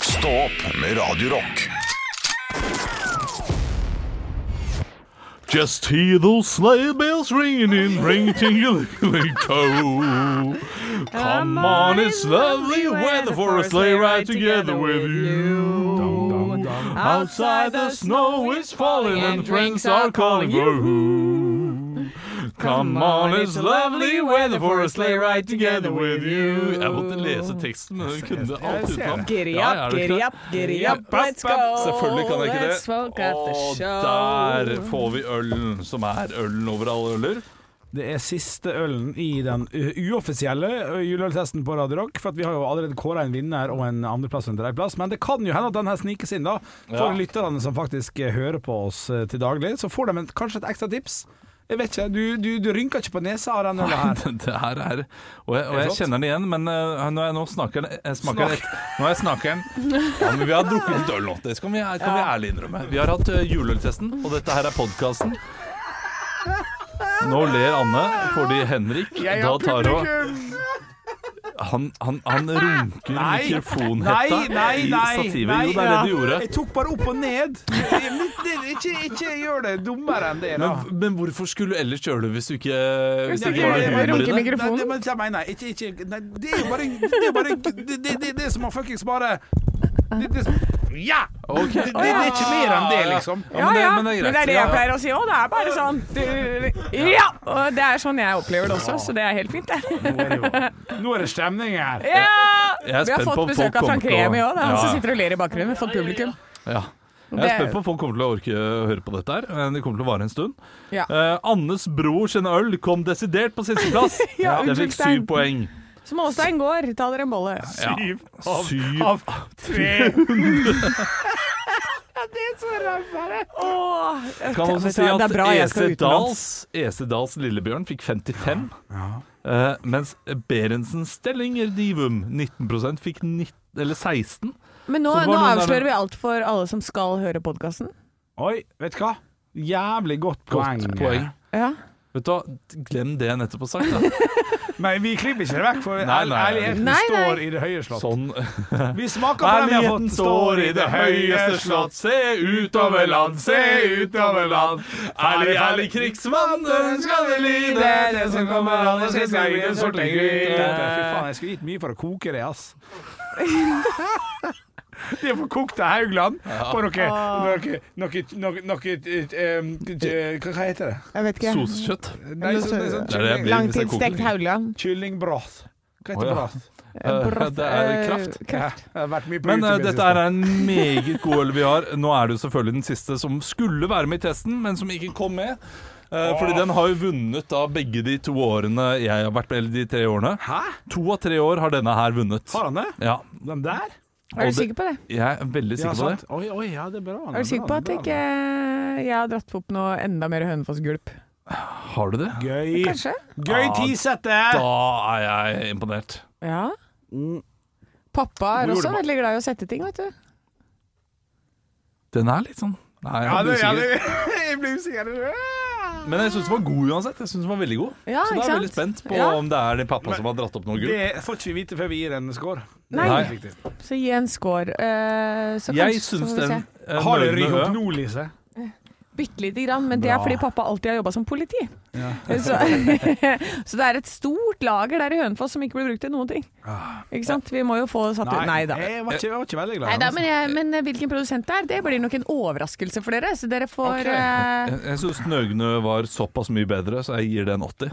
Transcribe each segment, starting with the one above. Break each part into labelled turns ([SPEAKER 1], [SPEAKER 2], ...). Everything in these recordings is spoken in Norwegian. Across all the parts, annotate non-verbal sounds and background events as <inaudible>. [SPEAKER 1] Stå opp med Radio Rock.
[SPEAKER 2] Just hear those sleigh bells ringing, ring tingling, co. Come on, it's lovely weather for a sleigh ride together with you. Outside the snow is falling and the friends are calling you. Come on, it's lovely weather for a sleigh ride together with you. Jeg måtte lese teksten, men hun kunne alt utenom.
[SPEAKER 3] Giddy
[SPEAKER 2] Ja, ja, er
[SPEAKER 3] up,
[SPEAKER 2] du ikke
[SPEAKER 3] giddy
[SPEAKER 2] det?
[SPEAKER 3] up, giddy up,
[SPEAKER 2] Papp,
[SPEAKER 3] let's
[SPEAKER 2] papp.
[SPEAKER 3] go.
[SPEAKER 2] Selvfølgelig kan jeg ikke det.
[SPEAKER 3] Let's walk at the
[SPEAKER 2] Og
[SPEAKER 3] show.
[SPEAKER 2] der får vi ølen, som er ølen over alle øler. <laughs>
[SPEAKER 4] Det er siste ølen i den u- uoffisielle ø, juleøltesten på Radio Rock. For at vi har jo allerede kåra en vinner og en andreplass og en tredjeplass. Men det kan jo hende at den her snikes inn, da. For
[SPEAKER 2] Ja.
[SPEAKER 4] lytterne som faktisk eh, hører på oss eh, til daglig, så får de en, kanskje et ekstra tips. Jeg vet ikke, du, du, du rynker ikke på nesa av den øla her.
[SPEAKER 2] Det det her er Og jeg, og jeg
[SPEAKER 4] flott.
[SPEAKER 2] kjenner den igjen, men eh, nå, er jeg, nå snakker den jeg smaker den rett. Nå er jeg snakeren. Ja, men vi har drukket litt øl nå. Det skal vi, kan vi ærlig innrømme. Vi har hatt eh, juleøltesten, og dette her er podkasten. Nå ler Anne fordi Henrik da tar hun han, han, han runker
[SPEAKER 4] Nei.
[SPEAKER 2] mikrofonhetta i stativet. jo, det er det du gjorde.
[SPEAKER 4] Jeg tok bare opp og ned. Ikke, ikke gjør det dummere enn det, da.
[SPEAKER 2] Men, men hvorfor skulle du ellers gjøre det hvis du ikke Hvis du
[SPEAKER 3] du
[SPEAKER 2] ikke har
[SPEAKER 3] ikke-
[SPEAKER 2] det humor i
[SPEAKER 3] runker
[SPEAKER 2] det?
[SPEAKER 3] mikro- mikrofonen.
[SPEAKER 4] Nei, det, men jeg mener, ikke, ikke, nei, det er jo bare Det er bare Det, det, det, det er som å fuckings bare det, det, Ja!
[SPEAKER 2] Ok.
[SPEAKER 4] Det, det, det er ikke mer enn det, liksom.
[SPEAKER 2] Ja, men det, men det er greit.
[SPEAKER 3] men det er det
[SPEAKER 2] Ja,
[SPEAKER 3] jeg
[SPEAKER 2] ja.
[SPEAKER 3] pleier å si òg. Det er bare sånn du, Ja! Og det er sånn jeg opplever det også, så det er helt fint, det.
[SPEAKER 4] Nå er det, jo- nå er det stemning her.
[SPEAKER 2] Jeg
[SPEAKER 3] Ja!
[SPEAKER 2] er
[SPEAKER 3] Vi har
[SPEAKER 2] spent på
[SPEAKER 3] fått
[SPEAKER 2] om folk
[SPEAKER 3] besøk av Frank
[SPEAKER 2] kommer til å-
[SPEAKER 3] Remi òg. Det er han
[SPEAKER 2] Ja, ja.
[SPEAKER 3] som sitter og ler i bakgrunnen. Vi har fått publikum.
[SPEAKER 2] Ja. Jeg er
[SPEAKER 3] Det-
[SPEAKER 2] spent på om folk kommer til å orke å høre på dette her. men Det kommer til å vare en stund.
[SPEAKER 3] Ja.
[SPEAKER 2] Eh, Annes bror sin øl kom desidert på sisteplass.
[SPEAKER 3] <laughs> Ja,
[SPEAKER 2] Jeg fikk
[SPEAKER 3] unnskyld,
[SPEAKER 2] syv
[SPEAKER 3] Stein.
[SPEAKER 2] poeng.
[SPEAKER 3] Småstein går, ta dere en bolle.
[SPEAKER 2] Ja.
[SPEAKER 4] Syv av-
[SPEAKER 2] Syv.
[SPEAKER 4] av tre.
[SPEAKER 3] Åh,
[SPEAKER 2] Kan
[SPEAKER 3] vet
[SPEAKER 2] også
[SPEAKER 3] du
[SPEAKER 2] si
[SPEAKER 3] hva,
[SPEAKER 2] at
[SPEAKER 3] det er bra jeg skal
[SPEAKER 2] EC Dahls,
[SPEAKER 3] utenlands.
[SPEAKER 2] EC Dahls Lillebjørn fikk 55, eh, mens Berentsen Stellinger Divum 19 fikk 19, eller 16.
[SPEAKER 3] Men nå,
[SPEAKER 2] Så var
[SPEAKER 3] nå
[SPEAKER 2] noen der-
[SPEAKER 3] avslører vi alt for alle som skal høre podkasten.
[SPEAKER 4] Oi, vet du hva? Jævlig godt poeng.
[SPEAKER 2] Godt poeng.
[SPEAKER 3] Ja.
[SPEAKER 2] Vet du hva, glem det jeg nettopp har sagt. Da.
[SPEAKER 4] <laughs> Men vi klipper ikke det vekk, for
[SPEAKER 2] Nei, nei.
[SPEAKER 4] ærligheten
[SPEAKER 3] Nei, nei.
[SPEAKER 4] står i det høye slott.
[SPEAKER 2] Sånn
[SPEAKER 4] Vi smaker på den vi har fått.
[SPEAKER 2] se
[SPEAKER 4] utover land, se utover land. Ærlig, ærlig
[SPEAKER 2] krigsmann,
[SPEAKER 4] skal vi lide, det som kommer anders, vi skal gi den sorte gryte. Fy faen, jeg skulle gitt mye for å koke det, ass. De har fått kokt av Haugland på noe,
[SPEAKER 3] Ah.
[SPEAKER 4] noe, noe, noe, noe eh, em, eh, Hva hva heter det?
[SPEAKER 3] Jeg vet ikke.
[SPEAKER 2] Soskjøtt.
[SPEAKER 4] Nei, sånn, det er sånn
[SPEAKER 2] Det er det jeg blir
[SPEAKER 4] kylling,
[SPEAKER 2] hvis jeg koker
[SPEAKER 3] Langtidsstekt
[SPEAKER 2] det.
[SPEAKER 3] Haugland.
[SPEAKER 4] kyllingbroth. Hva heter
[SPEAKER 2] Å, ja.
[SPEAKER 4] broth?
[SPEAKER 2] Eh,
[SPEAKER 3] Bratt-
[SPEAKER 2] det er
[SPEAKER 3] eh,
[SPEAKER 2] kraft.
[SPEAKER 4] Ja, jeg har vært mye på
[SPEAKER 2] Men eh,
[SPEAKER 4] YouTube i det
[SPEAKER 2] dette
[SPEAKER 4] siste.
[SPEAKER 2] er en meget god øl vi har. Nå er det jo selvfølgelig den siste som skulle være med i testen, men som ikke kom med. Eh, Fordi den har jo vunnet da begge de to årene jeg har vært med, eller de tre årene.
[SPEAKER 4] Hæ?
[SPEAKER 2] To av tre år har denne her vunnet.
[SPEAKER 4] Har han det?
[SPEAKER 2] Ja,
[SPEAKER 4] Den der?
[SPEAKER 3] Er
[SPEAKER 2] Og
[SPEAKER 3] du sikker på det?
[SPEAKER 2] jeg er veldig
[SPEAKER 4] Ja,
[SPEAKER 2] sikker på
[SPEAKER 4] sant.
[SPEAKER 2] det.
[SPEAKER 4] Oi, oi, ja, det er bra. det
[SPEAKER 3] Er du sikker på
[SPEAKER 4] bra,
[SPEAKER 3] at
[SPEAKER 4] det er
[SPEAKER 3] ikke
[SPEAKER 4] bra.
[SPEAKER 3] jeg har dratt opp noe enda mer Hønefoss-gulp?
[SPEAKER 2] Har du det?
[SPEAKER 4] Gøy.
[SPEAKER 3] Kanskje?
[SPEAKER 4] Gøy tisette!
[SPEAKER 2] Da er jeg imponert.
[SPEAKER 3] Ja. Pappa er
[SPEAKER 4] Hvor gjorde
[SPEAKER 3] også
[SPEAKER 4] man-
[SPEAKER 3] veldig glad i å sette ting, vet du.
[SPEAKER 2] Den er litt sånn Nei, jeg
[SPEAKER 4] Ja,
[SPEAKER 2] blir
[SPEAKER 4] det, ja,
[SPEAKER 2] usikker.
[SPEAKER 4] det, <laughs> jeg blir usikker.
[SPEAKER 2] Men jeg syns den var god uansett. Jeg synes den var veldig god
[SPEAKER 3] Ja,
[SPEAKER 2] Så da
[SPEAKER 3] ikke
[SPEAKER 2] er jeg veldig
[SPEAKER 3] sant?
[SPEAKER 2] spent på
[SPEAKER 3] Ja.
[SPEAKER 2] om det er din pappa som har dratt opp noe gull.
[SPEAKER 4] Det får ikke vi vite før vi gir en score. Det er
[SPEAKER 3] Nei.
[SPEAKER 4] helt riktig.
[SPEAKER 3] Så gi en score. Eh, så
[SPEAKER 2] Jeg
[SPEAKER 3] kanskje-
[SPEAKER 2] syns
[SPEAKER 3] så får vi
[SPEAKER 2] den
[SPEAKER 3] se.
[SPEAKER 2] eh,
[SPEAKER 4] Har du
[SPEAKER 2] nølende
[SPEAKER 4] rykket opp
[SPEAKER 2] ø-
[SPEAKER 4] nå, Lise?
[SPEAKER 3] Bitte lite grann, men det er
[SPEAKER 4] Bra.
[SPEAKER 3] fordi pappa alltid har jobba som politi. <laughs> Så, så det er et stort lager der i Hønefoss som ikke blir brukt til noen ting. Ikke sant? Vi må jo få satt ut Nei da.
[SPEAKER 4] Ah, Jeg var ikke, jeg var ikke veldig glad.
[SPEAKER 3] Nei da,
[SPEAKER 2] altså.
[SPEAKER 3] men, jeg, men eh, hvilken produsent det er, det blir nok en overraskelse for dere. Så dere får
[SPEAKER 4] Ok.
[SPEAKER 3] eh,
[SPEAKER 2] Jeg, jeg syns Nøgnø var såpass mye bedre, så jeg gir den 80.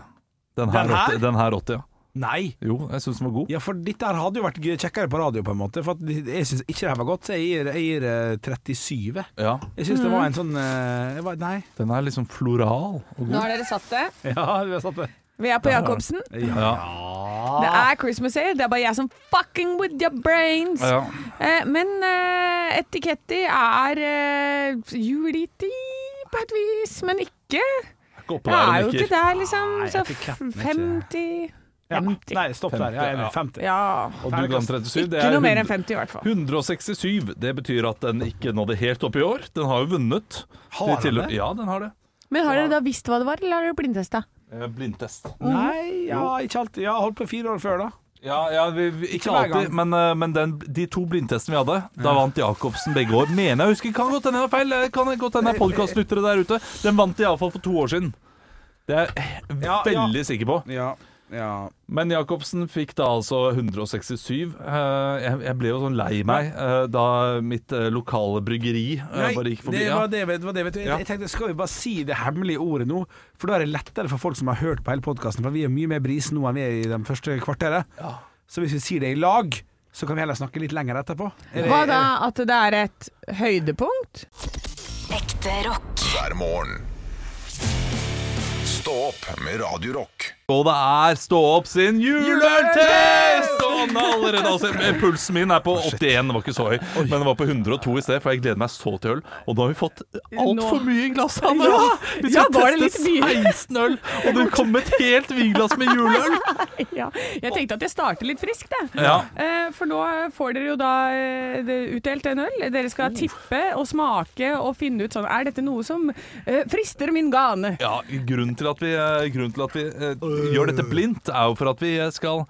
[SPEAKER 2] Den her,
[SPEAKER 4] Den her?
[SPEAKER 2] 80, den her 80, ja.
[SPEAKER 4] Nei.
[SPEAKER 2] Jo, jeg syns den var god.
[SPEAKER 4] Ja, for dette her hadde jo vært kjekkere på radio, på en måte. For at jeg syns ikke det her var godt, så jeg gir, jeg gir eh, 37.
[SPEAKER 2] Ja,
[SPEAKER 4] Jeg syns
[SPEAKER 3] Mm.
[SPEAKER 4] det var en sånn eh, jeg var, Nei.
[SPEAKER 2] Den er liksom floral og
[SPEAKER 3] Nå
[SPEAKER 2] god.
[SPEAKER 3] har dere satt det.
[SPEAKER 4] <laughs> Ja, du har satt det.
[SPEAKER 3] Vi er på Jacobsen.
[SPEAKER 2] Ja. Ah.
[SPEAKER 3] Det er Christmas ale. Det er bare jeg som fucking with your brains.
[SPEAKER 2] Ja.
[SPEAKER 3] Eh, men eh, etiketti er eh, juliti på et vis, men ikke.
[SPEAKER 2] Gå oppå
[SPEAKER 3] Det
[SPEAKER 2] der
[SPEAKER 3] er jo
[SPEAKER 2] og
[SPEAKER 3] ikke
[SPEAKER 2] nikker.
[SPEAKER 3] der, liksom.
[SPEAKER 4] Nei,
[SPEAKER 3] Så
[SPEAKER 4] etiketten er ikke-
[SPEAKER 3] 50
[SPEAKER 4] Ja.
[SPEAKER 3] 50.
[SPEAKER 4] Nei, stopp der. Ja, jeg er enig. 50.
[SPEAKER 3] Ja.
[SPEAKER 2] Og du ga den 37. Altså, Det
[SPEAKER 3] Ikke
[SPEAKER 2] er
[SPEAKER 3] noe mer enn
[SPEAKER 2] 100
[SPEAKER 3] 50 i hvert fall.
[SPEAKER 2] 167. Det betyr at den ikke nådde helt opp i år. Den har jo vunnet.
[SPEAKER 4] Har
[SPEAKER 2] De
[SPEAKER 4] den
[SPEAKER 2] til-
[SPEAKER 4] det?
[SPEAKER 2] Ja, den har det.
[SPEAKER 3] Men har dere da visst hva det var, eller har dere blindtesta?
[SPEAKER 2] Eh, Blindtest.
[SPEAKER 4] Nei, ja, ikke alltid. Jeg har holdt på fire år før, da.
[SPEAKER 2] Ja, ja vi, vi, ikke
[SPEAKER 4] Ikke hver
[SPEAKER 2] alltid, men, eh, men den, de to blindtestene vi hadde, da vant Jacobsen begge år. Mener jeg husker, kan godt hende jeg har feil. eh, Kan godt hende jeg er podcastlyttere der ute. Den vant de iallfall for to år siden. Det er jeg
[SPEAKER 4] Ja, ja.
[SPEAKER 2] veldig sikker på.
[SPEAKER 4] Ja, ja.
[SPEAKER 2] Men Jacobsen fikk da altså 167. Eh, Jeg, jeg ble jo sånn lei meg eh, da mitt eh, lokale bryggeri eh, bare gikk forbi.
[SPEAKER 4] det
[SPEAKER 2] Ja.
[SPEAKER 4] var det, vet, det var det, vet du. Jeg,
[SPEAKER 2] Ja.
[SPEAKER 4] jeg tenkte, skal vi bare si det hemmelige ordet nå? For da er det lettere for folk som har hørt på hele podkasten, for vi er mye mer bris nå enn vi er i de første kvarteret. Så hvis vi sier det i lag, så kan vi heller snakke litt lenger etterpå. Er
[SPEAKER 3] Mhm.
[SPEAKER 4] det-
[SPEAKER 3] Hva da? At det er et høydepunkt?
[SPEAKER 5] Ekte rock.
[SPEAKER 1] hver morgen. Stå opp med Radio Rock.
[SPEAKER 2] Og det er Stå opp sin juleøltest! Og nå allerede, altså, pulsen min er på 81, den var ikke så høy, men den var på 102 i sted, for jeg gleder meg så til øl. Og nå har vi fått altfor
[SPEAKER 3] Nå.
[SPEAKER 2] mye i glasset. Anne.
[SPEAKER 3] Ja,
[SPEAKER 2] vi
[SPEAKER 3] ja,
[SPEAKER 2] skal
[SPEAKER 3] var det
[SPEAKER 2] teste
[SPEAKER 3] litt mye?
[SPEAKER 2] 16 øl, og det kom et helt vinglass med
[SPEAKER 3] <laughs>
[SPEAKER 2] juleøl!
[SPEAKER 3] Ja. Jeg tenkte at jeg starter litt friskt, jeg.
[SPEAKER 2] Ja.
[SPEAKER 3] Eh, For nå får dere jo da eh, det- utdelt en øl. Dere
[SPEAKER 2] Mm.
[SPEAKER 3] skal tippe og smake og finne ut sånn Er dette noe som eh, frister min gane?
[SPEAKER 2] Ja, grunnen til at vi, eh, grunnen til at vi eh, gjør dette blindt, er jo for at vi eh, skal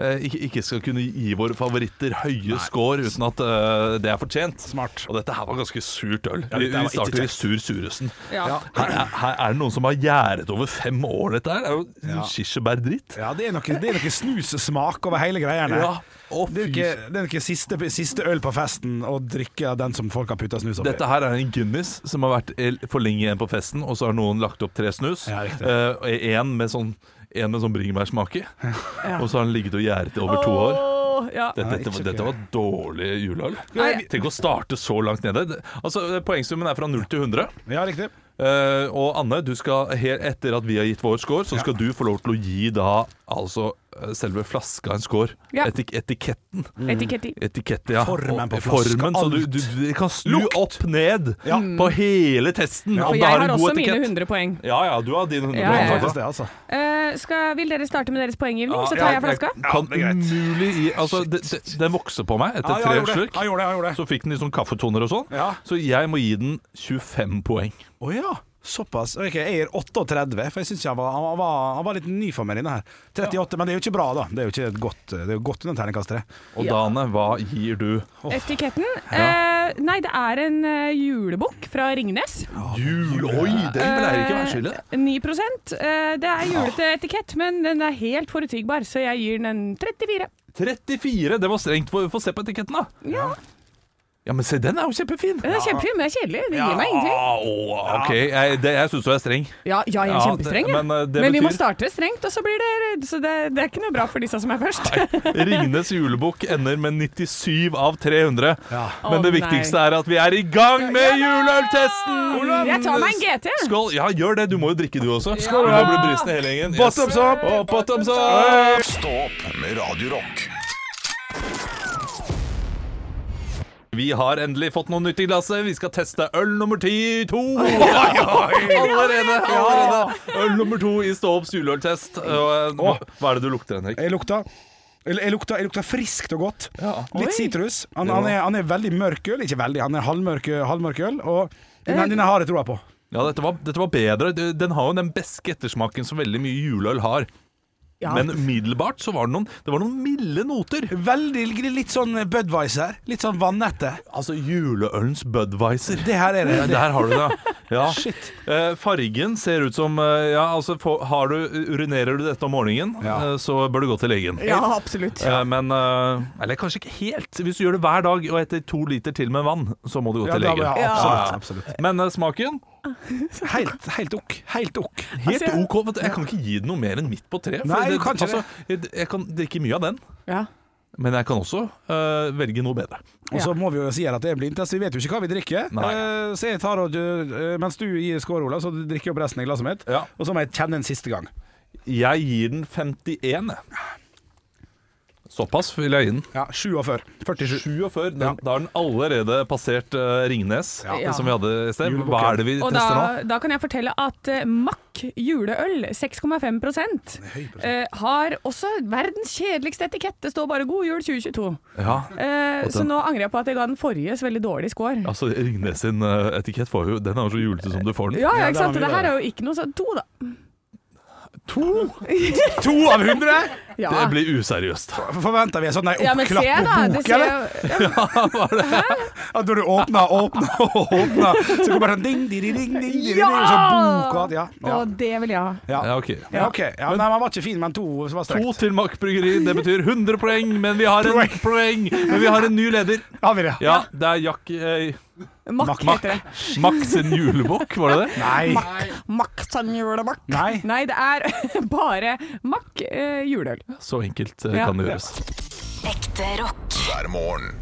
[SPEAKER 2] eh, ikke, ikke skal kunne gi våre favoritter høye score uten at eh, det er fortjent.
[SPEAKER 4] Smart.
[SPEAKER 2] Og dette her var ganske surt øl.
[SPEAKER 4] Ja,
[SPEAKER 2] vi,
[SPEAKER 4] dette her var
[SPEAKER 2] vi
[SPEAKER 4] ikke
[SPEAKER 2] starter i
[SPEAKER 4] kjekt.
[SPEAKER 2] sur suresen.
[SPEAKER 3] Ja.
[SPEAKER 2] Her, er- her er det noen som har gjæret over fem år, dette her. Det er jo
[SPEAKER 4] Ja.
[SPEAKER 2] kirsebærdritt.
[SPEAKER 4] Ja, det er noe, det er noe snusesmak over hele greiene.
[SPEAKER 2] Ja. Å,
[SPEAKER 4] Det er jo
[SPEAKER 2] fy.
[SPEAKER 4] ikke, det er jo ikke siste, siste øl på festen å drikke av den som folk har putta snus oppi.
[SPEAKER 2] Dette her er en Guinness som har vært el- for lenge igjen på festen, og så har noen lagt opp tre snus.
[SPEAKER 4] Ja, riktig.
[SPEAKER 2] Eh, og en med sånn, en med sånn bringebærsmak i. Og så har den ligget og gjæret i over to år.
[SPEAKER 3] Åh, Ja.
[SPEAKER 2] Dette,
[SPEAKER 4] Ja,
[SPEAKER 2] dette,
[SPEAKER 4] ikke
[SPEAKER 2] var-
[SPEAKER 4] så
[SPEAKER 2] dette
[SPEAKER 4] gøy.
[SPEAKER 2] var dårlig juleøl.
[SPEAKER 3] Nei.
[SPEAKER 2] Tenk å starte så langt nede. Det- Altså, Poengsummen er fra 0 til 100.
[SPEAKER 4] Ja, riktig.
[SPEAKER 2] Eh, og Anne, du skal helt etter at vi har gitt vår score, så skal du få lov til å gi da altså eh, selve flaska en score.
[SPEAKER 3] Ja.
[SPEAKER 2] Etik etiketten.
[SPEAKER 3] Etiketti.
[SPEAKER 2] Etikett, ja.
[SPEAKER 4] Formen
[SPEAKER 2] Og-
[SPEAKER 4] på flaska,
[SPEAKER 2] Formen, så du,
[SPEAKER 4] alt.
[SPEAKER 2] du, du kan snu opp ned
[SPEAKER 4] Ja.
[SPEAKER 2] på hele testen.
[SPEAKER 3] Mm. For
[SPEAKER 2] om
[SPEAKER 3] jeg
[SPEAKER 2] det
[SPEAKER 3] har
[SPEAKER 2] en
[SPEAKER 3] også
[SPEAKER 2] god
[SPEAKER 3] mine
[SPEAKER 2] etikett.
[SPEAKER 3] 100 poeng.
[SPEAKER 2] Ja ja, du har dine 100
[SPEAKER 3] Ja,
[SPEAKER 4] Det
[SPEAKER 2] poeng,
[SPEAKER 4] var
[SPEAKER 3] ja, ja.
[SPEAKER 4] faktisk
[SPEAKER 2] faktisk.
[SPEAKER 4] det, altså.
[SPEAKER 3] Eh, skal, vil dere starte med deres poenggivning, så tar jeg flaska?
[SPEAKER 2] Kan umulig gi Altså, det- det- den vokser på meg
[SPEAKER 4] Ja,
[SPEAKER 2] etter
[SPEAKER 4] ja,
[SPEAKER 2] tre
[SPEAKER 4] jeg gjorde det.
[SPEAKER 2] slurk.
[SPEAKER 4] Ja, jeg gjorde det, jeg gjorde det.
[SPEAKER 2] Så fikk den litt sånn kaffetoner og sånn.
[SPEAKER 4] Ja.
[SPEAKER 2] Så jeg må gi den 25 poeng.
[SPEAKER 4] Å ja, såpass. Ok, jeg gir 38, for jeg syns han, var- han, var- han var litt ny for meg inne her. 38, men det er jo ikke bra, da. Det er jo ikke et godt, det er jo godt under terningkast tre.
[SPEAKER 2] Og
[SPEAKER 3] Ja.
[SPEAKER 2] Dane, hva gir du?
[SPEAKER 3] Etiketten? Eh, nei, det er en eh, julebukk fra Ringnes.
[SPEAKER 2] Jul, oi, Eh, den pleier ikke å være skyldig.
[SPEAKER 3] 9 eh, Det er julete etikett, men den er helt forutsigbar, så jeg gir den en 34.
[SPEAKER 2] 34, det var strengt. Få få se på etiketten, da.
[SPEAKER 3] Ja,
[SPEAKER 2] Ja, men se, den er jo kjempefin.
[SPEAKER 3] Den er kjempefin, men det er kjedelig. Det
[SPEAKER 2] Ja,
[SPEAKER 3] gir meg ingenting.
[SPEAKER 2] å, OK, jeg, det- jeg syns du er streng.
[SPEAKER 3] Ja, ja jeg er
[SPEAKER 2] Ja,
[SPEAKER 3] kjempestreng,
[SPEAKER 2] det-
[SPEAKER 3] jeg.
[SPEAKER 2] men, eh,
[SPEAKER 3] Men,
[SPEAKER 2] det
[SPEAKER 3] vi må
[SPEAKER 2] betyr-
[SPEAKER 3] starte strengt, og så blir det Så det, det er ikke noe bra for disse som er først.
[SPEAKER 2] Ringnes julebukk ender med 97 av 300.
[SPEAKER 4] Ja.
[SPEAKER 2] Men
[SPEAKER 3] Å,
[SPEAKER 2] det
[SPEAKER 3] nei.
[SPEAKER 2] viktigste er at vi er i gang med juleøltesten!
[SPEAKER 3] Jeg tar meg en GT.
[SPEAKER 2] Skål. Ja, gjør det. Du må jo drikke, du også.
[SPEAKER 3] Skål,
[SPEAKER 2] du
[SPEAKER 3] da.
[SPEAKER 2] må bli brisen hele gjengen. Yes.
[SPEAKER 4] Bottoms up!
[SPEAKER 2] Og bottoms up!
[SPEAKER 1] Stå opp med Radio Rock.
[SPEAKER 2] Vi har endelig fått noe nytt i glasset. Vi skal teste øl nummer ti to. Allerede! allerede. Øl nummer to i Stå opps juleøltest. Og, eh, Hva er det du lukter, Henrik?
[SPEAKER 4] Jeg lukta eller, jeg lukta, jeg lukta friskt og godt.
[SPEAKER 2] Ja.
[SPEAKER 3] Oi.
[SPEAKER 4] Litt sitrus. Han, han, er- han er veldig mørk øl. Ikke veldig, han er halvmørk, halvmørk øl. Og denne, denne har jeg troa på.
[SPEAKER 2] Ja, dette var, dette var bedre. Den har jo den beske ettersmaken som veldig mye juleøl har.
[SPEAKER 3] <laughs> Ja.
[SPEAKER 2] Men umiddelbart så var det noen Det var noen milde noter.
[SPEAKER 4] Veldig litt sånn Budwiser. Litt sånn vannete.
[SPEAKER 2] Altså juleølens Budwiser.
[SPEAKER 4] Det her er
[SPEAKER 2] Ja,
[SPEAKER 4] det.
[SPEAKER 2] Der har du det, ja. ja.
[SPEAKER 4] Shit.
[SPEAKER 2] Eh, fargen ser ut som eh, Ja, altså, få- har du, urinerer du dette om morgenen,
[SPEAKER 4] Ja.
[SPEAKER 2] eh, så bør du gå til legen.
[SPEAKER 3] Ja, absolutt.
[SPEAKER 2] Eh, Men eh, Eller kanskje ikke helt. Hvis du gjør det hver dag og etter to liter til med vann, så må du gå
[SPEAKER 4] Ja,
[SPEAKER 2] til
[SPEAKER 4] da-
[SPEAKER 2] legen.
[SPEAKER 4] ja,
[SPEAKER 2] Ja.
[SPEAKER 4] absolutt, absolutt.
[SPEAKER 2] Men eh, smaken
[SPEAKER 4] Helt, helt ok. Helt ok.
[SPEAKER 2] helt
[SPEAKER 3] Altså, jeg-
[SPEAKER 2] OK. vet du. Jeg kan ikke gi den noe mer enn midt på treet. for
[SPEAKER 4] Nei,
[SPEAKER 2] det-
[SPEAKER 4] du kan ikke
[SPEAKER 2] jeg, jeg kan drikke mye av den,
[SPEAKER 3] Ja.
[SPEAKER 2] men jeg kan også eh, velge noe bedre.
[SPEAKER 4] Og så må vi jo si her at det er en blindtest. Vi vet jo ikke hva vi drikker.
[SPEAKER 2] Nei.
[SPEAKER 4] Eh, Så jeg tar og eh, Mens du gir score, Olav, så drikker jeg opp resten av glasset mitt.
[SPEAKER 2] Ja.
[SPEAKER 4] Og så må jeg kjenne en siste gang.
[SPEAKER 2] Jeg gir den 51. jeg. Såpass vil jeg gi den.
[SPEAKER 4] Ja, 47. 47.
[SPEAKER 2] 47, den,
[SPEAKER 4] Ja.
[SPEAKER 2] Da har den allerede passert eh, Ringnes,
[SPEAKER 3] Ja.
[SPEAKER 2] som vi hadde i sted. Hva
[SPEAKER 4] Julebukken.
[SPEAKER 2] er det vi
[SPEAKER 3] Og
[SPEAKER 2] tester
[SPEAKER 3] da, da kan jeg fortelle at eh, Mack juleøl, 6,5 eh, har også verdens kjedeligste etikett. Det står bare 'God jul 2022'.
[SPEAKER 2] nå? Ja,
[SPEAKER 3] Eh, så nå angrer jeg på at jeg ga den forrige så veldig dårlig score.
[SPEAKER 2] altså Ringnes sin eh, etikett var jo Den er jo så julete som du får den.
[SPEAKER 3] Ja,
[SPEAKER 4] Ja,
[SPEAKER 3] ja,
[SPEAKER 4] det
[SPEAKER 3] ikke sant?
[SPEAKER 4] har vi
[SPEAKER 3] Det her
[SPEAKER 4] da.
[SPEAKER 3] er jo ikke noe sånn To, da.
[SPEAKER 2] <laughs> To?
[SPEAKER 4] To av hundre?!
[SPEAKER 3] Ja.
[SPEAKER 2] Det blir useriøst.
[SPEAKER 4] Forventer vi en sånn
[SPEAKER 3] ja, men se da. Det
[SPEAKER 4] oppklappbok,
[SPEAKER 3] ser
[SPEAKER 4] eller?
[SPEAKER 3] jo
[SPEAKER 4] At når du åpner og åpner <laughs> og åpner, så kommer det sånn ding, di, di, ding, ding, di, di, di,
[SPEAKER 3] Ja!
[SPEAKER 4] sånn bok og alt. Ja, ja.
[SPEAKER 3] Å, det vil jeg ha.
[SPEAKER 2] Ja,
[SPEAKER 4] ja.
[SPEAKER 2] ok.
[SPEAKER 4] Ja, ok. Ja, nei, man var ikke fin, men to var
[SPEAKER 2] To
[SPEAKER 4] strekt.
[SPEAKER 2] til Mack Bryggeri. Det betyr 100 poeng, men vi har en
[SPEAKER 4] Poeng.
[SPEAKER 2] poeng Men vi har en ny leder.
[SPEAKER 4] Har vi det?
[SPEAKER 2] Ja, det er Jack eh,
[SPEAKER 3] Makk
[SPEAKER 4] Makk.
[SPEAKER 3] heter det.
[SPEAKER 2] Mack sin julebukk, var det det?
[SPEAKER 4] Nei.
[SPEAKER 3] Makk som sånn julemakk.
[SPEAKER 4] Nei.
[SPEAKER 3] Nei, det er <laughs> bare makk eh, juleøl.
[SPEAKER 2] Så enkelt eh,
[SPEAKER 3] Ja.
[SPEAKER 2] kan det gjøres.
[SPEAKER 5] Ekte rock.
[SPEAKER 1] hver morgen.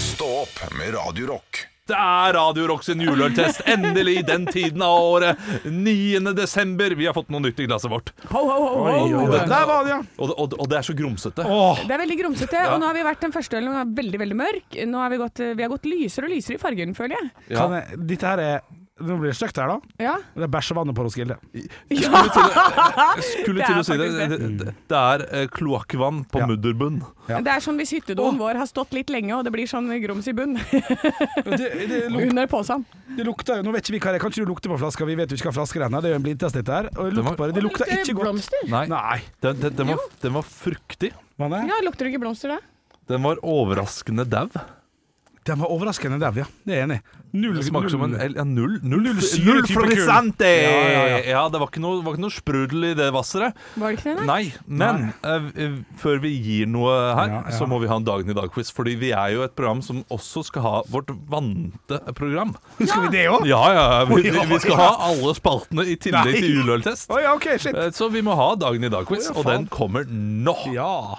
[SPEAKER 1] Stå opp med Radio Rock.
[SPEAKER 2] Det er Radio Rock sin juleøltest. Endelig den tiden av året. 9. desember. Vi har fått noe nytt i glasset vårt.
[SPEAKER 3] Ho, ho, ho, ho.
[SPEAKER 2] oi.
[SPEAKER 4] Der var det, ja.
[SPEAKER 2] Og, det- og, det- og det er så grumsete.
[SPEAKER 4] Åh.
[SPEAKER 3] Det er veldig grumsete. Og nå har vi vært den første ølen var veldig veldig mørk. Nå har vi gått, eh, vi har gått lysere og lysere i fargen, stygt jeg.
[SPEAKER 2] Ja.
[SPEAKER 4] Kan jeg, dette her er Nå blir det stygt her, da.
[SPEAKER 3] Ja.
[SPEAKER 4] Det er bæsj og vannet på Roskilde.
[SPEAKER 2] Skulle til, å- skulle
[SPEAKER 3] Det
[SPEAKER 2] til
[SPEAKER 3] er
[SPEAKER 2] å si det.
[SPEAKER 3] faktisk
[SPEAKER 2] Det, det, det er eh, kloakkvann på
[SPEAKER 4] Ja.
[SPEAKER 2] mudderbunn.
[SPEAKER 4] Ja.
[SPEAKER 3] Det er sånn hvis hyttedoen vår har stått litt lenge, og det blir sånn grums i bunn <laughs>
[SPEAKER 4] Det, det, luk,
[SPEAKER 3] under posen.
[SPEAKER 4] det lukter jo Nå vet ikke vi hva det er. Kan ikke du lukte på flaska? Vi vet jo ikke hva flasker er ennå. Det er jo en blindtest, dette her. Og
[SPEAKER 2] var-
[SPEAKER 4] lukt bare. Det lukter ikke godt.
[SPEAKER 3] blomster?
[SPEAKER 2] Nei,
[SPEAKER 4] Nei.
[SPEAKER 2] den, den, den, var, den var fruktig.
[SPEAKER 4] Vannet?
[SPEAKER 3] Ja, lukter det ikke blomster da?
[SPEAKER 2] Den var overraskende dau.
[SPEAKER 4] Den var overraskende dau, ja. Det er jeg enig i. Null
[SPEAKER 2] Det smaker som en
[SPEAKER 4] null-
[SPEAKER 2] el- ja, null Null,
[SPEAKER 4] syre
[SPEAKER 2] null
[SPEAKER 4] type kul.
[SPEAKER 2] fluorescente!
[SPEAKER 4] Ja, ja, ja.
[SPEAKER 2] Ja, det var ikke noe, var ikke noe sprudel i det vasseret.
[SPEAKER 3] Var det ikke det?
[SPEAKER 2] Nei, men eh, eh, før vi gir noe her,
[SPEAKER 4] Ja, ja.
[SPEAKER 2] så må vi ha en Dagen i dag-quiz. Fordi vi er jo et program som også skal ha vårt vante program.
[SPEAKER 4] Skal vi det òg?
[SPEAKER 2] Ja, ja, ja, vi, vi,
[SPEAKER 4] Oi,
[SPEAKER 2] vi skal
[SPEAKER 4] oi,
[SPEAKER 2] ha
[SPEAKER 4] ja.
[SPEAKER 2] alle spaltene i tillegg
[SPEAKER 4] Nei.
[SPEAKER 2] til juleøltest.
[SPEAKER 4] Å ja, OK, shit.
[SPEAKER 2] Eh, Så vi må ha Dagen i dag-quiz,
[SPEAKER 4] Å, ja,
[SPEAKER 2] og den
[SPEAKER 4] faen.
[SPEAKER 2] kommer nå.
[SPEAKER 4] Ja.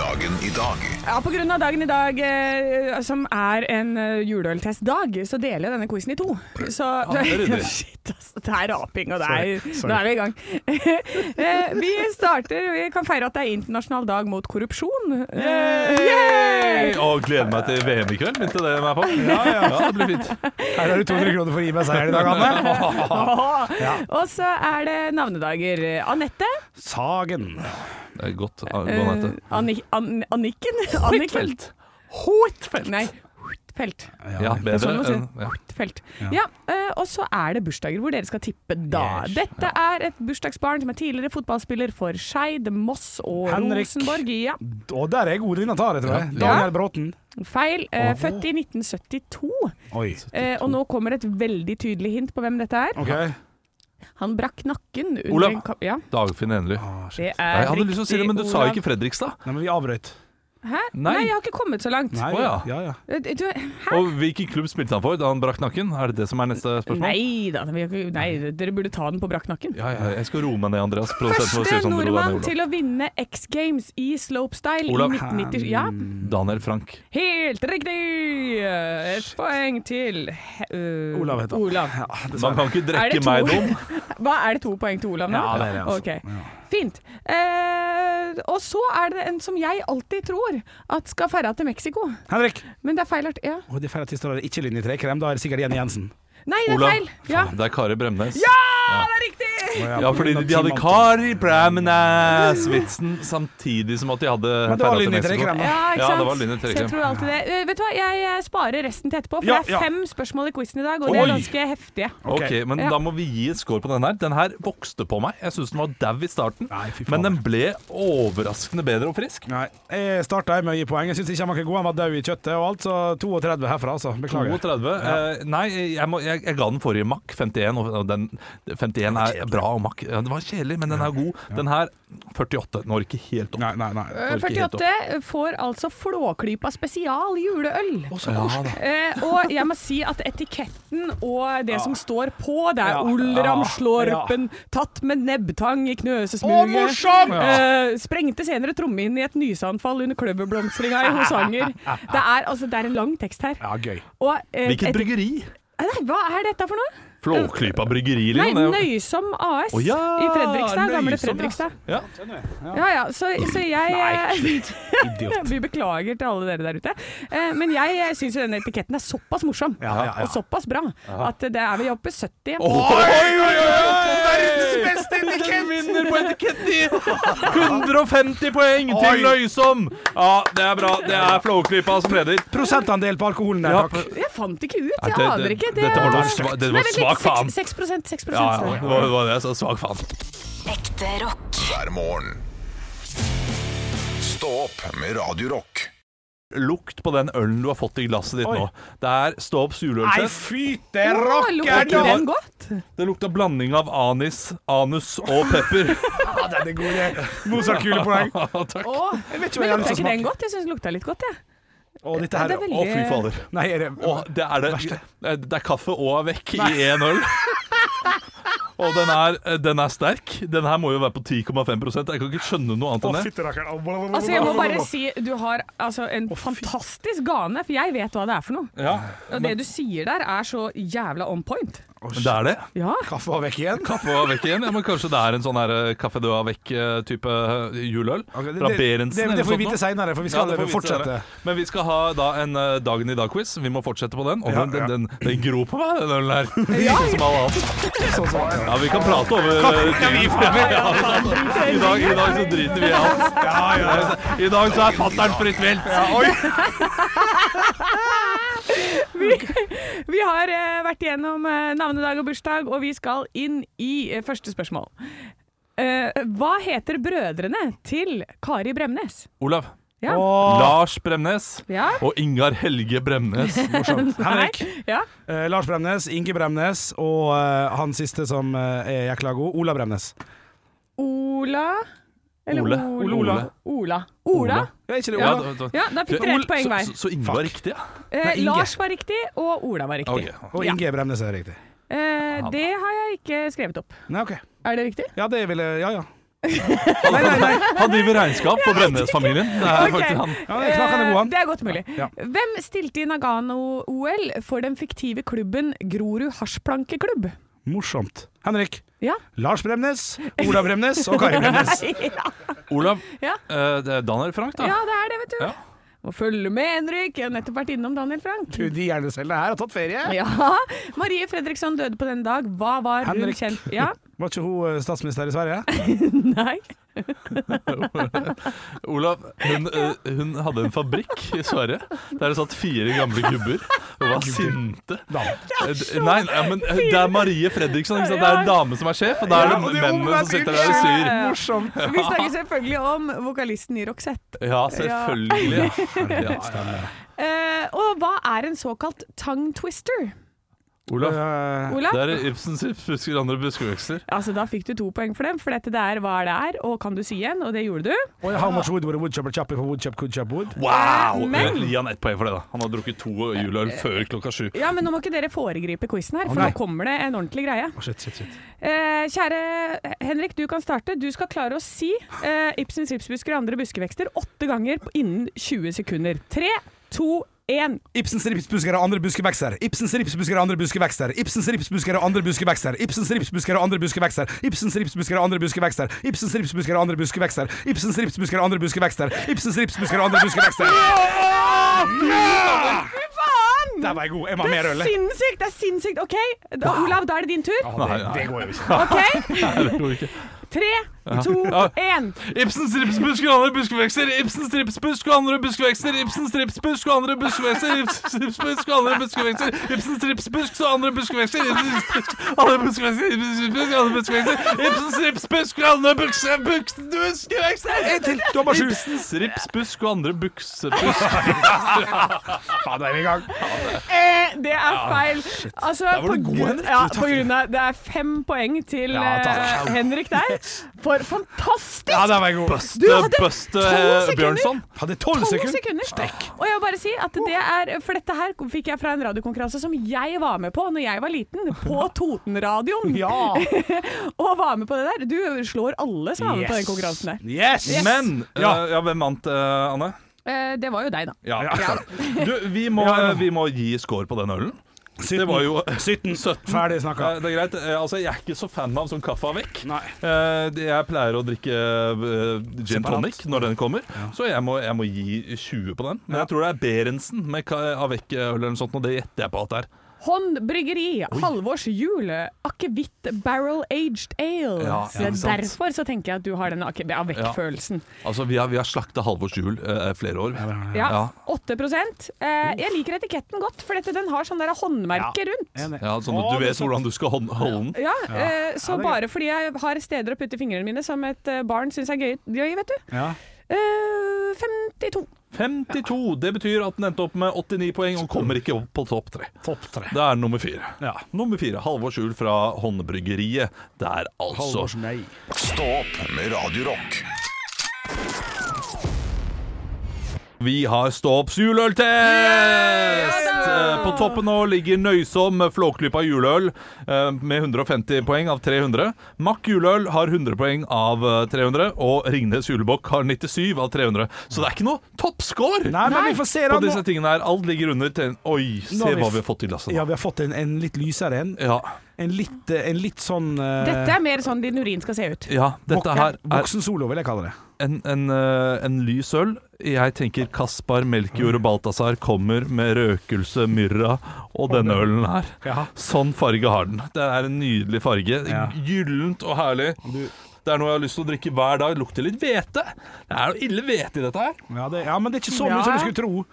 [SPEAKER 1] Dagen i dag
[SPEAKER 3] Ja, på grunn av dagen i dag, eh, som er en eh, juleøltestdag, så deler jeg denne quizen i to. Så,
[SPEAKER 2] det er ryddig.
[SPEAKER 3] <laughs> Shit, ass, det er raping, og det er, nå er vi i gang. <laughs> Eh, vi starter, vi kan feire at det er internasjonal dag mot korrupsjon. Eh, yay!
[SPEAKER 2] Og gleder meg til VM i kveld. Begynte det meg på? Ja, ja, det blir fint.
[SPEAKER 4] Her er det 200 kroner for å gi meg seieren i dag,
[SPEAKER 2] <laughs>
[SPEAKER 4] Anne.
[SPEAKER 3] Og så er det navnedager. Anette.
[SPEAKER 4] Sagen.
[SPEAKER 2] Det er godt. ah, Gå ned til.
[SPEAKER 3] eh, Anni- An- Anniken. Anniken. Huitfeldt. Nei, Huitfeldt.
[SPEAKER 2] Ja,
[SPEAKER 3] Det er
[SPEAKER 2] bedre
[SPEAKER 3] sånn man sier.
[SPEAKER 2] enn ja.
[SPEAKER 3] felt. Ja, eh, Og så er det bursdager hvor dere skal tippe da.
[SPEAKER 4] Yes.
[SPEAKER 3] Dette er et bursdagsbarn som er tidligere fotballspiller for Skeid, Moss og
[SPEAKER 4] Henrik.
[SPEAKER 3] Rosenborg. Ja,
[SPEAKER 4] Og der er jeg god i denne tare, tror jeg.
[SPEAKER 2] Ja.
[SPEAKER 4] Daniel Bråten.
[SPEAKER 3] feil. Eh, født i 1972.
[SPEAKER 4] Oi.
[SPEAKER 3] Eh, og nå kommer et veldig tydelig hint på hvem dette er.
[SPEAKER 4] OK.
[SPEAKER 3] Han brakk nakken under
[SPEAKER 2] Olav.
[SPEAKER 3] en ka- Ja,
[SPEAKER 2] Dagfinn Enely.
[SPEAKER 3] det er
[SPEAKER 2] Nei, jeg hadde lyst til å si det, men du sa
[SPEAKER 3] Olav.
[SPEAKER 2] ikke Fredrikstad.
[SPEAKER 4] Nei, men vi avbrøt.
[SPEAKER 3] Hæ?
[SPEAKER 2] Nei.
[SPEAKER 3] Nei. jeg har ikke kommet så langt.
[SPEAKER 4] Nei,
[SPEAKER 2] Å, ja.
[SPEAKER 4] ja, ja.
[SPEAKER 3] Eh, Du, hæ?
[SPEAKER 2] Og hvilken klubb spilte han for da han brakk nakken? Er det det som er neste spørsmål?
[SPEAKER 3] Nei da, vi har ikke- nei, dere burde ta den på brakk nakken.
[SPEAKER 2] Ja, ja, jeg skal roe meg ned, Andreas. Produsenten vår sier
[SPEAKER 3] Første
[SPEAKER 2] sånn, ro deg ned,
[SPEAKER 3] nordmann
[SPEAKER 2] Olav.
[SPEAKER 3] til å vinne X Games i slopestyle
[SPEAKER 2] Olav.
[SPEAKER 3] i 1990. Ja,
[SPEAKER 2] Daniel Frank.
[SPEAKER 3] helt riktig! Et poeng til eh,
[SPEAKER 4] Olav heter han.
[SPEAKER 3] Olav.
[SPEAKER 2] Man kan ikke
[SPEAKER 3] Er
[SPEAKER 2] drekke
[SPEAKER 3] det to-
[SPEAKER 2] meg dum.
[SPEAKER 3] <laughs> Hva, er det to poeng til Olav nå?
[SPEAKER 4] Ja, det er det, altså.
[SPEAKER 3] Ok. Fint. Eh, og så er det en som jeg alltid tror at skal ferda til Mexico,
[SPEAKER 4] Henrik.
[SPEAKER 3] men det er feil art. Ja.
[SPEAKER 4] Å, det er feil at de står der ikke linje 3-krem. Da er det sikkert Jenny Jensen.
[SPEAKER 3] Nei, det er
[SPEAKER 2] Olav.
[SPEAKER 3] feil! Ja.
[SPEAKER 2] Faen, Det er Kari Bremnes.
[SPEAKER 3] ja, det er riktig!
[SPEAKER 2] Ja, fordi de hadde Kari Bremnes-vitsen samtidig som at de hadde
[SPEAKER 4] Men det
[SPEAKER 2] ferda
[SPEAKER 4] var
[SPEAKER 2] til
[SPEAKER 4] linje
[SPEAKER 2] Mexico.
[SPEAKER 4] 3-krem, da.
[SPEAKER 3] Ja, ikke
[SPEAKER 2] Ja,
[SPEAKER 3] sant?
[SPEAKER 2] det var Linni
[SPEAKER 3] Så
[SPEAKER 2] Trekkrem.
[SPEAKER 3] jeg tror alltid det. Eh, vet du hva, jeg, eh, sparer resten til etterpå, for
[SPEAKER 4] Ja,
[SPEAKER 3] det
[SPEAKER 4] ja.
[SPEAKER 3] er fem spørsmål i quizen i dag, og de
[SPEAKER 4] Oi.
[SPEAKER 3] er ganske heftige.
[SPEAKER 2] Ok,
[SPEAKER 4] Ok.
[SPEAKER 2] men
[SPEAKER 3] Ja.
[SPEAKER 2] da må vi gi et score på den her. Den her vokste på meg. Jeg syns den var dau i starten,
[SPEAKER 4] Nei, fy faen.
[SPEAKER 2] men den ble overraskende bedre og frisk.
[SPEAKER 4] Nei, jeg starta med å gi poeng. Jeg syns ikke han var ikke god. Han var død i kjøttet og alt, så 32 herfra, altså. Beklager.
[SPEAKER 2] 32. Eh, nei, jeg, må, jeg, jeg ga den forrige Mack 51, og og den 51 er bra. Og Mack ja, Det var kjedelig, men den er god. Den her 48 når ikke helt opp.
[SPEAKER 4] Nei, nei, nei.
[SPEAKER 3] Eh,
[SPEAKER 2] Får ikke helt
[SPEAKER 3] 48 får altså Flåklypa spesial juleøl.
[SPEAKER 2] Ja, da.
[SPEAKER 3] Eh, og jeg må si at etiketten og det som står på, det er
[SPEAKER 4] Ja.
[SPEAKER 3] Olram
[SPEAKER 4] Ja.
[SPEAKER 3] Slårpen, tatt med nebbtang i
[SPEAKER 4] Å,
[SPEAKER 3] knøsesmuget.
[SPEAKER 4] morsom!
[SPEAKER 3] Eh, sprengte senere trommehinnen i et nysanfall under kløverblomstringa i
[SPEAKER 4] <laughs>
[SPEAKER 3] Hosanger. Det er, altså, det er en lang tekst her.
[SPEAKER 4] Ja, gøy.
[SPEAKER 3] Og, eh,
[SPEAKER 2] Hvilket
[SPEAKER 3] et-
[SPEAKER 2] bryggeri?
[SPEAKER 3] Nei, hva er dette for noe?
[SPEAKER 2] Flåklypa bryggeri,
[SPEAKER 3] Nei,
[SPEAKER 2] liksom. Det er jo-
[SPEAKER 3] Nøysom AS
[SPEAKER 2] Å, ja,
[SPEAKER 3] i Fredrikstad. Gamle
[SPEAKER 2] Nøysom, ja.
[SPEAKER 3] Fredrikstad.
[SPEAKER 2] Ja.
[SPEAKER 3] Ja ja, så, så jeg
[SPEAKER 4] Nei,
[SPEAKER 3] <laughs> Idiot. Vi beklager til alle dere der ute. Eh, Men jeg syns jo denne etiketten er såpass morsom
[SPEAKER 4] Ja, ja, ja.
[SPEAKER 3] og såpass bra at det er vi oppe i 70.
[SPEAKER 2] Oi, oi, oi! Verdens beste etikett! Vinner på etiketti! 150 poeng til Løysom! Ja, det er bra. Det er Flåklypa som leder.
[SPEAKER 4] Prosentandel på alkoholen der,
[SPEAKER 2] Ja,
[SPEAKER 4] takk.
[SPEAKER 3] Jeg fant ikke ut,
[SPEAKER 2] Nei,
[SPEAKER 3] jeg
[SPEAKER 2] det-
[SPEAKER 3] aner
[SPEAKER 2] det-
[SPEAKER 3] ikke.
[SPEAKER 2] dette var noe sva- det var
[SPEAKER 3] Nei, vent litt,
[SPEAKER 2] svak faen.
[SPEAKER 3] 6 prosent, 6
[SPEAKER 2] ja,
[SPEAKER 3] prosent.
[SPEAKER 2] ja, det var det var det jeg sa. Svak faen.
[SPEAKER 5] Ekte rock.
[SPEAKER 1] hver morgen. Stå opp med Radio Rock.
[SPEAKER 2] Lukt på den ølen du har fått i glasset ditt
[SPEAKER 4] Oi.
[SPEAKER 2] nå. Det er Stå opp
[SPEAKER 4] Nei,
[SPEAKER 2] surølelse.
[SPEAKER 4] fyte
[SPEAKER 3] Å, lukter ikke
[SPEAKER 4] rakkeren!
[SPEAKER 3] den godt?
[SPEAKER 2] Det lukta blanding av anis, anus og pepper.
[SPEAKER 4] Ja, den er god, det. Mozart-kule poeng.
[SPEAKER 2] Takk.
[SPEAKER 3] Å,
[SPEAKER 4] Jeg vet ikke hva
[SPEAKER 3] men
[SPEAKER 4] jeg har
[SPEAKER 3] lukta ikke
[SPEAKER 4] lyst til å
[SPEAKER 3] den
[SPEAKER 4] smake.
[SPEAKER 3] godt? Jeg syns den lukta litt godt, jeg.
[SPEAKER 4] Å, dette
[SPEAKER 3] Ja,
[SPEAKER 4] her
[SPEAKER 3] det er veldig-
[SPEAKER 2] Å, fy fader.
[SPEAKER 4] Nei, er det
[SPEAKER 2] Å, det er det. Det er kaffe og vekk i én øl. <laughs> Og den er, eh, den er sterk. Den her må jo være på 10,5 Jeg kan ikke skjønne noe annet
[SPEAKER 4] Å,
[SPEAKER 2] enn det.
[SPEAKER 4] fytte rakkeren. Å,
[SPEAKER 3] Altså, jeg må
[SPEAKER 2] <laughs>
[SPEAKER 3] bare si du har altså, en fantastisk gane, for jeg vet hva det er for noe.
[SPEAKER 2] Ja,
[SPEAKER 3] Og det du sier der, er så jævla on point.
[SPEAKER 2] men det er det.
[SPEAKER 3] Ja.
[SPEAKER 4] Kaffe var vekk igjen.
[SPEAKER 2] Kaffe og vekk igjen. Ja, men kanskje det er en sånn her eh, Kaffe du har vekk-type eh, juleøl?
[SPEAKER 4] Ok,
[SPEAKER 2] Fra Berentsen
[SPEAKER 4] det, det,
[SPEAKER 2] eller
[SPEAKER 4] det får vi
[SPEAKER 2] sånt
[SPEAKER 4] vite
[SPEAKER 2] noe?
[SPEAKER 4] seinere, for
[SPEAKER 2] Ja,
[SPEAKER 4] vi skal
[SPEAKER 2] det får vi vite
[SPEAKER 4] fortsette.
[SPEAKER 2] senere. Men vi skal ha da en eh, Dagen i dag-quiz. Vi må fortsette på den. Og
[SPEAKER 4] Ja,
[SPEAKER 2] den,
[SPEAKER 4] ja.
[SPEAKER 2] den, den gror på meg, den ølen her. Sånn som alle annet.
[SPEAKER 4] Sånn som det er.
[SPEAKER 2] Ja, vi kan prate over eh, Ja, I dag, I dag så driter vi i alt. I dag så er fattern fritt vilt.
[SPEAKER 3] Vi har eh, vært igjennom eh, navnedag og bursdag, og vi skal inn i eh, første spørsmål. Eh, hva heter brødrene til Kari Bremnes?
[SPEAKER 2] Olav.
[SPEAKER 3] Ja.
[SPEAKER 2] Lars Bremnes
[SPEAKER 3] Ja?
[SPEAKER 2] og Ingar Helge Bremnes.
[SPEAKER 4] Morsomt. Henrik.
[SPEAKER 3] Nei? Ja.
[SPEAKER 4] Eh, Lars Bremnes, Inge Bremnes og eh, han siste som eh, er jækla god, Ola Bremnes.
[SPEAKER 3] Ola
[SPEAKER 2] Ole.
[SPEAKER 3] Ole.
[SPEAKER 2] Ole.
[SPEAKER 3] Ola. Ola. Ola.
[SPEAKER 4] Ja, ikke det,
[SPEAKER 2] Ja,
[SPEAKER 4] Ola?
[SPEAKER 2] da- da-
[SPEAKER 3] Ja, da fikk dere ett poeng hver.
[SPEAKER 2] Så, så Inge var riktig, ja?
[SPEAKER 3] Eh,
[SPEAKER 4] Inge.
[SPEAKER 3] Lars var riktig, og Ola var riktig.
[SPEAKER 2] Ok.
[SPEAKER 4] Og Inge Bremnes er riktig.
[SPEAKER 3] Eh, det har jeg ikke skrevet opp.
[SPEAKER 4] Nei, ok.
[SPEAKER 3] Er det riktig?
[SPEAKER 4] Ja, det ville Ja, ja.
[SPEAKER 2] Han, han driver regnskap for Bremnes-familien. Det er
[SPEAKER 3] Ok.
[SPEAKER 2] faktisk han.
[SPEAKER 4] Ja, det er knakende god,
[SPEAKER 3] Eh,
[SPEAKER 4] han.
[SPEAKER 3] det er godt mulig.
[SPEAKER 4] Ja.
[SPEAKER 3] Hvem stilte i Nagano-OL for den fiktive klubben Grorud Hasjplankeklubb?
[SPEAKER 4] Morsomt. Henrik.
[SPEAKER 3] Ja.
[SPEAKER 4] Lars Bremnes, Ola Bremnes og Kari
[SPEAKER 3] <laughs>
[SPEAKER 4] <laughs> Bremnes.
[SPEAKER 2] Olav,
[SPEAKER 3] Ja.
[SPEAKER 2] eh, det er Daniel Frank, da.
[SPEAKER 3] ja, det er det, vet du.
[SPEAKER 2] Ja.
[SPEAKER 3] Må følge med, Henrik. Jeg har nettopp vært innom Daniel Frank.
[SPEAKER 4] Gud, de hjernecellene her har tatt ferie.
[SPEAKER 3] Ja. Marie Fredriksson døde på den dag. Hva var
[SPEAKER 4] Henrik.
[SPEAKER 3] hun kjent Ja,
[SPEAKER 4] Var ikke hun eh, statsminister i Sverige?
[SPEAKER 3] nei.
[SPEAKER 2] Olav, hun, eh, hun hadde en fabrikk i Sverige der det satt fire gamle gubber og var sinte. Eh, d- Nei, ja, men eh, det er Marie Fredriksson. Ikke sant? Det er en dame som er sjef, og da er
[SPEAKER 4] Ja, og
[SPEAKER 2] det
[SPEAKER 4] det er
[SPEAKER 2] mennene som
[SPEAKER 4] omvendt.
[SPEAKER 2] sitter der og syr.
[SPEAKER 4] Morsomt.
[SPEAKER 3] Vi snakker selvfølgelig om vokalisten i Roxette.
[SPEAKER 2] Ja, selvfølgelig. <laughs> Ja.
[SPEAKER 3] Eh, og hva er en såkalt tongue twister?
[SPEAKER 2] Olav,
[SPEAKER 4] Eh,
[SPEAKER 3] Ola?
[SPEAKER 2] det er Ibsens busker andre buskevekster.
[SPEAKER 3] Altså, da fikk du to poeng for dem, for dette det er hva det er, og kan du si igjen, og det gjorde du.
[SPEAKER 4] Og how much wood would a woodchopper chop if a woodchop could chop wood?
[SPEAKER 2] Wow!
[SPEAKER 3] Men-
[SPEAKER 2] Gi han ett poeng for det, da. Han har drukket to juleøl før klokka sju.
[SPEAKER 3] Ja, men nå må ikke dere foregripe quizen her, for
[SPEAKER 4] Å, nei.
[SPEAKER 3] nå kommer det en ordentlig greie.
[SPEAKER 4] Å, shit, shit, shit.
[SPEAKER 3] Eh, kjære Henrik, du kan starte. Du skal klare å si eh, Ibsens ripsbusker og andre buskevekster åtte ganger på- innen 20 sekunder. Tre, to, én.
[SPEAKER 4] Ibsens ripsbusker og andre buskevekster. Ibsens ripsbusker og andre buskevekster. Ibsens ripsbusker og andre buskevekster. Ibsens ripsbusker og andre buskevekster. Ibsens ripsbusker og andre buskevekster. Ibsens ripsbusker og andre buskevekster. Ibsens ripsbusker og andre buskevekster. Ibsens ripsbusker og andre buskevekster.
[SPEAKER 3] Fy faen!
[SPEAKER 4] Der var jeg god. Jeg må ha
[SPEAKER 3] Det
[SPEAKER 4] mer
[SPEAKER 3] er
[SPEAKER 4] øl. jeg.
[SPEAKER 3] sinnssykt! Det er sinnssykt. OK, da, Olav, da er det din tur.
[SPEAKER 2] Nei, nei,
[SPEAKER 4] Det går jo ikke.
[SPEAKER 3] OK?
[SPEAKER 2] det går ikke.
[SPEAKER 3] Tre, to, én.
[SPEAKER 2] Ibsens ripsbusk og andre buskevekster, Ibsens ripsbusk og andre buskevekster, Ibsens ripsbusk og andre buskevekster, Ibsens ripsbusk og andre buskevekster, Ibsens ripsbusk og andre buskevekster, Ibsens ripsbusk og andre buskevekster, Ibsens ripsbusk og andre buskevekster, Ibsens ripsbusk og andre bukse- bukse- buskevekster,
[SPEAKER 4] En til. Du har bare sju.
[SPEAKER 2] Ibsens ripsbusk og andre buksebusk.
[SPEAKER 4] Ja, da er vi i gang.
[SPEAKER 3] Eh, det er feil. Altså,
[SPEAKER 2] var
[SPEAKER 3] på,
[SPEAKER 2] du god,
[SPEAKER 3] grunn-
[SPEAKER 2] Henrik.
[SPEAKER 3] Ja, på grunn av Det er fem poeng til
[SPEAKER 2] Ja, takk.
[SPEAKER 3] eh, Henrik der. For fantastisk!
[SPEAKER 4] Ja, der var jeg god.
[SPEAKER 2] Buste,
[SPEAKER 3] Du hadde
[SPEAKER 2] buste
[SPEAKER 3] tolv sekunder.
[SPEAKER 2] Bjørnson.
[SPEAKER 4] Hadde tolv
[SPEAKER 3] Tolv
[SPEAKER 4] sekunder.
[SPEAKER 3] sekunder. Og jeg vil bare si at det er, for dette her fikk jeg fra en radiokonkurranse som jeg var med på når jeg var liten, på Totenradioen.
[SPEAKER 4] Ja.
[SPEAKER 3] <laughs> Og var med på det der. Du slår alle som var med på den
[SPEAKER 4] Yes.
[SPEAKER 3] konkurransen der.
[SPEAKER 4] Yes.
[SPEAKER 2] Men
[SPEAKER 4] Ja.
[SPEAKER 2] eh, ja, hvem vant, eh, Anne?
[SPEAKER 3] Eh, det var jo deg, da.
[SPEAKER 2] Ja. Du, vi må, vi må gi score på den ølen. <laughs> Det var jo
[SPEAKER 4] 17.
[SPEAKER 2] 17.
[SPEAKER 4] Ferdig snakka.
[SPEAKER 2] Eh, Det er greit. Eh, Altså, jeg er ikke så fan av sånn kaffe av vekk.
[SPEAKER 4] Nei.
[SPEAKER 2] Eh, det- Jeg pleier å drikke eh, gin
[SPEAKER 4] Separat.
[SPEAKER 2] tonic når den kommer, så jeg må, jeg må eh, gi 20 på den. Men jeg tror det er Berentsen med ka- av vekk-øl eller noe sånt, og det gjetter jeg på at det er.
[SPEAKER 3] Håndbryggeri, Halvors jule, akevitt barrel aged ale.
[SPEAKER 2] Ja,
[SPEAKER 3] så det
[SPEAKER 2] ikke
[SPEAKER 3] er
[SPEAKER 2] sant.
[SPEAKER 3] derfor så tenker jeg at du har den akevitt-følelsen.
[SPEAKER 2] Altså, vi har, vi har slakta Halvors jul eh, flere år.
[SPEAKER 3] Ja.
[SPEAKER 2] Ja.
[SPEAKER 3] 8 eh, Jeg liker etiketten godt, for dette, den har sånn der håndmerke rundt.
[SPEAKER 4] Enig.
[SPEAKER 2] Ja, sånn at
[SPEAKER 4] Å,
[SPEAKER 2] du
[SPEAKER 4] det er
[SPEAKER 2] vet hvordan du skal hånd- holde den.
[SPEAKER 3] Ja, eh, Så
[SPEAKER 4] Ja, det er
[SPEAKER 3] bare fordi jeg har steder å putte fingrene mine som et eh, barn syns er gøy, gøy, vet du.
[SPEAKER 4] Ja.
[SPEAKER 3] Eh, 52.
[SPEAKER 2] 52! Det betyr at den endte opp med 89 poeng og kommer ikke opp på topp tre.
[SPEAKER 4] Topp tre.
[SPEAKER 2] Det er nummer fire.
[SPEAKER 4] Ja.
[SPEAKER 2] Nummer fire, Halvors jul fra Håndbryggeriet. Der, altså.
[SPEAKER 4] Halvors nei.
[SPEAKER 1] Stå opp med Radio Rock.
[SPEAKER 2] Vi har ståopps juleøltest! Eh, På toppen nå ligger Nøysom med Flåklypa juleøl eh, med 150 poeng av 300. Mack juleøl har 100 poeng av eh, 300, og Ringnes julebukk har 97 av 300. Så det er ikke noe toppscore
[SPEAKER 4] Nei, men vi får se da.
[SPEAKER 2] på
[SPEAKER 4] Nå-
[SPEAKER 2] disse tingene her. Alt ligger under til Oi,
[SPEAKER 4] Nå
[SPEAKER 2] se
[SPEAKER 4] har vi
[SPEAKER 2] hva
[SPEAKER 4] f-
[SPEAKER 2] vi har fått i glasset
[SPEAKER 4] Ja,
[SPEAKER 2] nå.
[SPEAKER 4] vi har fått en, en litt lysere en.
[SPEAKER 2] Ja,
[SPEAKER 4] En litt, eh, en litt sånn eh,
[SPEAKER 3] Dette er mer sånn din urin skal se ut.
[SPEAKER 2] ja dette her er
[SPEAKER 4] Voksen solo, vil jeg kalle det.
[SPEAKER 2] en, en, eh, en lys øl. Jeg tenker Kaspar, Melkjord
[SPEAKER 4] Mm.
[SPEAKER 2] og Balthazar kommer med røkelse, myrra og denne ølen her.
[SPEAKER 4] Ja.
[SPEAKER 2] Sånn farge har den. Det er en nydelig farge.
[SPEAKER 4] Ja.
[SPEAKER 2] Gyllent og herlig. Det er noe jeg har lyst til å drikke hver dag. Lukter litt hvete. Det er noe ille hvete i dette her.
[SPEAKER 4] Ja, det, ja, men det er ikke så mye
[SPEAKER 3] Ja.
[SPEAKER 4] som du skulle tro.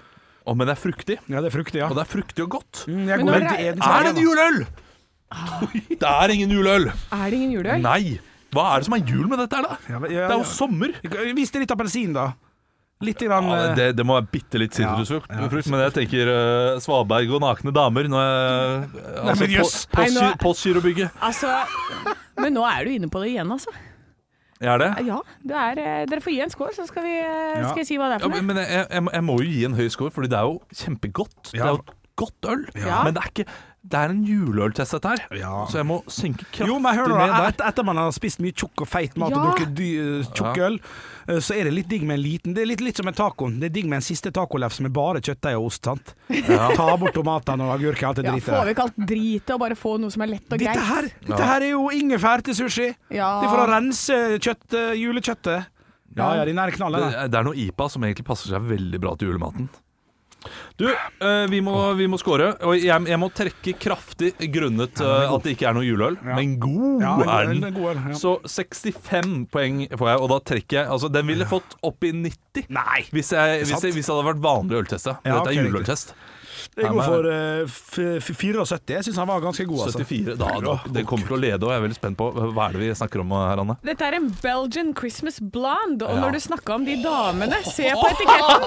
[SPEAKER 2] Å, men det er fruktig.
[SPEAKER 4] Ja, det er fruktig, ja.
[SPEAKER 2] Og det er fruktig og godt.
[SPEAKER 4] Mm, Ah.
[SPEAKER 3] Men
[SPEAKER 4] jeg går
[SPEAKER 3] når
[SPEAKER 4] vel
[SPEAKER 3] det
[SPEAKER 4] til
[SPEAKER 3] er-
[SPEAKER 4] en-
[SPEAKER 2] Er det en juleøl? Det er ingen juleøl.
[SPEAKER 3] Er det ingen juleøl?
[SPEAKER 2] Nei. Hva er det som er jul med dette her, da?
[SPEAKER 4] Ja, men-
[SPEAKER 2] Det
[SPEAKER 4] ja,
[SPEAKER 2] er
[SPEAKER 4] ja.
[SPEAKER 2] jo sommer.
[SPEAKER 4] Vis det litt appelsin, da. Litt grann
[SPEAKER 2] Ja,
[SPEAKER 4] eh,
[SPEAKER 2] det, det må være bitte litt sitrusfrukt, frukt, men jeg tenker eh, Svaberg og nakne damer når jeg eh,
[SPEAKER 4] Nei, men
[SPEAKER 2] altså,
[SPEAKER 4] jøss.
[SPEAKER 2] på-
[SPEAKER 3] Nei, nå-
[SPEAKER 2] postgy- Postgirobygget.
[SPEAKER 3] Altså, men nå er du inne på det igjen, altså.
[SPEAKER 2] Er det?
[SPEAKER 3] Ja, det er, eh, Dere får gi en skål, så skal, vi, eh,
[SPEAKER 4] Ja.
[SPEAKER 3] skal jeg si hva det er
[SPEAKER 2] Ja,
[SPEAKER 3] for noe.
[SPEAKER 2] men jeg, jeg, jeg må jo gi en høy score, Fordi det er jo kjempegodt. Det er jo et godt øl.
[SPEAKER 3] Ja.
[SPEAKER 2] Men det er ikke Det er en juleøltest, dette her.
[SPEAKER 4] Ja.
[SPEAKER 2] Så jeg må senke kraftig
[SPEAKER 4] Jo, men hør nå,
[SPEAKER 2] ned
[SPEAKER 4] da.
[SPEAKER 2] der.
[SPEAKER 4] Et, etter man har spist mye tjukk og feit mat
[SPEAKER 3] Ja.
[SPEAKER 4] og drukket dy, eh, tjukk
[SPEAKER 2] Ja.
[SPEAKER 4] øl, eh, så er det litt digg med en liten. Det er litt, litt som en taco. Det er digg med en siste tacolefse med bare kjøttdeig og ost, sant. <laughs> Ta bort tomatene og agurken og alt det
[SPEAKER 3] Ja,
[SPEAKER 4] dritet
[SPEAKER 3] får vi
[SPEAKER 4] der.
[SPEAKER 3] ikke alt dritet og bare få noe som er lett og greit?
[SPEAKER 4] Dette her,
[SPEAKER 2] Ja.
[SPEAKER 4] dette her er jo ingefær til sushi.
[SPEAKER 3] Ja.
[SPEAKER 4] Det er for å rense kjøtt, eh, julekjøttet. Ja ja, den er knall, den.
[SPEAKER 2] det, det er noe IPA som egentlig passer seg veldig bra til julematen. Du, eh, vi, må, vi må score. Og jeg, jeg må trekke kraftig grunnet eh, at det ikke er noe juleøl. Men god
[SPEAKER 4] Ja, en-
[SPEAKER 2] er
[SPEAKER 4] en
[SPEAKER 2] den.
[SPEAKER 4] god øl, ja.
[SPEAKER 2] Så 65 poeng får jeg, og da trekker jeg Altså, den ville fått opp i 90
[SPEAKER 4] Nei!
[SPEAKER 2] hvis, jeg, hvis,
[SPEAKER 4] sant.
[SPEAKER 2] jeg, hvis det hadde vært vanlig øltest. Ja.
[SPEAKER 4] Ja,
[SPEAKER 2] Dette
[SPEAKER 4] ok,
[SPEAKER 2] er
[SPEAKER 4] riktig.
[SPEAKER 2] juleøltest.
[SPEAKER 4] Jeg går
[SPEAKER 2] men-
[SPEAKER 4] for eh, f- f- 74. Jeg syns han var ganske god, altså.
[SPEAKER 2] 74. Da, da, det kommer til å lede, og jeg er veldig spent på hva er det vi snakker om eh, her, Anne.
[SPEAKER 3] Dette er en Belgian Christmas blonde, og
[SPEAKER 2] Ja.
[SPEAKER 3] når du snakker om de damene, se på etiketten!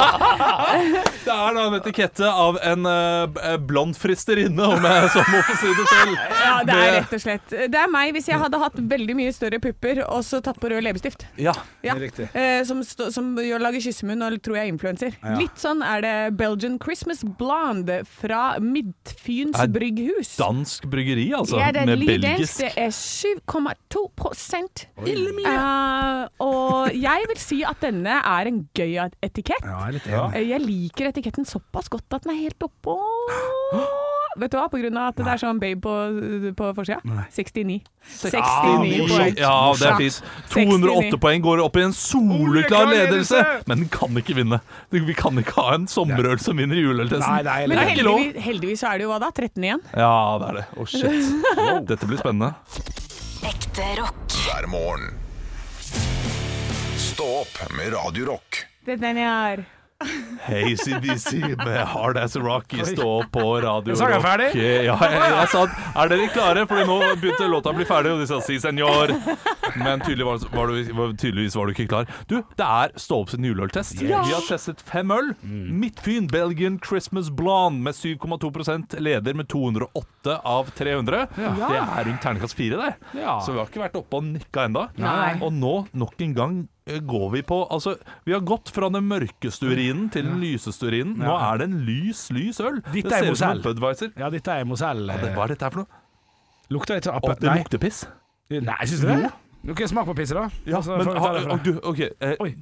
[SPEAKER 2] Det er da en etikette av en uh, blond fristerinne, om jeg så må få si det selv.
[SPEAKER 3] Ja, det er rett og slett. Det er meg hvis jeg hadde hatt veldig mye større pupper og så tatt på rød leppestift.
[SPEAKER 2] Ja.
[SPEAKER 3] Ja.
[SPEAKER 4] Det er riktig.
[SPEAKER 3] Eh, som stå, som gjør, lager kyssemunn og tror jeg er influenser. Litt sånn er det Belgian Christmas blonde fra Midtfyns
[SPEAKER 2] Er
[SPEAKER 3] brygghus.
[SPEAKER 2] Dansk bryggeri, altså.
[SPEAKER 3] Ja, det er
[SPEAKER 2] med
[SPEAKER 3] lydens.
[SPEAKER 2] belgisk.
[SPEAKER 3] Det er 7,2 Ille mye! Eh, og jeg vil si at denne er en gøy etikett.
[SPEAKER 4] Ja, jeg er litt enig.
[SPEAKER 3] Eh, Jeg liker etiketten såpass godt at den er helt
[SPEAKER 4] <gasps>
[SPEAKER 3] oppå Vet du hva, på grunn av at det er sånn babe på, på forsida. 69.
[SPEAKER 4] Ah,
[SPEAKER 3] 69 poeng.
[SPEAKER 2] Ah, Ja, det er fint. 208 poeng går opp i en soleklar ledelse, men den kan ikke vinne. Vi kan ikke ha en sommerøl som vinner i
[SPEAKER 4] Nei, nei,
[SPEAKER 2] juleøltesten.
[SPEAKER 3] Men
[SPEAKER 2] Det er ikke lov.
[SPEAKER 3] heldigvis, heldigvis så er det jo hva da? 13 igjen?
[SPEAKER 2] Ja, det er det. Å,
[SPEAKER 3] <laughs>
[SPEAKER 2] shit. Dette blir spennende.
[SPEAKER 5] Ekte rock.
[SPEAKER 1] hver morgen. Stå opp med Radio Rock.
[SPEAKER 3] Det er den jeg har.
[SPEAKER 2] ACDC med Hard As A Rock i stå på radio.
[SPEAKER 4] sang er
[SPEAKER 2] Rock.
[SPEAKER 4] ferdig. <laughs>
[SPEAKER 2] Ja, jeg, jeg sa at, er dere klare? Fordi nå begynte låta å bli ferdig, og de sa si senor. Men tydelig var, var du, var, tydeligvis var du ikke klar. Du, det er Stå opp sin juleøltest. Vi har testet fem øl. Midtfyn Belgian Christmas Blonde med 7,2 leder med 208 av 300. Det er rundt terningkast fire, det.
[SPEAKER 4] Ja.
[SPEAKER 2] Så vi har ikke vært oppe og nikka ennå.
[SPEAKER 3] Nei.
[SPEAKER 2] Og nå, nok en gang, eh, går vi på Altså, vi har gått fra den mørkeste urinen til den lyseste urinen. Nå er det en lys, lys øl. det
[SPEAKER 4] Dette
[SPEAKER 2] ser ut som
[SPEAKER 4] er
[SPEAKER 2] en
[SPEAKER 4] Moselle.
[SPEAKER 2] Budwiser.
[SPEAKER 4] Ja, dette er Mosell.
[SPEAKER 2] Ja, det, hva er dette her for noe?
[SPEAKER 4] Lukter litt sånn
[SPEAKER 2] Å,
[SPEAKER 4] appe...
[SPEAKER 2] det lukter piss.
[SPEAKER 4] Nei, syns du det? Ok, smak på pisset, da.
[SPEAKER 2] Ja,
[SPEAKER 4] Så
[SPEAKER 2] men
[SPEAKER 4] får vi ta
[SPEAKER 2] ha,
[SPEAKER 4] det fra-
[SPEAKER 2] og du, OK. Eh,
[SPEAKER 4] Oi.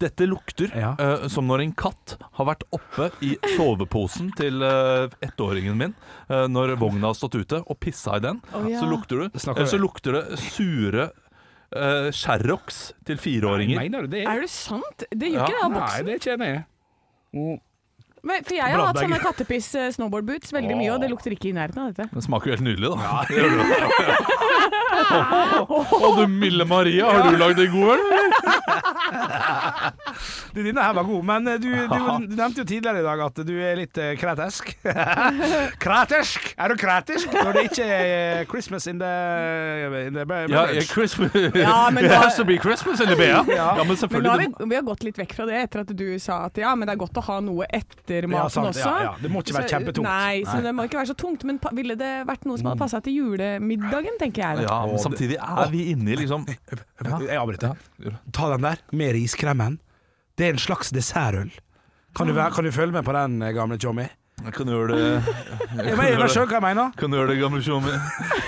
[SPEAKER 2] Dette lukter
[SPEAKER 4] Ja.
[SPEAKER 2] eh, som når en katt har vært oppe i soveposen til eh, ettåringen min eh, når vogna har stått ute, og pissa i den. Så lukter det,
[SPEAKER 4] Snakker
[SPEAKER 2] eh, så
[SPEAKER 4] vi.
[SPEAKER 2] lukter det sure eh, Sherrox til fireåringer.
[SPEAKER 4] Mener du det?
[SPEAKER 3] Er det sant? Det gjør
[SPEAKER 2] Ja.
[SPEAKER 3] ikke det av
[SPEAKER 4] Nei,
[SPEAKER 3] boksen.
[SPEAKER 4] det kjenner jeg. Mm.
[SPEAKER 3] Men, for jeg har hatt
[SPEAKER 2] Bladegg.
[SPEAKER 3] sånne kattepiss-snowboardboots veldig mye, og det lukter ikke i nærheten av dette.
[SPEAKER 2] Den smaker jo helt nydelig, da. <laughs> Det gjør det. Å, du milde Maria, har du lagd en god øl, eller?
[SPEAKER 4] De dine her var gode, men eh, du, du, du nevnte jo tidligere i dag at du er litt eh, <laughs> kretisk. kretisk! Er du kretisk når det ikke er eh, Christmas in the, in the
[SPEAKER 2] Ja, eh,
[SPEAKER 4] village?
[SPEAKER 2] ja, Christmas. <laughs>
[SPEAKER 3] Ja, men
[SPEAKER 2] It
[SPEAKER 3] da-
[SPEAKER 2] has to be Christmas in the BA. Ja. men
[SPEAKER 3] Men nå har
[SPEAKER 2] selvfølgelig.
[SPEAKER 3] vi, vi har gått litt vekk fra det etter at du sa at ja, men det er godt å ha noe etter maten
[SPEAKER 4] Ja, sant,
[SPEAKER 3] også.
[SPEAKER 4] ja, ja. Det må ikke være
[SPEAKER 3] Så-
[SPEAKER 4] kjempetungt.
[SPEAKER 3] Nei, så det må ikke være så tungt. Men pa ville det vært noe som hadde passa til julemiddagen, tenker jeg. da.
[SPEAKER 2] Ja, men samtidig er vi inne i liksom
[SPEAKER 4] Jeg avbryter. Ta den der med riskremen. Det er en slags dessertøl. Kan du, være- kan du følge med på den, eh, gamle Tjommi?
[SPEAKER 2] Jeg kan gjøre det
[SPEAKER 4] Jeg mener- jeg skjønner hva jeg mener.
[SPEAKER 2] Kan du gjøre det, gamle Tjommi?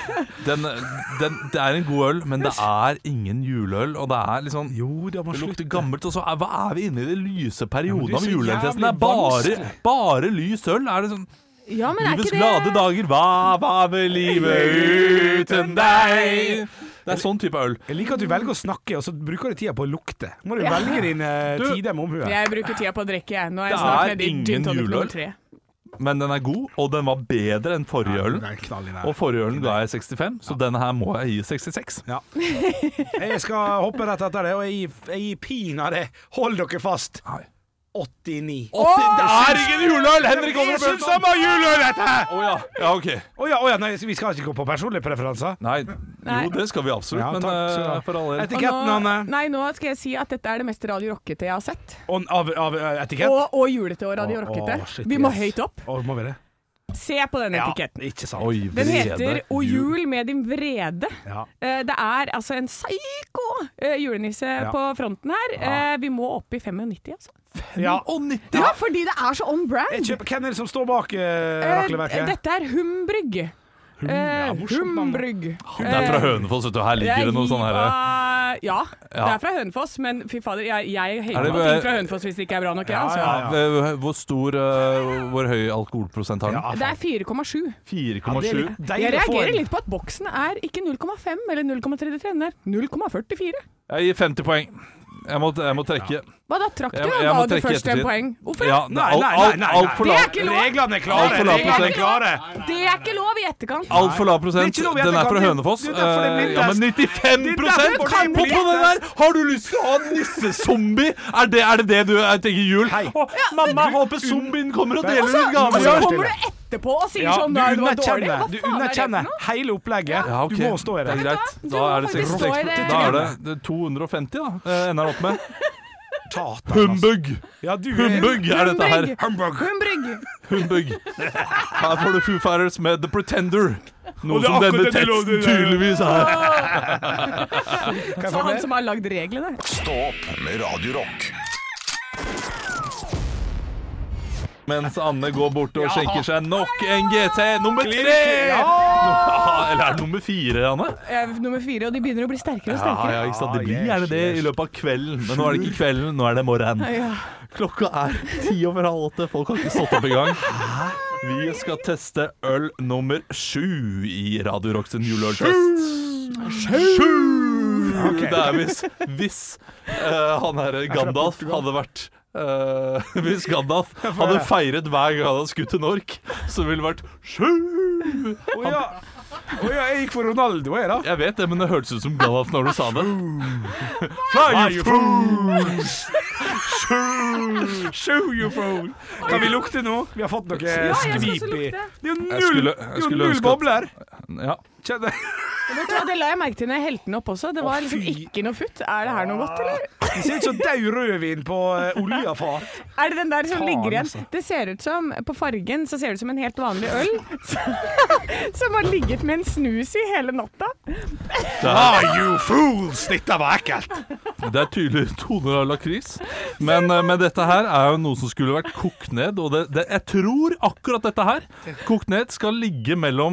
[SPEAKER 2] <laughs> Den, den, det er en god øl, men det er ingen juleøl. Og det er liksom
[SPEAKER 4] Jo, det må
[SPEAKER 2] Det
[SPEAKER 4] slutte.
[SPEAKER 2] lukter gammelt, og så er, hva er vi inne i den lyse perioden av
[SPEAKER 4] Ja, men det er så
[SPEAKER 2] juleøltesten? Det er
[SPEAKER 4] jævlig
[SPEAKER 2] bare,
[SPEAKER 4] vanskelig.
[SPEAKER 2] bare lys øl. Er det sånn
[SPEAKER 3] Ja, men er
[SPEAKER 2] Livets
[SPEAKER 3] ikke
[SPEAKER 2] glade
[SPEAKER 3] det
[SPEAKER 2] dager, hva var vel livet uten deg? Det er sånn type øl.
[SPEAKER 4] Jeg liker at du velger å snakke, og så bruker du tida på å lukte. Må du velge dine
[SPEAKER 2] Du-
[SPEAKER 4] tider med omhu. her.
[SPEAKER 3] Jeg bruker tida på å drikke, jeg. Nå er jeg
[SPEAKER 2] Det
[SPEAKER 3] snart
[SPEAKER 2] er
[SPEAKER 3] nede i
[SPEAKER 2] ingen
[SPEAKER 3] gin tonic
[SPEAKER 2] juleøl.
[SPEAKER 3] nummer tre.
[SPEAKER 2] Men den er god, og den var bedre enn forrige ølen.
[SPEAKER 4] Det er knall i den.
[SPEAKER 2] Og forrige ølen ga jeg 65, så denne her må jeg gi 66.
[SPEAKER 4] Ja. Jeg skal hoppe rett etter det, og jeg gir- jeg gir pinadø Hold dere fast.
[SPEAKER 2] Nei.
[SPEAKER 4] 89.
[SPEAKER 2] det er ingen juleøl! Henrik
[SPEAKER 4] Jeg
[SPEAKER 2] Olsen
[SPEAKER 4] syns han var juleøl, dette! her!
[SPEAKER 2] Å ja. ja, ok.
[SPEAKER 4] Å ja, å ja, nei, vi skal ikke gå på personlige preferanser.
[SPEAKER 2] Nei, jo, det skal vi absolutt,
[SPEAKER 4] Ja,
[SPEAKER 2] men
[SPEAKER 4] takk skal du ha.
[SPEAKER 2] eh, for all del.
[SPEAKER 3] Og
[SPEAKER 4] Etiketten,
[SPEAKER 3] nå,
[SPEAKER 4] Anne.
[SPEAKER 3] nei, nå skal jeg si at dette er det mest Radio Rockete jeg har sett.
[SPEAKER 4] On, av, av eh, etikett?
[SPEAKER 3] Og, og julete og Radio
[SPEAKER 4] Å,
[SPEAKER 3] Rockete.
[SPEAKER 4] å, shit,
[SPEAKER 3] Vi må
[SPEAKER 4] yes.
[SPEAKER 3] høyt opp.
[SPEAKER 4] Å, må vi det?
[SPEAKER 3] Se på den etiketten.
[SPEAKER 4] ikke sant.
[SPEAKER 2] Oi,
[SPEAKER 3] Den
[SPEAKER 2] vrede.
[SPEAKER 3] heter O jul med din vrede.
[SPEAKER 4] Ja.
[SPEAKER 3] Eh, Det er altså en psyko eh, julenisse på fronten her. Eh, Vi må opp i 95, altså.
[SPEAKER 4] Ja.
[SPEAKER 2] Å, 90.
[SPEAKER 3] Ja, fordi det er så on
[SPEAKER 4] Jeg
[SPEAKER 3] brand.
[SPEAKER 4] kjøper, hvem er det som står bak uh,
[SPEAKER 3] Eh,
[SPEAKER 4] rakleverket?
[SPEAKER 3] Dette er Humbrygg. Eh,
[SPEAKER 4] morsomt navn.
[SPEAKER 3] Humbrygg.
[SPEAKER 2] Det er fra Hønefoss, vet du. Her ligger det noe sånn her.
[SPEAKER 3] her Ja, det
[SPEAKER 2] Ja.
[SPEAKER 3] er fra Hønefoss, men fy fader, jeg, jeg henger
[SPEAKER 2] det
[SPEAKER 3] på ting
[SPEAKER 2] bare-
[SPEAKER 3] fra Hønefoss hvis det ikke er bra nok. jeg, altså.
[SPEAKER 4] ja,
[SPEAKER 2] Eh, Hvor stor eh, Hvor høy alkoholprosent har den?
[SPEAKER 4] Ja,
[SPEAKER 3] Det er 4,7.
[SPEAKER 2] 4,7.
[SPEAKER 3] Jeg reagerer litt på at boksen er ikke 0,5 eller 0,33, den er 0,44.
[SPEAKER 2] Jeg gir 50 poeng. Jeg må, jeg må trekke.
[SPEAKER 3] Hva da, trakk du?
[SPEAKER 2] Jeg- jeg
[SPEAKER 3] Ga
[SPEAKER 2] må
[SPEAKER 3] du
[SPEAKER 2] trekke
[SPEAKER 3] først en
[SPEAKER 2] ettertid.
[SPEAKER 3] poeng? Hvorfor
[SPEAKER 2] Ja,
[SPEAKER 3] det?
[SPEAKER 2] nei, alt, alt, alt for
[SPEAKER 3] Det er
[SPEAKER 2] lav,
[SPEAKER 3] ikke lov!
[SPEAKER 4] Reglene er klare!
[SPEAKER 2] Alt for lav
[SPEAKER 4] Reglene er
[SPEAKER 2] prosent.
[SPEAKER 4] klare!
[SPEAKER 3] Det er ikke lov i etterkant!
[SPEAKER 2] alt for lav prosent.
[SPEAKER 4] Det er ikke noe vi
[SPEAKER 2] Den er
[SPEAKER 4] etterkant
[SPEAKER 2] fra
[SPEAKER 4] til.
[SPEAKER 2] Hønefoss.
[SPEAKER 4] Det er derfor det er
[SPEAKER 2] Eh, ja, men 95
[SPEAKER 4] Det er derfor det
[SPEAKER 2] på, på
[SPEAKER 4] blir
[SPEAKER 2] den der! Har du lyst til å ha en nissezombie? Er det er det, det du er- tenker jul?
[SPEAKER 4] Hei.
[SPEAKER 2] Å, mamma, håper zombien kommer og deler
[SPEAKER 3] Og så,
[SPEAKER 2] ut
[SPEAKER 3] og så
[SPEAKER 2] gaver.
[SPEAKER 4] kom-
[SPEAKER 3] kommer du etterpå og sier
[SPEAKER 4] Ja,
[SPEAKER 3] sånn
[SPEAKER 4] du
[SPEAKER 3] nei, det var dårlig.
[SPEAKER 4] underkjenner,
[SPEAKER 3] Hva faen
[SPEAKER 4] du
[SPEAKER 3] er det for
[SPEAKER 4] underkjenner
[SPEAKER 3] noe?
[SPEAKER 4] hele opplegget.
[SPEAKER 2] Ja, ok.
[SPEAKER 4] Du må stå i
[SPEAKER 2] Det
[SPEAKER 4] det.
[SPEAKER 2] er greit.
[SPEAKER 3] du
[SPEAKER 2] Da
[SPEAKER 3] må
[SPEAKER 2] er det
[SPEAKER 3] faktisk stå i
[SPEAKER 2] 66
[SPEAKER 3] det.
[SPEAKER 2] Da er det- det er 250, da. eh, Ender opp med.
[SPEAKER 4] Satan, altså.
[SPEAKER 2] Humbug!
[SPEAKER 4] Ja, du er
[SPEAKER 2] Humbug er dette her.
[SPEAKER 4] Humbug.
[SPEAKER 3] Humbrygg!
[SPEAKER 2] Humbug. Her får du Foo Fighters med The Pretender. Noe
[SPEAKER 4] Og det er
[SPEAKER 2] som denne
[SPEAKER 4] akkurat det låten
[SPEAKER 2] teksten
[SPEAKER 4] der.
[SPEAKER 2] tydeligvis er.
[SPEAKER 4] Kan jeg
[SPEAKER 3] Så
[SPEAKER 4] få
[SPEAKER 3] han
[SPEAKER 4] mer?
[SPEAKER 3] som har lagd reglene.
[SPEAKER 1] Stå opp med Radio Rock.
[SPEAKER 2] Mens Anne går bort og skjenker seg nok en GT nummer tre!
[SPEAKER 4] Ja!
[SPEAKER 2] <laughs> Eller er det nummer fire, Anne?
[SPEAKER 3] Eh, Nummer fire, og de begynner å bli sterkere
[SPEAKER 2] Ja,
[SPEAKER 3] og sterkere.
[SPEAKER 2] ja, ikke sant. Det
[SPEAKER 4] Ja,
[SPEAKER 2] blir
[SPEAKER 4] Ah, yes,
[SPEAKER 2] gjerne det i
[SPEAKER 4] yes.
[SPEAKER 2] løpet av kvelden. Men nå er det ikke kvelden, nå er det morgenen.
[SPEAKER 3] Ja.
[SPEAKER 2] Klokka er ti over halv åtte. Folk har ikke stått opp engang. Vi skal teste øl nummer sju i Radio Rock sin juleøltest. Sju! Det er hvis, hvis eh, han her Gandalf hadde vært eh, Hvis Gandalf hadde feiret hver gang han hadde skutt en ork, så ville det vært sju!
[SPEAKER 4] Å ja. Å ja, jeg gikk for Ronaldo, jeg, da.
[SPEAKER 2] Jeg vet det, men det hørtes ut som Gandalf når du sa
[SPEAKER 4] <laughs>
[SPEAKER 2] det. Fly, you fool!
[SPEAKER 4] Show your phone! Kan vi lukte nå? Vi har fått noe
[SPEAKER 3] jeg skal
[SPEAKER 4] skvip
[SPEAKER 3] også
[SPEAKER 4] i.
[SPEAKER 3] lukte.
[SPEAKER 4] Det er jo
[SPEAKER 2] Jeg
[SPEAKER 4] null,
[SPEAKER 2] skulle- jeg
[SPEAKER 4] det er jo
[SPEAKER 2] skulle
[SPEAKER 4] null
[SPEAKER 2] ønske at-
[SPEAKER 4] bobler!
[SPEAKER 2] Ja.
[SPEAKER 4] Kjenn det.
[SPEAKER 3] Vet du hva, Det la jeg merke til når jeg helte den opp også. Det var liksom
[SPEAKER 4] fy.
[SPEAKER 3] ikke noe futt. Er det her noe godt, eller?
[SPEAKER 4] Det ser ut som daud rødvin på eh, oljefat.
[SPEAKER 3] Er det den der som
[SPEAKER 4] Faen,
[SPEAKER 3] ligger
[SPEAKER 4] altså.
[SPEAKER 3] igjen? Det ser ut som, På fargen så ser det ut som en helt vanlig øl <laughs> som har ligget med en snus i hele natta.
[SPEAKER 2] Det er,
[SPEAKER 4] you fools! Dette var ekkelt!
[SPEAKER 2] det er tydelig toner av lakris. Men, eh, men dette her er jo noe som skulle vært kokt ned. Og det, det, jeg tror akkurat dette her, kokt ned, skal ligge mellom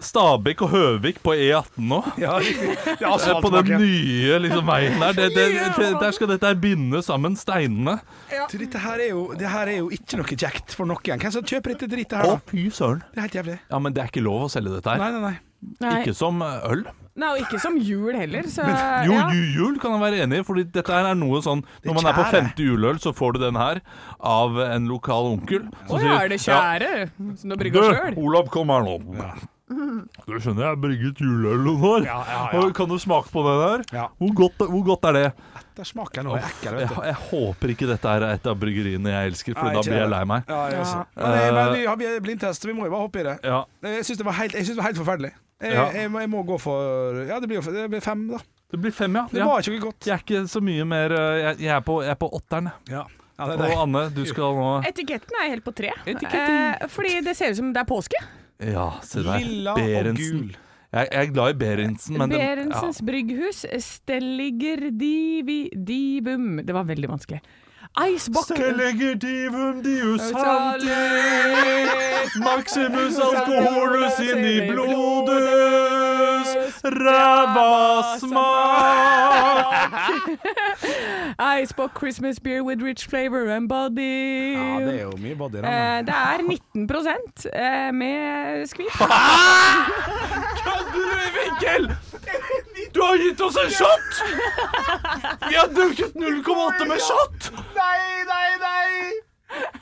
[SPEAKER 2] Stabekk og Høvik på E18 nå.
[SPEAKER 4] Ja, <laughs> det er
[SPEAKER 2] Eh, På den
[SPEAKER 4] asfaltbakken.
[SPEAKER 2] nye liksom, veien der. Det, det, det, der skal dette her binde sammen steinene.
[SPEAKER 4] Du, Dette her er jo, det her er jo ikke noe kjekt for noen. Hvem som kjøper dette dritet
[SPEAKER 2] Å,
[SPEAKER 4] her, da?
[SPEAKER 2] fy søren.
[SPEAKER 4] Det er helt jævlig.
[SPEAKER 2] Ja, men det er ikke lov å selge dette her.
[SPEAKER 4] Nei, nei, nei.
[SPEAKER 3] Nei.
[SPEAKER 2] Ikke som øl.
[SPEAKER 3] Nei, og ikke som jul heller, så
[SPEAKER 4] Eh,
[SPEAKER 2] Jo,
[SPEAKER 3] ja.
[SPEAKER 2] ju- jul kan jeg være enig i, Fordi dette her er noe sånn
[SPEAKER 4] er
[SPEAKER 2] Når man er på
[SPEAKER 4] kjære.
[SPEAKER 2] femte juleøl, så får du den her av en lokal onkel. som
[SPEAKER 3] Å ja,
[SPEAKER 2] sier,
[SPEAKER 3] er det
[SPEAKER 2] «Ja,
[SPEAKER 3] kjære? Så nå
[SPEAKER 2] Du,
[SPEAKER 3] brygger sjøl?
[SPEAKER 2] Olav, kom her nå. <laughs> Du skjønner, jeg har brygget juleøl noen år.
[SPEAKER 4] Ja, ja, ja.
[SPEAKER 2] Og Kan du smake på den her?
[SPEAKER 4] Ja.
[SPEAKER 2] Hvor, godt, hvor godt er det?
[SPEAKER 4] Der smaker noe ekkel,
[SPEAKER 2] Jeg,
[SPEAKER 4] vet du.
[SPEAKER 2] jeg håper ikke dette her er et av bryggeriene jeg elsker, for
[SPEAKER 4] Nei,
[SPEAKER 2] da
[SPEAKER 4] ikke
[SPEAKER 2] blir jeg
[SPEAKER 4] det.
[SPEAKER 2] lei meg.
[SPEAKER 4] Ja, jeg også. Men, eh, men vi har vi er blindtest, vi må jo bare hoppe i det. Eh,
[SPEAKER 2] Ja.
[SPEAKER 4] Jeg syns det, var helt- jeg synes det var helt forferdelig. Jeg,
[SPEAKER 2] Ja.
[SPEAKER 4] jeg, må- jeg må gå for Ja, det blir jo f- det blir fem, da.
[SPEAKER 2] Det blir fem, ja.
[SPEAKER 4] Det
[SPEAKER 2] ja.
[SPEAKER 4] var ikke noe godt.
[SPEAKER 2] Jeg er ikke så mye mer eh, Jeg, jeg er på, jeg er på åtteren. jeg.
[SPEAKER 4] Ja. Ja, det er
[SPEAKER 2] Og
[SPEAKER 4] deg.
[SPEAKER 2] Anne, du skal nå
[SPEAKER 3] Etiketten er helt på tre.
[SPEAKER 2] Etiketten.
[SPEAKER 3] Eh, fordi det ser ut som det er påske.
[SPEAKER 2] Ja, se der.
[SPEAKER 4] Lilla og
[SPEAKER 2] Berentsen.
[SPEAKER 4] <laughs> gul.
[SPEAKER 2] Jeg, jeg er glad i Berentsen, men den-
[SPEAKER 3] Berentsens brygghus, Stelliger divi, divum Det var veldig vanskelig. Icebock
[SPEAKER 2] Selegativum dius hantis, maximus alkoholus inn i blodus, ræva smak.
[SPEAKER 3] Icebock eh, Christmas beer with rich flavor and body.
[SPEAKER 4] Ja, det er jo mye body i den. da.
[SPEAKER 3] Eh, det er 19 eh, med
[SPEAKER 4] <laughs>
[SPEAKER 3] skvip.
[SPEAKER 2] Ah! Kødder du, Mikkel? Du har gitt oss en shot! Vi har drukket 0,8 med shot!
[SPEAKER 4] Nei, nei, nei!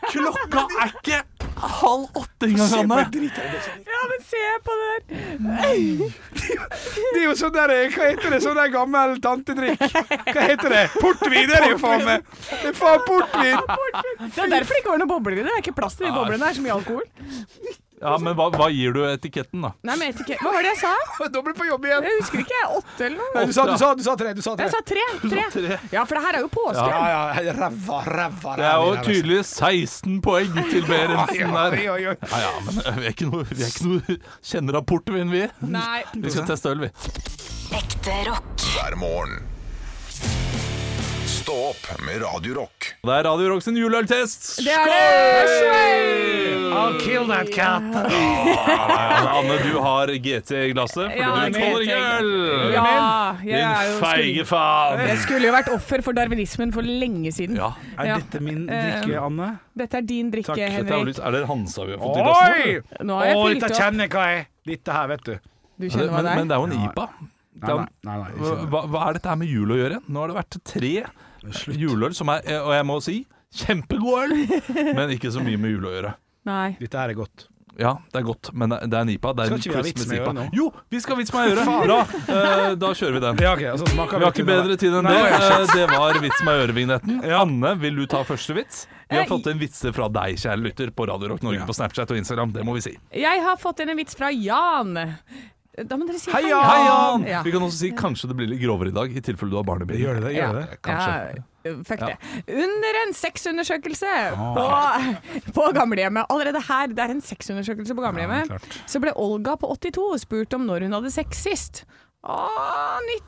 [SPEAKER 2] Klokka er ikke halv åtte engang,
[SPEAKER 4] Se på
[SPEAKER 2] Anne.
[SPEAKER 4] det dritet.
[SPEAKER 3] Ja, men se på det der!
[SPEAKER 4] <laughs> Det er jo sånn der, hva heter det, sånn der gammel tantedrikk? Hva heter det? Portvin er det jo faen meg! Det er faen <laughs> portvin!
[SPEAKER 3] Det er derfor det ikke var noen bobler i det. Det er ikke plass til de boblene, det er så mye alkohol.
[SPEAKER 2] Ja, men hva, hva gir du etiketten, da?
[SPEAKER 3] Nei, men etikett Hva var det jeg sa?
[SPEAKER 4] Da blir du på jobb igjen.
[SPEAKER 3] Jeg husker ikke. Åtte eller noe?
[SPEAKER 4] Nei, du sa, du sa, du sa tre, du sa tre.
[SPEAKER 3] Jeg sa tre. tre.
[SPEAKER 2] tre.
[SPEAKER 3] Ja, for det her er jo påske.
[SPEAKER 4] Ja, ja, ræva, ræva,
[SPEAKER 2] Det er jo tydelig 16 poeng til Berentsen der.
[SPEAKER 4] Oi, oi, oi.
[SPEAKER 2] Ja, ja, men øh, vi er ikke noe, vi er ikke noe <laughs> kjennerrapport, men vi.
[SPEAKER 3] Nei.
[SPEAKER 2] Vi skal teste øl, vi.
[SPEAKER 5] Ekte rock.
[SPEAKER 1] hver morgen. Stå opp med Radio Rock.
[SPEAKER 2] Det er Radio Rock sin juleøltest.
[SPEAKER 3] Det er det! Skål!
[SPEAKER 4] I'll kill that cat.
[SPEAKER 2] Anne, du har GT i glasset, for
[SPEAKER 3] Ja,
[SPEAKER 2] du tåler
[SPEAKER 3] GT.
[SPEAKER 2] ikke øl.
[SPEAKER 3] Ja, jeg er jo
[SPEAKER 2] Din feige
[SPEAKER 3] skulle,
[SPEAKER 2] faen.
[SPEAKER 3] jeg skulle jo vært offer for darwinismen for lenge siden.
[SPEAKER 2] Ja.
[SPEAKER 3] Ja. Eh,
[SPEAKER 4] min
[SPEAKER 3] drikke,
[SPEAKER 4] Anne?
[SPEAKER 3] Dette er din drikke,
[SPEAKER 4] Takk.
[SPEAKER 2] Dette er, vel
[SPEAKER 3] Henrik.
[SPEAKER 2] litt- er det Hansa vi har fått i glassen?
[SPEAKER 4] Oi!
[SPEAKER 3] Nå
[SPEAKER 4] Å,
[SPEAKER 3] har jeg fylt
[SPEAKER 4] dette
[SPEAKER 3] opp.
[SPEAKER 4] kjenner jeg hva er. Dette her, vet
[SPEAKER 3] Du
[SPEAKER 4] du.
[SPEAKER 2] Men,
[SPEAKER 3] kjenner hva det
[SPEAKER 2] men
[SPEAKER 3] er?
[SPEAKER 2] det er jo en IPA. Det er
[SPEAKER 4] Nei, nei,
[SPEAKER 2] jo-
[SPEAKER 4] nei, nei, jeg kjenner.
[SPEAKER 2] Hva, hva er dette her med jul å gjøre? Nå har det vært tre juleøl som er, eh, og jeg må si,
[SPEAKER 4] <laughs>
[SPEAKER 2] kjempegod øl, men ikke så mye med jul å gjøre.
[SPEAKER 3] Nei.
[SPEAKER 4] Dette her er godt.
[SPEAKER 2] Ja, det er godt, men det det er en IPA. Det er
[SPEAKER 4] Skal
[SPEAKER 2] en
[SPEAKER 4] ikke vi ha vits
[SPEAKER 2] Christmas
[SPEAKER 4] med å
[SPEAKER 2] IPA.
[SPEAKER 4] gjøre nå?
[SPEAKER 2] Jo, vi skal ha vits med å gjøre. Bra, Eh, da kjører vi den.
[SPEAKER 4] Ja, ok, og så smaker
[SPEAKER 2] Vi har ikke bedre tid enn
[SPEAKER 4] Nei,
[SPEAKER 2] det.
[SPEAKER 4] vi har
[SPEAKER 2] Eh, Det var Vits meg øre-vignetten. Anne, vil du ta første vits? Vi har
[SPEAKER 3] Eh,
[SPEAKER 2] fått en vitse fra deg, kjære lytter, på Radio Rock Norge på Snapchat og Instagram. Det må vi si.
[SPEAKER 3] Jeg har fått inn en vits fra Jan. Da må dere si
[SPEAKER 4] Hei,
[SPEAKER 3] hei,
[SPEAKER 4] Jan!
[SPEAKER 2] Hei, Jan!
[SPEAKER 3] Ja.
[SPEAKER 2] Vi kan også si kanskje det blir litt grovere i dag, i tilfelle du har barn i bilen.
[SPEAKER 4] Gjør det det? Gjør det det?
[SPEAKER 2] Kanskje.
[SPEAKER 3] Ja, fuck det. Under en sexundersøkelse på, på gamlehjemmet. Allerede her, det er en sexundersøkelse på gamlehjemmet. så ble Olga på 82 spurt om når hun hadde sex sist. Å,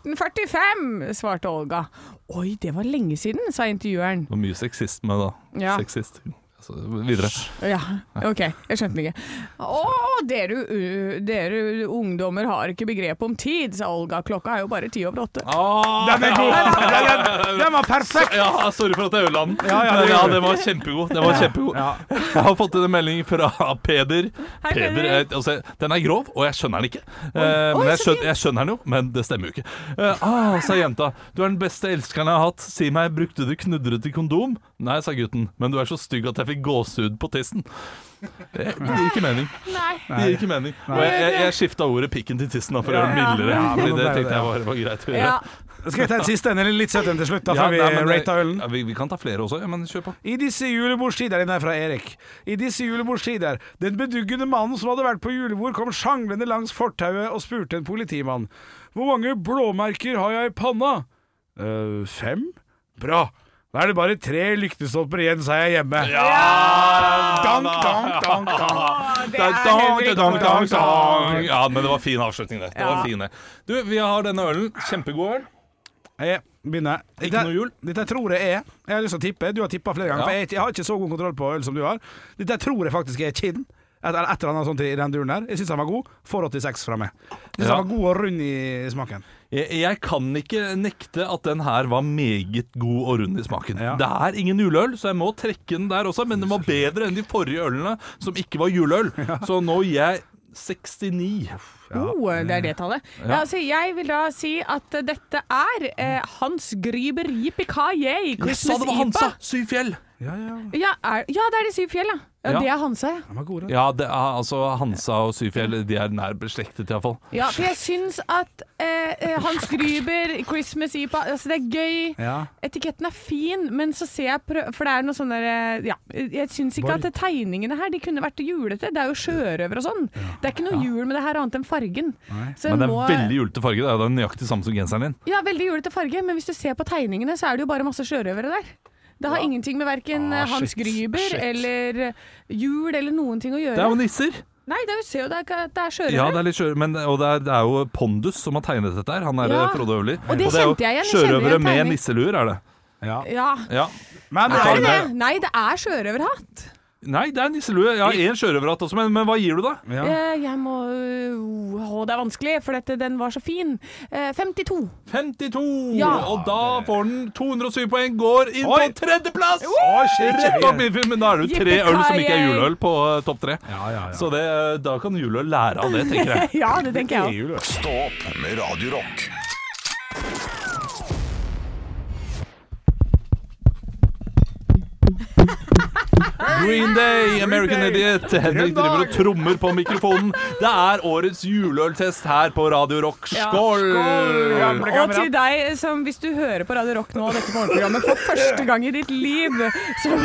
[SPEAKER 3] 1945, svarte Olga. Oi, det var lenge siden, sa intervjueren.
[SPEAKER 2] Det var mye sexist med det, da.
[SPEAKER 3] Ja.
[SPEAKER 2] Sexist. Altså, videre.
[SPEAKER 3] Ja, ok, jeg skjønte den ikke. Å, dere, uh, dere ungdommer har ikke begrep om tid, sa Olga. Klokka er jo bare ti over åtte.
[SPEAKER 4] Den er god! Den, <laughs> den, den var perfekt!
[SPEAKER 2] Ah, Ja, sorry for at jeg ødela den.
[SPEAKER 4] Ja, ja, det
[SPEAKER 2] Men
[SPEAKER 4] gjorde du.
[SPEAKER 2] den var kjempegod. Den var kjempegod.
[SPEAKER 4] Ja.
[SPEAKER 2] Jeg har fått inn en melding fra Peder.
[SPEAKER 3] Hei, Peder.
[SPEAKER 2] er- altså, den er grov, og jeg skjønner den ikke. Eh, men
[SPEAKER 3] Oi,
[SPEAKER 2] jeg
[SPEAKER 3] så
[SPEAKER 2] skjønner,
[SPEAKER 3] fint.
[SPEAKER 2] jeg skjønner den jo, men det stemmer jo ikke. Eh, ah, sa jenta. Du er den beste elskeren jeg har hatt. Si meg, brukte du knudrete kondom? Nei, sa gutten. Men du er så stygg at jeg fikk gåsehud på tissen. Det det gir ikke mening.
[SPEAKER 3] Nei.
[SPEAKER 2] Det gir ikke mening. Og jeg, jeg, jeg skifta ordet pikken til tissen da, for å gjøre den
[SPEAKER 3] Ja.
[SPEAKER 2] mildere.
[SPEAKER 4] Ja, men
[SPEAKER 2] Fordi
[SPEAKER 4] nå
[SPEAKER 2] det
[SPEAKER 4] ble det
[SPEAKER 2] tenkte jeg var, var greit å gjøre.
[SPEAKER 3] Ja,
[SPEAKER 4] Skal jeg ta en siste en, eller litt søt en til slutt, da,
[SPEAKER 2] Ja,
[SPEAKER 4] før vi
[SPEAKER 2] nei, men det-
[SPEAKER 4] rater ølen?
[SPEAKER 2] Ja, vi, vi kan ta flere også, ja, men kjør på.
[SPEAKER 4] I disse julebordstider Den er fra Erik. I disse julebordstider Den beduggende mannen som hadde vært på julebord, kom sjanglende langs fortauet og spurte en politimann. Hvor mange blåmerker har jeg i panna? «Eh, fem? Bra. Da er det bare tre lyktestolper igjen, så er jeg hjemme. Dank, dank, dank, dank.
[SPEAKER 2] Det er dang, det er dang, dang, dang. Ja, men det var fin avslutning, det. det, var
[SPEAKER 3] Ja.
[SPEAKER 2] fin, det. Du, vi har denne ølen. Kjempegod øl.
[SPEAKER 4] Jeg begynner.
[SPEAKER 2] Ikke
[SPEAKER 4] Dette-
[SPEAKER 2] noe jul?
[SPEAKER 4] Dette tror jeg er Jeg har lyst til å tippe. Du har tippa flere ganger.
[SPEAKER 2] Ja.
[SPEAKER 4] For jeg, jeg har ikke så god kontroll på øl som du har. Dette tror jeg faktisk er Kinn. Et, eller et eller annet sånt i den duren der. Jeg syns han var god. Får 86 fra meg. Jeg synes
[SPEAKER 2] Ja.
[SPEAKER 4] han var god og rund i smaken.
[SPEAKER 2] Jeg, jeg kan ikke nekte at den her var meget god og rund i smaken.
[SPEAKER 4] Ja.
[SPEAKER 2] Det er ingen juleøl, så jeg må trekke den der også, men den var bedre enn de forrige ølene som ikke var juleøl. Så nå gir jeg 69.
[SPEAKER 3] Oh, det er det tallet. Ja, altså, jeg vil da si at eh, dette er eh, Hans Gryber Yippee-Ki-Yay,
[SPEAKER 2] Jeg sa
[SPEAKER 3] Christmas
[SPEAKER 2] det var Hansa!
[SPEAKER 3] Ipa.
[SPEAKER 2] Syv fjell!
[SPEAKER 4] Ja, ja.
[SPEAKER 3] Ja, er, ja, det er de syv fjell, ja. ja.
[SPEAKER 2] Ja.
[SPEAKER 3] Det er Hansa, ja.
[SPEAKER 4] De er gode.
[SPEAKER 2] Ja, det er, altså Hansa og syv fjell, de er nær beslektet iallfall.
[SPEAKER 3] Ja, for jeg syns at eh, eh, Hans Gruber, Christmas Ipa altså Det er gøy.
[SPEAKER 4] Ja.
[SPEAKER 3] Etiketten er fin, men så ser jeg prø For det er noe sånn der eh, Ja, jeg syns ikke at tegningene her De kunne vært julete. Det er jo sjørøver og sånn. Det er ikke noe jul med det her annet enn fargen. Så
[SPEAKER 2] Men
[SPEAKER 3] en
[SPEAKER 2] det
[SPEAKER 3] må-
[SPEAKER 2] er veldig julete farge. Det er jo den nøyaktig samme som genseren din.
[SPEAKER 3] Ja, veldig julete farge, men hvis du ser på tegningene, så er det jo bare masse sjørøvere der. Det har ingenting med verken
[SPEAKER 2] Ah,
[SPEAKER 3] Hans
[SPEAKER 2] shit,
[SPEAKER 3] Gruber
[SPEAKER 2] shit.
[SPEAKER 3] eller eh, jul eller noen ting å gjøre.
[SPEAKER 2] Det er jo nisser!
[SPEAKER 3] Nei, det er jo, ser jo det er, ikke- det er sjørøvere.
[SPEAKER 2] Ja, det er litt sjø, men, og det er, det er jo Pondus som har tegnet dette her. Han er
[SPEAKER 3] Ja.
[SPEAKER 2] eh, Frode Øverli.
[SPEAKER 3] Og det
[SPEAKER 2] er jo
[SPEAKER 3] kjente jeg igjen, jeg kjenner
[SPEAKER 2] sjørøvere
[SPEAKER 3] igjen
[SPEAKER 2] med
[SPEAKER 3] tegning.
[SPEAKER 2] nisseluer, er det.
[SPEAKER 4] Ja.
[SPEAKER 3] ja.
[SPEAKER 2] Ja.
[SPEAKER 4] Men
[SPEAKER 2] Jeg tar
[SPEAKER 3] Er
[SPEAKER 2] den
[SPEAKER 3] det
[SPEAKER 2] her.
[SPEAKER 3] det? Nei, det er sjørøverhatt.
[SPEAKER 2] Nei, det er nisselue. Jeg har én sjørøverhatt også, men, men hva gir du, da?
[SPEAKER 4] Ja.
[SPEAKER 3] Eh, jeg må øh, Å, det er vanskelig, for dette, den var så fin. Eh, 52.
[SPEAKER 2] 52!
[SPEAKER 3] Ja.
[SPEAKER 2] Og da får den 207 poeng, går inn
[SPEAKER 4] Oi.
[SPEAKER 2] på tredjeplass!
[SPEAKER 4] Oi, shit, shit,
[SPEAKER 2] Rett
[SPEAKER 4] shit.
[SPEAKER 2] opp i filmen. Da er det jo tre
[SPEAKER 3] Yippee-ki-yay.
[SPEAKER 2] øl som ikke er juleøl på eh, topp tre.
[SPEAKER 4] Ja, ja, ja.
[SPEAKER 2] Så det, eh, da kan juleøl lære av det, tenker jeg.
[SPEAKER 3] <laughs> Ja, det tenker jeg òg.
[SPEAKER 1] Stå opp med Radio Rock.
[SPEAKER 2] Green Day, American
[SPEAKER 4] Green Day.
[SPEAKER 2] Idiot. Henrik driver og trommer på mikrofonen. Det er årets juleøltest her på Radio Rock.
[SPEAKER 3] Ja.
[SPEAKER 2] Skål!
[SPEAKER 4] gamle
[SPEAKER 3] Og til deg som, hvis du hører på Radio Rock nå, og dette morgenprogrammet for første gang i ditt liv, så,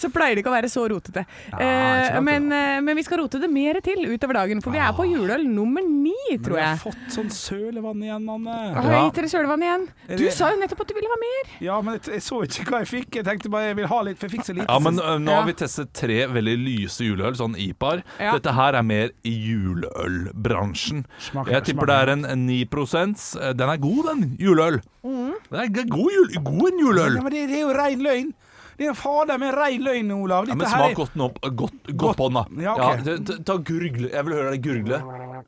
[SPEAKER 3] så pleier det ikke å være så rotete. Eh, men, eh, men vi skal rote det mer til utover dagen, for vi er på juleøl nummer ni, tror jeg.
[SPEAKER 4] fått sånn sølevann igjen, Anne.
[SPEAKER 3] Har jeg
[SPEAKER 2] Ja.
[SPEAKER 3] gitt dere sølevann igjen? Du sa jo nettopp at du ville ha mer.
[SPEAKER 4] Ja, men jeg, jeg så ikke hva jeg fikk. Jeg tenkte bare jeg vil ha litt, for jeg fikk så lite.
[SPEAKER 2] Ja, men
[SPEAKER 4] sist.
[SPEAKER 2] ø, Nå har
[SPEAKER 3] Ja.
[SPEAKER 2] vi testet tre veldig lyse juleøl, sånn IPAR.
[SPEAKER 3] Ja.
[SPEAKER 2] Dette her er mer i juleølbransjen.
[SPEAKER 4] Smaker-
[SPEAKER 2] Jeg tipper det er en 9 Eh, Den er god, den. Juleøl. Det er g- god, jul, god en juleøl.
[SPEAKER 4] Mm. Ja, men det, det er jo rein løgn. Det er jo fader meg rein løgn, Olav.
[SPEAKER 2] Ja,
[SPEAKER 4] Dette
[SPEAKER 2] men
[SPEAKER 4] her
[SPEAKER 2] smak
[SPEAKER 4] er-
[SPEAKER 2] godt nå. Godt, godt på den, da.
[SPEAKER 4] Ja, ok.
[SPEAKER 2] t- t- ta gurgle. Jeg vil høre deg gurgle.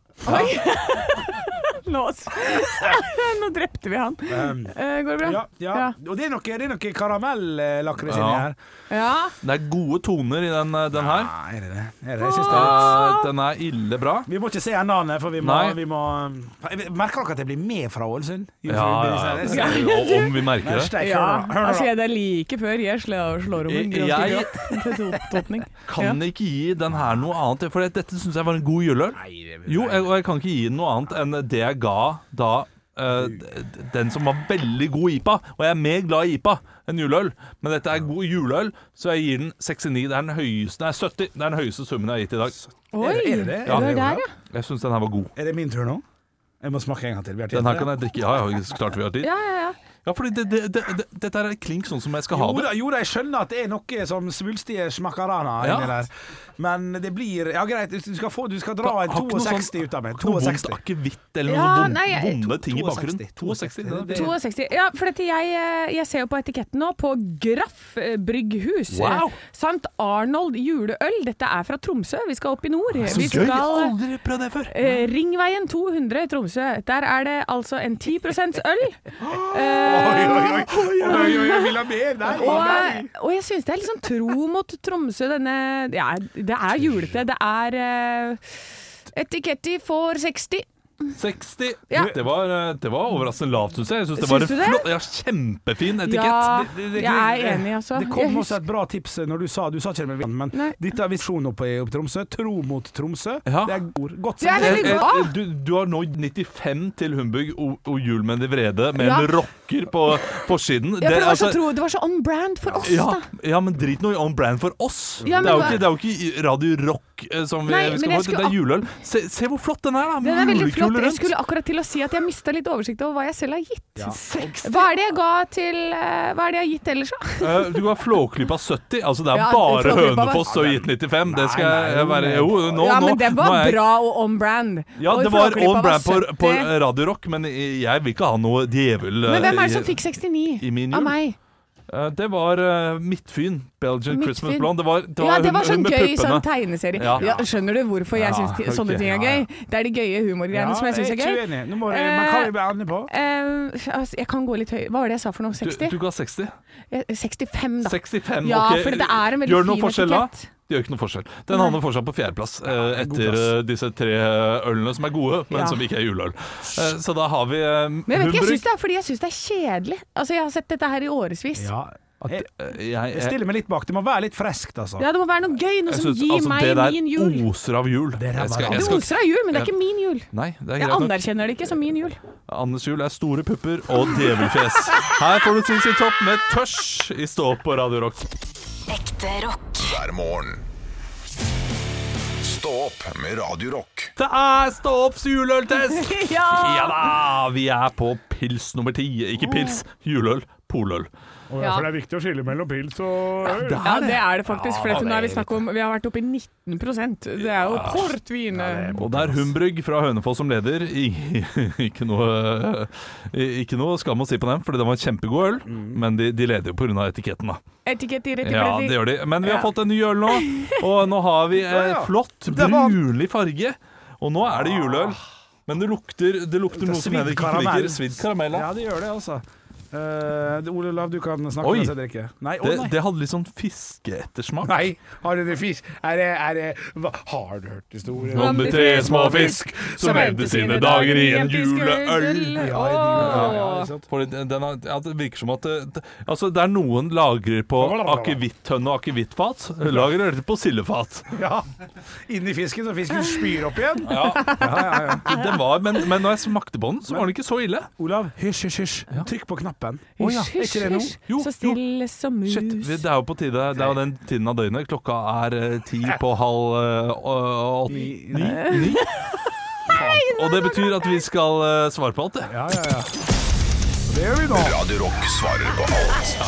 [SPEAKER 3] Nå, <laughs> nå drepte vi han. Eh, går det bra?
[SPEAKER 4] Ehm, Ja, ja.
[SPEAKER 3] Ja.
[SPEAKER 4] Og det er noe, det er noe karamellakris inni
[SPEAKER 2] Ja.
[SPEAKER 4] her.
[SPEAKER 3] Ja.
[SPEAKER 2] Det er gode toner i den, eh, den her.
[SPEAKER 4] Nei, er det det? Er det? Jeg synes
[SPEAKER 2] Eh,
[SPEAKER 4] det.
[SPEAKER 2] den er ille bra.
[SPEAKER 4] Vi må ikke se enden av den, for vi må,
[SPEAKER 2] Nei.
[SPEAKER 4] vi må Jeg Merker dere at jeg blir med fra Ålesund?
[SPEAKER 2] Ja, ja,
[SPEAKER 4] Jeg-
[SPEAKER 2] ja.
[SPEAKER 4] jeg-
[SPEAKER 2] Og om vi merker det.
[SPEAKER 4] Hashtag,
[SPEAKER 3] Ja,
[SPEAKER 4] Hør nå, hør nå.
[SPEAKER 3] altså jeg, det er like før jeg slår, slår om en
[SPEAKER 2] Jeg-
[SPEAKER 3] gråt <laughs> til tot- totning.
[SPEAKER 2] kan ikke gi den her noe annet, for dette syns jeg var en god juleøl. Jo, jeg, og jeg kan ikke gi den noe annet enn det jeg ga da eh, d- d- den som var veldig god IPA. Og jeg er mer glad i IPA enn juleøl, men dette er god juleøl, så jeg gir den 69. Det er den høyeste, nei, 70. Det er den høyeste summen jeg har gitt i dag.
[SPEAKER 3] Oi,
[SPEAKER 4] Er det det?
[SPEAKER 3] du er
[SPEAKER 4] Ja.
[SPEAKER 3] der, ja.
[SPEAKER 2] Jeg syns den her var god.
[SPEAKER 4] Er det min tur nå? Jeg må smake en gang til. Vi har tid
[SPEAKER 2] Den her
[SPEAKER 4] til
[SPEAKER 2] kan jeg drikke. Ja, ja, så klart vi har tid.
[SPEAKER 3] Ja, ja, ja.
[SPEAKER 2] Ja, fordi det, det, det, det, dette her er klink sånn som jeg skal ha
[SPEAKER 4] Jo
[SPEAKER 2] det.
[SPEAKER 4] da, jo da, jeg skjønner at det er noe som svulstige smakkarana
[SPEAKER 2] Ja.
[SPEAKER 4] inni der. Men det blir Ja, greit, du skal, få, du skal dra
[SPEAKER 2] Har
[SPEAKER 4] en
[SPEAKER 2] ikke noe
[SPEAKER 4] 62
[SPEAKER 2] sånn-
[SPEAKER 4] ut av meg.
[SPEAKER 2] har ikke noe vondt
[SPEAKER 4] 62.
[SPEAKER 2] akevitt eller noen
[SPEAKER 3] Ja,
[SPEAKER 2] vonde-
[SPEAKER 3] nei, jeg-
[SPEAKER 2] vonde ting i
[SPEAKER 4] 62,
[SPEAKER 2] bakgrunnen. 62. det er
[SPEAKER 3] 62. Ja, for dette jeg, eh, jeg ser jo på etiketten nå, på Graff eh, brygghus.
[SPEAKER 2] Wow.
[SPEAKER 3] Eh, Sant Arnold juleøl. Dette er fra Tromsø, vi skal opp i nord. Vi
[SPEAKER 2] Så gøy! Jeg har
[SPEAKER 3] skal
[SPEAKER 2] aldri prøvd det før.
[SPEAKER 3] eh, Ringveien 200 i Tromsø. Der er det altså en 10 øl.
[SPEAKER 4] <laughs> Oi,
[SPEAKER 3] Eh,
[SPEAKER 4] oi, oi, oi, oi, oi, jeg vil ha mer! Nei, nei.
[SPEAKER 3] Og, og jeg syns det er litt sånn tro mot Tromsø, denne ja, Det er julete. Det er uh, Etiketti for 60.
[SPEAKER 2] 60.
[SPEAKER 3] Ja.
[SPEAKER 2] Det, var, eh, det var overraskende lavt, syns jeg. Jeg synes det
[SPEAKER 3] Syns
[SPEAKER 2] var en
[SPEAKER 3] du det?
[SPEAKER 2] flott, ja, kjempefin etikett.
[SPEAKER 3] Ja,
[SPEAKER 4] Det- det- det-
[SPEAKER 3] jeg er enig, altså.
[SPEAKER 4] Det
[SPEAKER 3] Jeg
[SPEAKER 4] kom også
[SPEAKER 3] husker-
[SPEAKER 4] et bra tips når du sa Du sa ikke det med vilje, men
[SPEAKER 3] Nei.
[SPEAKER 4] dette er visjonen oppe i oppe i Tromsø. Tro mot Tromsø.
[SPEAKER 2] Ja.
[SPEAKER 4] Det er god, godt
[SPEAKER 3] Det er
[SPEAKER 4] sagt.
[SPEAKER 3] veldig
[SPEAKER 2] Eh, eh,
[SPEAKER 3] bra.
[SPEAKER 2] Du, du har nådd 95 til Humbug og, og Jul med de vrede, med
[SPEAKER 3] Ja.
[SPEAKER 2] en rocker på forsiden.
[SPEAKER 3] ja, for det, var så
[SPEAKER 2] altså-
[SPEAKER 3] tro, det var så on brand for oss,
[SPEAKER 2] ja,
[SPEAKER 3] da.
[SPEAKER 2] ja, men drit nå i on brand for oss.
[SPEAKER 3] Ja, men
[SPEAKER 2] det, er jo
[SPEAKER 3] hva-
[SPEAKER 2] ikke, det er jo ikke Radio Rock eh, som vi,
[SPEAKER 3] Nei,
[SPEAKER 2] vi
[SPEAKER 3] men
[SPEAKER 2] skal
[SPEAKER 3] jeg
[SPEAKER 2] få. Det
[SPEAKER 3] skulle
[SPEAKER 2] er juleøl. Se, se hvor flott den er, da!
[SPEAKER 3] Den er veldig
[SPEAKER 2] Julekule
[SPEAKER 3] flott. Jeg
[SPEAKER 2] rundt.
[SPEAKER 3] skulle akkurat til å si at jeg mista litt oversikt over hva jeg selv har gitt.
[SPEAKER 2] Seks.
[SPEAKER 3] Hva er det jeg ga til eh, Hva er det jeg har gitt ellers, da?
[SPEAKER 2] Eh, Du har Flåklypa 70. Altså, det er
[SPEAKER 3] Ja,
[SPEAKER 2] bare
[SPEAKER 3] Flåklypa var-
[SPEAKER 2] Hønefoss og gitt 95. Det skal
[SPEAKER 4] Nei, nei,
[SPEAKER 2] jeg være Jo, nå,
[SPEAKER 3] ja, men
[SPEAKER 2] nå-
[SPEAKER 3] den
[SPEAKER 2] nå
[SPEAKER 3] var
[SPEAKER 2] er jeg-
[SPEAKER 3] bra og on brand.
[SPEAKER 2] Ja,
[SPEAKER 3] Og
[SPEAKER 2] det var
[SPEAKER 3] Flåklypa
[SPEAKER 2] on brand på, på
[SPEAKER 3] 70.
[SPEAKER 2] Radio Rock, men jeg vil ikke ha noe djevel
[SPEAKER 3] Men hvem er det
[SPEAKER 2] eh,
[SPEAKER 3] som fikk 69
[SPEAKER 2] i min
[SPEAKER 3] av
[SPEAKER 2] jul?
[SPEAKER 3] meg?
[SPEAKER 2] Eh, Det var eh, Midtfyn. Belgian
[SPEAKER 3] Midtfyn.
[SPEAKER 2] Christmas Blonde. Det var, det var,
[SPEAKER 3] ja, det var
[SPEAKER 2] hun,
[SPEAKER 3] sånn
[SPEAKER 2] hun med
[SPEAKER 3] gøy
[SPEAKER 2] puppene.
[SPEAKER 3] sånn tegneserie.
[SPEAKER 2] Ja.
[SPEAKER 3] Ja. skjønner du hvorfor jeg
[SPEAKER 2] Ja,
[SPEAKER 3] syns ti- sånne
[SPEAKER 2] ok.
[SPEAKER 3] ting er
[SPEAKER 2] Ja, ja.
[SPEAKER 3] gøy? Det er de gøye humorgreiene som jeg syns er
[SPEAKER 4] ikke
[SPEAKER 3] gøy.
[SPEAKER 4] uenig. Nå må vi, men hva er vi ender på?
[SPEAKER 3] Eh, altså, jeg kan gå litt høy Hva var det jeg sa for noe?
[SPEAKER 2] Du,
[SPEAKER 3] 60?
[SPEAKER 2] du ga 60?
[SPEAKER 3] Eh, 65, da.
[SPEAKER 2] 65,
[SPEAKER 3] ja,
[SPEAKER 2] ok.
[SPEAKER 3] for det er en veldig
[SPEAKER 2] Gjør det noen
[SPEAKER 3] fin
[SPEAKER 2] forskjell da?
[SPEAKER 3] etikett.
[SPEAKER 2] Det Det gjør ikke noe forskjell. Den havner fortsatt på fjerdeplass eh, etter eh, disse tre ølene som er gode, men
[SPEAKER 3] Ja.
[SPEAKER 2] som ikke er juleøl. Eh, så da har vi eh,
[SPEAKER 3] Men jeg vet ikke, jeg
[SPEAKER 2] Humbrug.
[SPEAKER 3] syns det er fordi jeg syns det er kjedelig. Altså, jeg har sett dette her i årevis. Ja.
[SPEAKER 4] Ja. Jeg,
[SPEAKER 2] Eh, jeg-
[SPEAKER 4] jeg stiller meg litt bak. Det må være litt freskt, altså.
[SPEAKER 3] det må være noe gøy, noe
[SPEAKER 2] jeg
[SPEAKER 3] som
[SPEAKER 2] synes,
[SPEAKER 3] gir
[SPEAKER 2] altså,
[SPEAKER 3] meg min jul.
[SPEAKER 2] Det der oser av jul. Jeg
[SPEAKER 4] er
[SPEAKER 2] skal-
[SPEAKER 4] ræva.
[SPEAKER 2] jeg
[SPEAKER 3] Det
[SPEAKER 2] skal-
[SPEAKER 3] oser av jul, men det er
[SPEAKER 2] Ja.
[SPEAKER 3] ikke min jul.
[SPEAKER 2] Nei, det er greit
[SPEAKER 3] Jeg
[SPEAKER 2] nok.
[SPEAKER 3] anerkjenner det ikke som min jul.
[SPEAKER 2] Andes jul er store pupper og djevelfjes. Her får du Sinnssykt Topp med Tøsj i stå på Radio Rock.
[SPEAKER 5] Ekte rock.
[SPEAKER 1] hver morgen. Stå opp med Radio Rock.
[SPEAKER 2] Det er Stå opps juleøltest!
[SPEAKER 3] <laughs> Ja!
[SPEAKER 2] Ja da! Vi er på pils nummer ti. Ikke pils, juleøl, poløl.
[SPEAKER 6] Og derfor er det viktig å skille mellom pils og øl.
[SPEAKER 3] Ja, det er det faktisk. For
[SPEAKER 2] Ja,
[SPEAKER 3] dette, nå er
[SPEAKER 2] det er
[SPEAKER 3] vi, snakk om, vi har vært oppe i 19 Det er jo portvin.
[SPEAKER 2] Og det er Humbrygg fra Hønefoss som leder. I, <laughs> ikke, noe, ikke noe skam å si på dem, Fordi det var kjempegod øl. Men de, de leder jo pga. etiketten, da.
[SPEAKER 3] Etikett i rett i
[SPEAKER 2] Ja, det gjør de. Men vi har
[SPEAKER 3] Ja.
[SPEAKER 2] fått en ny øl nå, og nå har vi eh, flott
[SPEAKER 7] var-
[SPEAKER 2] brunlig farge. Og nå er det juleøl. Men det lukter, Ah. det lukter noe som
[SPEAKER 4] svidd
[SPEAKER 2] Henrik ikke
[SPEAKER 4] karamell.
[SPEAKER 2] liker. Svidd karamell. ja.
[SPEAKER 4] Ja, det gjør det, altså. Eh, det- Ole Olav, du kan snakke
[SPEAKER 2] Oi.
[SPEAKER 4] mens jeg drikker. Nei, å
[SPEAKER 2] Det,
[SPEAKER 4] nei.
[SPEAKER 2] det hadde litt sånn fiskeettersmak.
[SPEAKER 4] <laughs> nei.
[SPEAKER 6] Har dere fisk? Er det, er det hva, Har du hørt historien?
[SPEAKER 2] Om de tre små fisk som endte sine dager i en juleøl.
[SPEAKER 3] Åh.
[SPEAKER 2] For det, den er, ja, det virker som at det, det, altså det er noen lagrer på akevittønne og akevittfat. Lagrer dette på <laughs> sildefat.
[SPEAKER 4] Ja. Inni fisken, så fisken spyr opp igjen.
[SPEAKER 2] Ja. Den var, men, men når jeg smakte på den, så var den ikke så ille.
[SPEAKER 4] Olav, hysj, hysj, hysj. Trykk på knappen.
[SPEAKER 3] Hysj,
[SPEAKER 4] Å ja, er
[SPEAKER 3] hysj,
[SPEAKER 4] ikke det noe?
[SPEAKER 3] hysj.
[SPEAKER 2] Jo,
[SPEAKER 3] Så stille som mus.
[SPEAKER 2] Shit, vi- det er jo på tide. Det er jo den tiden av døgnet. Klokka er eh, ti på halv eh, å- åtte.
[SPEAKER 4] Ni.
[SPEAKER 2] Ni.
[SPEAKER 3] <laughs>
[SPEAKER 2] Og det betyr at vi skal eh, svare på alt, det.
[SPEAKER 4] Ja, ja, ja. Det gjør vi nå.
[SPEAKER 1] Radio Rock svarer på alt.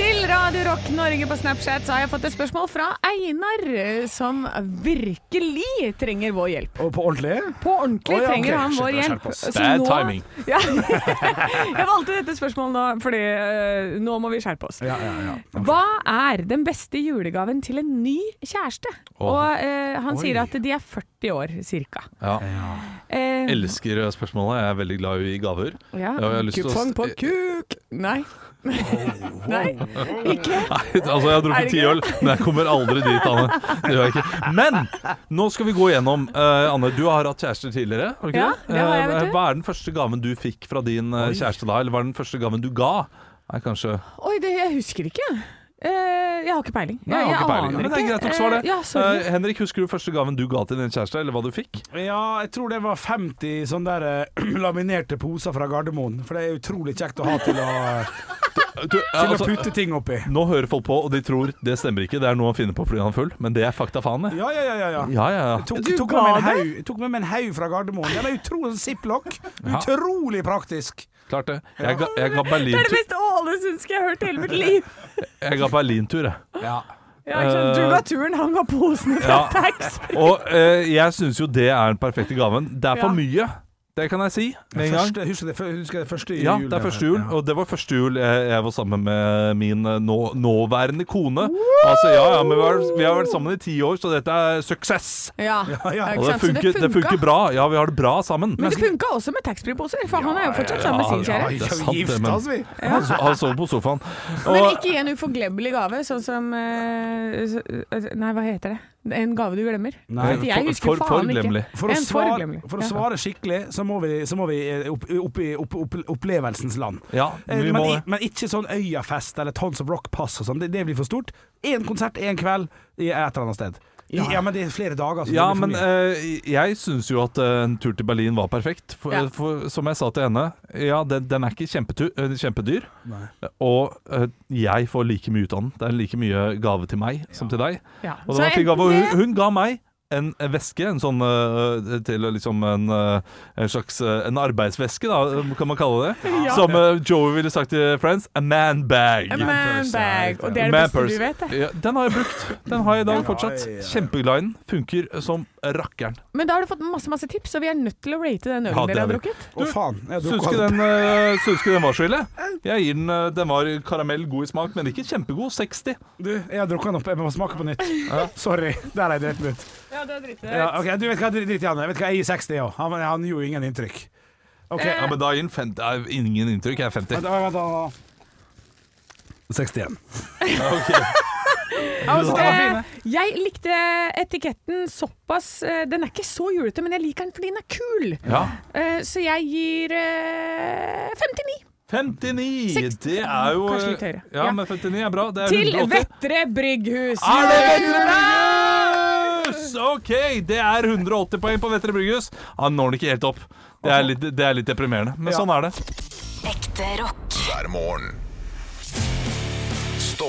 [SPEAKER 3] Til Radio Rock Norge på Snapchat så har jeg fått et spørsmål fra Einar, som virkelig trenger vår hjelp.
[SPEAKER 4] Og på ordentlig?
[SPEAKER 3] På ordentlig
[SPEAKER 4] Å ja,
[SPEAKER 3] trenger
[SPEAKER 4] ok.
[SPEAKER 3] han
[SPEAKER 4] Shit,
[SPEAKER 3] vår
[SPEAKER 4] jeg
[SPEAKER 3] hjelp.
[SPEAKER 4] skjerper oss.
[SPEAKER 3] Så
[SPEAKER 2] Bad
[SPEAKER 3] nå-
[SPEAKER 2] timing.
[SPEAKER 3] <laughs> Ja. Jeg valgte dette spørsmålet nå, fordi eh, nå må vi skjerpe oss.
[SPEAKER 4] Ja, ja, ja.
[SPEAKER 3] Hva er den beste julegaven til en ny kjæreste? Og eh, han sier at de er 40 år, cirka.
[SPEAKER 2] Ja.
[SPEAKER 3] Eh,
[SPEAKER 2] Elsker spørsmålet. Jeg er veldig glad i gaver.
[SPEAKER 3] ja.
[SPEAKER 2] Jeg har lyst til å-
[SPEAKER 3] Kupong på kuk! Nei. Nei, ikke.
[SPEAKER 2] <laughs> Nei, altså jeg har
[SPEAKER 3] Er det
[SPEAKER 2] drukket ti
[SPEAKER 3] ikke?
[SPEAKER 2] øl, men jeg kommer aldri dit, Anne. Det gjør jeg ikke. Men nå skal vi gå gjennom. eh, Anne, du har hatt kjærester tidligere, har du ikke
[SPEAKER 3] Ja,
[SPEAKER 2] det?
[SPEAKER 3] det har jeg, vet
[SPEAKER 2] Eh,
[SPEAKER 3] du.
[SPEAKER 2] Hva er den første gaven du fikk fra din eh, kjæreste da, eller hva er den første gaven du ga? Nei, kanskje
[SPEAKER 3] Oi, det, jeg husker ikke. Eh, jeg har ikke peiling.
[SPEAKER 2] Nei, jeg har ikke peiling.
[SPEAKER 3] aner
[SPEAKER 2] Men det er
[SPEAKER 3] ikke.
[SPEAKER 2] greit nok svar, det.
[SPEAKER 3] Eh, ja, sorry.
[SPEAKER 2] Eh, Henrik, husker du første gaven du ga til din kjæreste, eller hva du fikk?
[SPEAKER 4] Ja, jeg tror det var 50 sånne der eh, <clears throat> laminerte poser fra Gardermoen. For det er utrolig kjekt å ha til å,
[SPEAKER 2] <laughs> Du, ja,
[SPEAKER 4] til å
[SPEAKER 2] altså,
[SPEAKER 4] putte ting oppi.
[SPEAKER 2] nå hører folk på, og de tror det stemmer ikke, det er noe han finner på fordi han er full, men det er fakta faen, det.
[SPEAKER 4] Ja, ja, ja. ja, ja.
[SPEAKER 2] Ja, ja, ja.
[SPEAKER 4] Jeg Tok,
[SPEAKER 3] Du
[SPEAKER 4] tok,
[SPEAKER 3] ga
[SPEAKER 4] med meg en
[SPEAKER 3] det?
[SPEAKER 4] haug, jeg tok med meg en haug fra Gardermoen. Den er utrolig ziplock. Utrolig praktisk.
[SPEAKER 2] Klart det. Jeg ga, jeg ga
[SPEAKER 3] Det er det
[SPEAKER 2] Berlin-tur,
[SPEAKER 3] beste ålesundske jeg har hørt i hele mitt liv.
[SPEAKER 2] jeg. Ga Berlin jeg.
[SPEAKER 4] Ja.
[SPEAKER 3] Ja, ikke sant? Du
[SPEAKER 2] Eh,
[SPEAKER 3] ga turen, han ga posene fra
[SPEAKER 2] ja.
[SPEAKER 3] tax.
[SPEAKER 2] Og eh, jeg syns jo det er den perfekte gaven. Det er for
[SPEAKER 3] Ja.
[SPEAKER 2] mye, det kan jeg si med en gang.
[SPEAKER 4] Første, husker det, husker det første jul?
[SPEAKER 2] Ja, det er første jul, og det var første jul jeg, jeg var sammen med min eh, nå, nåværende kone. Altså, ja, ja, men vi har, vi har vært sammen i ti år, så dette er suksess!
[SPEAKER 3] Ja,
[SPEAKER 4] ja.
[SPEAKER 3] ikke
[SPEAKER 2] Og det
[SPEAKER 3] sant? Så
[SPEAKER 2] funker, det funker bra. Ja, vi har det bra sammen.
[SPEAKER 3] Men det funka også med taxfree-poser, for han er jo fortsatt sammen med
[SPEAKER 2] Ja,
[SPEAKER 3] sin
[SPEAKER 2] ja,
[SPEAKER 3] kjære.
[SPEAKER 2] det er
[SPEAKER 4] Vi
[SPEAKER 2] sant, det,
[SPEAKER 4] gifta
[SPEAKER 2] men
[SPEAKER 4] oss, vi.
[SPEAKER 2] han, so- han sover på sofaen.
[SPEAKER 3] Men
[SPEAKER 2] Og,
[SPEAKER 3] ikke gi en uforglemmelig gave, sånn som eh, så- eh, Nei, hva heter det? En gave du glemmer?
[SPEAKER 4] Nei,
[SPEAKER 3] For jeg husker
[SPEAKER 2] for-
[SPEAKER 3] faen
[SPEAKER 2] forglemmelig.
[SPEAKER 3] ikke.
[SPEAKER 4] For å,
[SPEAKER 3] En
[SPEAKER 4] svare,
[SPEAKER 3] forglemmelig.
[SPEAKER 4] for å
[SPEAKER 3] Ja.
[SPEAKER 4] svare skikkelig, så må vi, så må vi eh, opp, opp, i- opp, opp, opplevelsens land.
[SPEAKER 2] Ja,
[SPEAKER 4] Eh,
[SPEAKER 2] vi
[SPEAKER 4] men,
[SPEAKER 2] må
[SPEAKER 4] i- men ikke sånn Øyafest eller Tons of Rock-pass og sånn. Det, det blir for stort. Én konsert én kveld i et eller annet sted. Ja, men det er flere dager. så det
[SPEAKER 2] Ja,
[SPEAKER 4] blir for
[SPEAKER 2] men
[SPEAKER 4] mye.
[SPEAKER 2] eh, jeg syns jo at eh, en tur til Berlin var perfekt. For,
[SPEAKER 3] Ja.
[SPEAKER 2] for, som jeg sa til henne, ja, den, den er ikke kjempetu- eh, kjempedyr. Og eh, jeg får like mye ut av den. Det er like mye gave til meg som til deg.
[SPEAKER 3] Ja.
[SPEAKER 2] Og,
[SPEAKER 3] Så
[SPEAKER 2] det var en fin
[SPEAKER 3] enten
[SPEAKER 2] gave, og
[SPEAKER 3] det-
[SPEAKER 2] hun, hun ga meg en veske, en sånn eh, til liksom en, eh, en slags eh, En arbeidsveske, da, eh, kan man kalle det. Som eh, Joey ville sagt til Friends, a man bag.
[SPEAKER 3] A man bag. Og det er det
[SPEAKER 2] Man
[SPEAKER 3] beste du
[SPEAKER 2] purse.
[SPEAKER 3] vet, det.
[SPEAKER 2] Ja, den har jeg brukt. Den har jeg i dag fortsatt. Kjempeglad i den. Funker som rakkeren.
[SPEAKER 3] Men da har du fått masse masse tips, og vi er nødt til å rate den ølen
[SPEAKER 2] Ja, det
[SPEAKER 3] dere har
[SPEAKER 2] er vi.
[SPEAKER 3] drukket.
[SPEAKER 4] Å, faen. Jeg
[SPEAKER 2] Syns
[SPEAKER 4] drukket
[SPEAKER 2] ikke
[SPEAKER 4] opp.
[SPEAKER 2] den, eh, syns ikke den var så ille. Jeg gir den eh, Den var karamell, god i smak, men ikke kjempegod. 60.
[SPEAKER 4] Du, jeg har drukket den opp. Jeg må smake på nytt. Sorry. Der er jeg dritten ut.
[SPEAKER 3] Ja, det er dritt.
[SPEAKER 4] Ja, ok, du vet hva, drit i han. Jeg Vet hva, jeg gir 60, jeg òg. Han, han gjorde ingen inntrykk. OK.
[SPEAKER 2] Ja, men da gir den 50. Det er Ingen inntrykk. Jeg er 50.
[SPEAKER 4] Vent, vent, vent, vent. 61.
[SPEAKER 3] Eh, jeg likte etiketten såpass eh, Den er ikke så julete, men jeg liker den fordi den er kul.
[SPEAKER 2] Ja.
[SPEAKER 3] Eh, Så jeg gir eh, 59.
[SPEAKER 2] 59!
[SPEAKER 3] Seks-
[SPEAKER 2] Det er jo
[SPEAKER 3] Kanskje litt høyere.
[SPEAKER 2] Ja,
[SPEAKER 3] Ja.
[SPEAKER 2] men 59 er bra. Det er
[SPEAKER 3] Til
[SPEAKER 2] 180.
[SPEAKER 3] Vettre Brygghus. Eh,
[SPEAKER 2] Er det Vettre Brygghus? OK, det er 180 poeng på Vettre Brygghus. Han når den ikke helt opp. Det er litt, det er litt deprimerende, men sånn er det.
[SPEAKER 5] Ekte rock.
[SPEAKER 1] hver morgen. Stå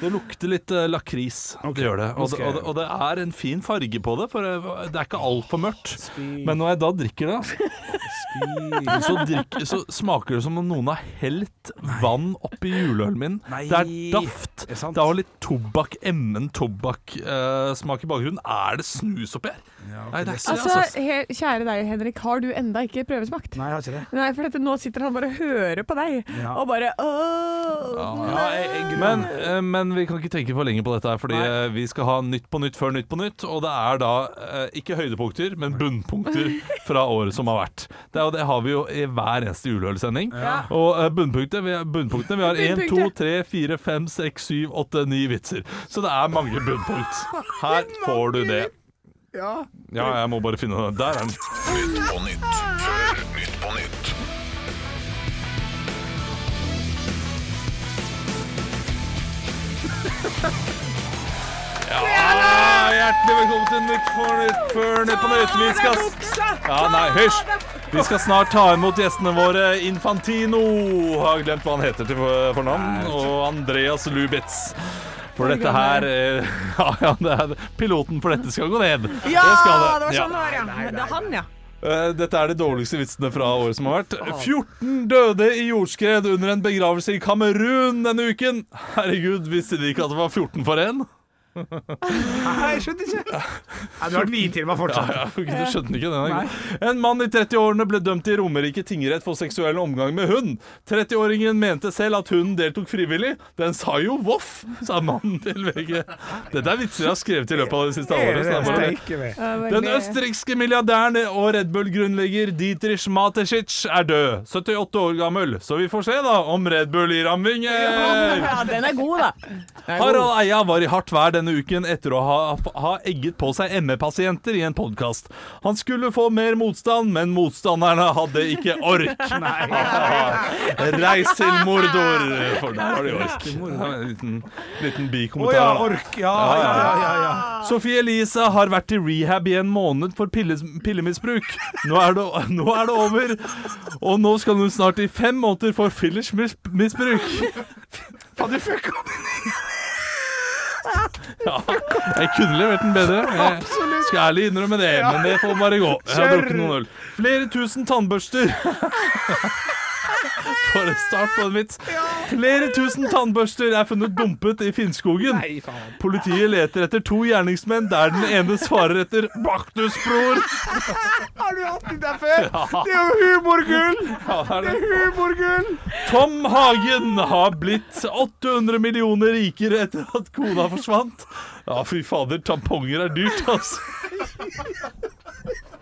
[SPEAKER 2] det lukter litt eh, lakris. Det gjør det. Og, det- og, det- og det er en fin farge på det, for eh, det er ikke altfor mørkt. <laughs> Men når jeg da drikker det, så, drikk- så smaker det som om noen har helt vann oppi juleølen min. Det er daft.
[SPEAKER 8] Er sant?
[SPEAKER 2] Det har litt tobakk, emmen tobakksmak i bakgrunnen. Er det snus oppi her? Nei, det er ikke det,
[SPEAKER 3] Altså,
[SPEAKER 2] altså.
[SPEAKER 3] he, kjære deg, Henrik, har du enda ikke prøvesmakt?
[SPEAKER 8] Nei, jeg har ikke det.
[SPEAKER 3] Nei, for dette, nå sitter han bare og hører på deg,
[SPEAKER 8] Ja.
[SPEAKER 3] og bare åh,
[SPEAKER 2] Men, eh, men vi kan ikke tenke for lenge på dette, her, fordi eh, vi skal ha Nytt på nytt før Nytt på nytt. Og det er da eh, ikke høydepunkter, men bunnpunkter fra året som har vært. Det, er, jo- det har vi jo i hver eneste juleølsending. Og eh, bunnpunktet, vi, bunnpunktene Vi har 1, 2,
[SPEAKER 3] Bunnpunktet.
[SPEAKER 2] 3, 4, 5, 6, 7, 8, 9 vitser. Så det er mange bunnpunkt. Her får du det. Ja, jeg må bare finne den. Der er den.
[SPEAKER 1] Nytt på nytt før Nytt på nytt.
[SPEAKER 2] Ja, Ah, hjertelig velkommen til Nytt på nytt før Nytt på nytt. Vi skal Ja, nei, hysj. Vi skal snart ta imot gjestene våre. Infantino har glemt hva han heter til for- fornavn. Og Andreas Lubitz. For dette her eh, <laughs> Ja, ja, det er piloten for dette skal gå ned.
[SPEAKER 3] Ja, det,
[SPEAKER 2] skal
[SPEAKER 3] var
[SPEAKER 2] Ja.
[SPEAKER 3] sånn det var, ja. Det er han, ja.
[SPEAKER 2] Eh, Dette er de dårligste vitsene fra året som har vært. 14 døde i jordskred under en begravelse i Kamerun denne uken. Herregud, visste de ikke at det var 14 for én?
[SPEAKER 8] Nei, jeg skjønte ikke. Nei, du har ni til meg fortsatt.
[SPEAKER 2] Ja, ok, du skjønte ikke den engang. En mann i 30-årene ble dømt i Romerike tingrett for seksuell omgang med hund. 30-åringen mente selv at hunden deltok frivillig. Den sa jo voff, sa mannen til VG. Dette er vitser jeg har skrevet i løpet av det siste
[SPEAKER 8] Er
[SPEAKER 2] året.
[SPEAKER 8] det
[SPEAKER 2] så det
[SPEAKER 8] det?
[SPEAKER 2] er bare-
[SPEAKER 8] Steike meg.
[SPEAKER 2] Den østerrikske milliardæren og Red Bull-grunnlegger Dietrich Mateschitz er død. 78 år gammel. Så vi får se da om Red Bull gir ham vinger.
[SPEAKER 3] Ja, den er god, da. Den er god.
[SPEAKER 2] Harald Eia var i hardt vær denne uken etter å ha, ha egget på seg ME-pasienter i en podkast. Han skulle få mer motstand, men motstanderne hadde ikke ork. Reis til Mordor! For der har de ork. Ja, En liten, liten
[SPEAKER 8] Å ja,
[SPEAKER 2] bikommentar. da.
[SPEAKER 8] ork. Ja, ja, ja. ja, ja.
[SPEAKER 2] Sofie Elise har vært i rehab i en måned for pilles, pillemisbruk. Nå er, det, nå er det over, og nå skal hun snart i fem måneder for fillersmisbruk.
[SPEAKER 8] Faen, du fucka opp.
[SPEAKER 2] Ja, jeg kunne levert den bedre. Jeg skal ærlig innrømme det, men det får bare gå. Jeg har
[SPEAKER 8] Kjør!
[SPEAKER 2] drukket noen øl. Flere tusen tannbørster. For en start på en vits. Flere tusen tannbørster er funnet dumpet i Finnskogen. Politiet leter etter to gjerningsmenn, der den ene svarer etter 'Baktusbror'.
[SPEAKER 8] <laughs> Har du hatt den der før? Det er jo humorgull!
[SPEAKER 2] Ja, det er det.
[SPEAKER 8] Humorgull!
[SPEAKER 2] Tom Hagen har blitt 800 millioner rikere etter at kona forsvant. Ja, fy fader, tamponger er dyrt, altså.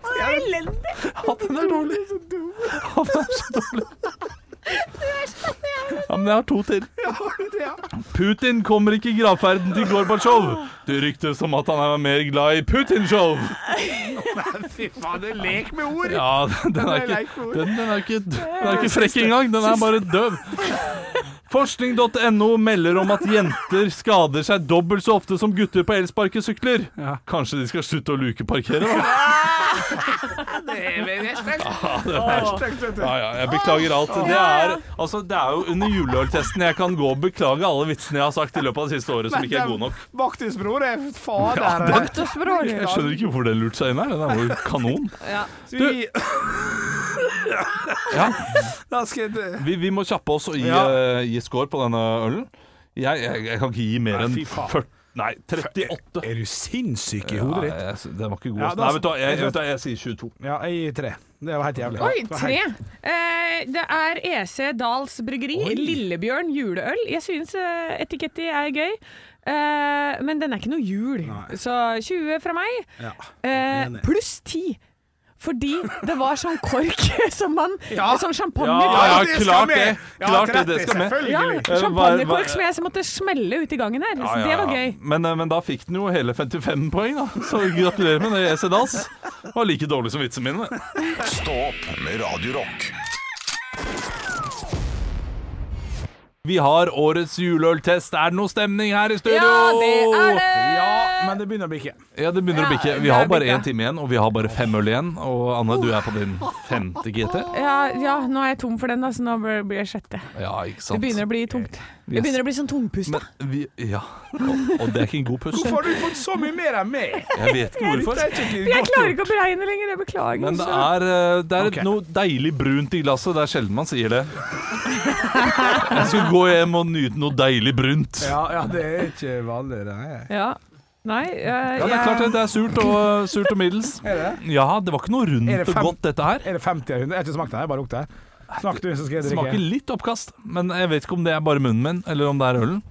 [SPEAKER 2] Det er elendig. Ja, den er dårlig. Ja, den er så dårlig. Ja, men jeg har to til. Putin kommer ikke i gravferden til Gorbatsjov. Det ryktes om at han er mer glad i Putin-show.
[SPEAKER 8] Fy faen, det er lek med ord.
[SPEAKER 2] Ja, den er ikke, den, den er ikke, den er ikke frekk engang. Den er bare døv. Forskning.no melder om at jenter skader seg dobbelt så ofte som gutter på elsparkesykler. Kanskje de skal slutte å lukeparkere, da? Ja, ja, jeg beklager alt. Det er, altså, det er jo under juleøltesten jeg kan gå og beklage alle vitsene jeg har sagt i løpet av det siste året som ikke er gode nok.
[SPEAKER 8] Baktusbror er fader.
[SPEAKER 2] Ja, den,
[SPEAKER 3] Østersbror.
[SPEAKER 2] jeg skjønner ikke hvorfor den lurte seg inn her. Den er jo kanon.
[SPEAKER 8] Vi-
[SPEAKER 2] Ja,
[SPEAKER 8] Da skal jeg
[SPEAKER 2] Vi, vi må kjappe oss og gi,
[SPEAKER 8] Ja.
[SPEAKER 2] eh, gi score på denne ølen. Jeg, jeg, jeg kan ikke gi mer enn
[SPEAKER 8] fy faen.
[SPEAKER 2] 40 Nei, 38.
[SPEAKER 4] Er du sinnssyk i
[SPEAKER 2] Nei,
[SPEAKER 4] hodet ditt?
[SPEAKER 2] jeg, den var ikke god.
[SPEAKER 4] Ja, det er
[SPEAKER 2] Nei, vet du hva, jeg,
[SPEAKER 4] altså-
[SPEAKER 2] vet du hva, jeg sier 22.
[SPEAKER 4] Ja, jeg gir tre. Det var helt jævlig.
[SPEAKER 3] Oi,
[SPEAKER 4] Det var
[SPEAKER 3] tre!
[SPEAKER 4] helt-
[SPEAKER 3] Eh, det er EC Dals Bryggeri, Lillebjørn juleøl. Jeg syns eh, etiketti er gøy, eh, men den er ikke noe jul. Så 20 fra meg,
[SPEAKER 4] Ja.
[SPEAKER 3] eh,
[SPEAKER 4] enig.
[SPEAKER 3] pluss 10. Fordi det var sånn kork <laughs> som man Sånn champagne.
[SPEAKER 2] Ja, ja,
[SPEAKER 4] det skal
[SPEAKER 2] klart
[SPEAKER 4] med.
[SPEAKER 2] det.
[SPEAKER 4] Ja,
[SPEAKER 2] Klart det,
[SPEAKER 4] 30,
[SPEAKER 2] det skal med.
[SPEAKER 3] Ja,
[SPEAKER 4] selvfølgelig.
[SPEAKER 2] Hva-
[SPEAKER 3] Champagnekork
[SPEAKER 2] hva-
[SPEAKER 3] som jeg måtte smelle ute i gangen her.
[SPEAKER 2] Ja,
[SPEAKER 3] Så
[SPEAKER 2] ja,
[SPEAKER 3] det var
[SPEAKER 2] ja.
[SPEAKER 3] gøy.
[SPEAKER 2] Men, eh, men da fikk den jo hele 55 poeng, da. Så gratulerer med det, EC Dass. Var like dårlig som vitsene mine.
[SPEAKER 1] Stå opp med Radio Rock.
[SPEAKER 2] Vi har årets juleøltest. Er det noe stemning her i studio?
[SPEAKER 3] Ja, det er det!
[SPEAKER 4] Ja, men det begynner å bikke.
[SPEAKER 2] Ja, det begynner å
[SPEAKER 3] Ja,
[SPEAKER 2] bikke.
[SPEAKER 3] det
[SPEAKER 2] Vi har
[SPEAKER 3] er
[SPEAKER 2] bare
[SPEAKER 3] bikka.
[SPEAKER 2] én time igjen, og vi har bare fem øl igjen. Og Anne, du er på din femte GT.
[SPEAKER 3] Ja, ja, nå er jeg tom for den, da, så nå blir blir jeg sjette.
[SPEAKER 2] Ja, ikke sant.
[SPEAKER 3] Det begynner å bli tungt. Det begynner å bli sånn tungpusta.
[SPEAKER 2] Men vi, ja, og, og det er ikke en god pust.
[SPEAKER 4] Hvorfor har du fått så mye mer enn meg?
[SPEAKER 2] Jeg vet ikke hvorfor.
[SPEAKER 3] Jeg klarer ikke å beregne lenger, jeg beklager. altså.
[SPEAKER 2] Men det
[SPEAKER 3] så-
[SPEAKER 2] er, eh, det er
[SPEAKER 4] Ok.
[SPEAKER 2] noe deilig brunt i glasset. Det er sjelden man sier det. Jeg skal gå hjem og nyte noe deilig brunt.
[SPEAKER 4] Ja, ja, det er ikke vanlig. Det er.
[SPEAKER 3] Ja. Nei, eh,
[SPEAKER 2] Ja, det er klart det. Det er surt og, surt og middels. Ja, det var ikke noe
[SPEAKER 4] Er
[SPEAKER 2] rundt
[SPEAKER 4] det
[SPEAKER 2] og
[SPEAKER 4] fem-
[SPEAKER 2] godt, dette her.
[SPEAKER 4] er det 50 av 100? Jeg har ikke smakt det, jeg bare lukter det. Snakk du, så skal jeg
[SPEAKER 2] Det
[SPEAKER 4] drikke.
[SPEAKER 2] smaker litt oppkast, men jeg vet ikke om det er bare munnen min, eller om det er ølen.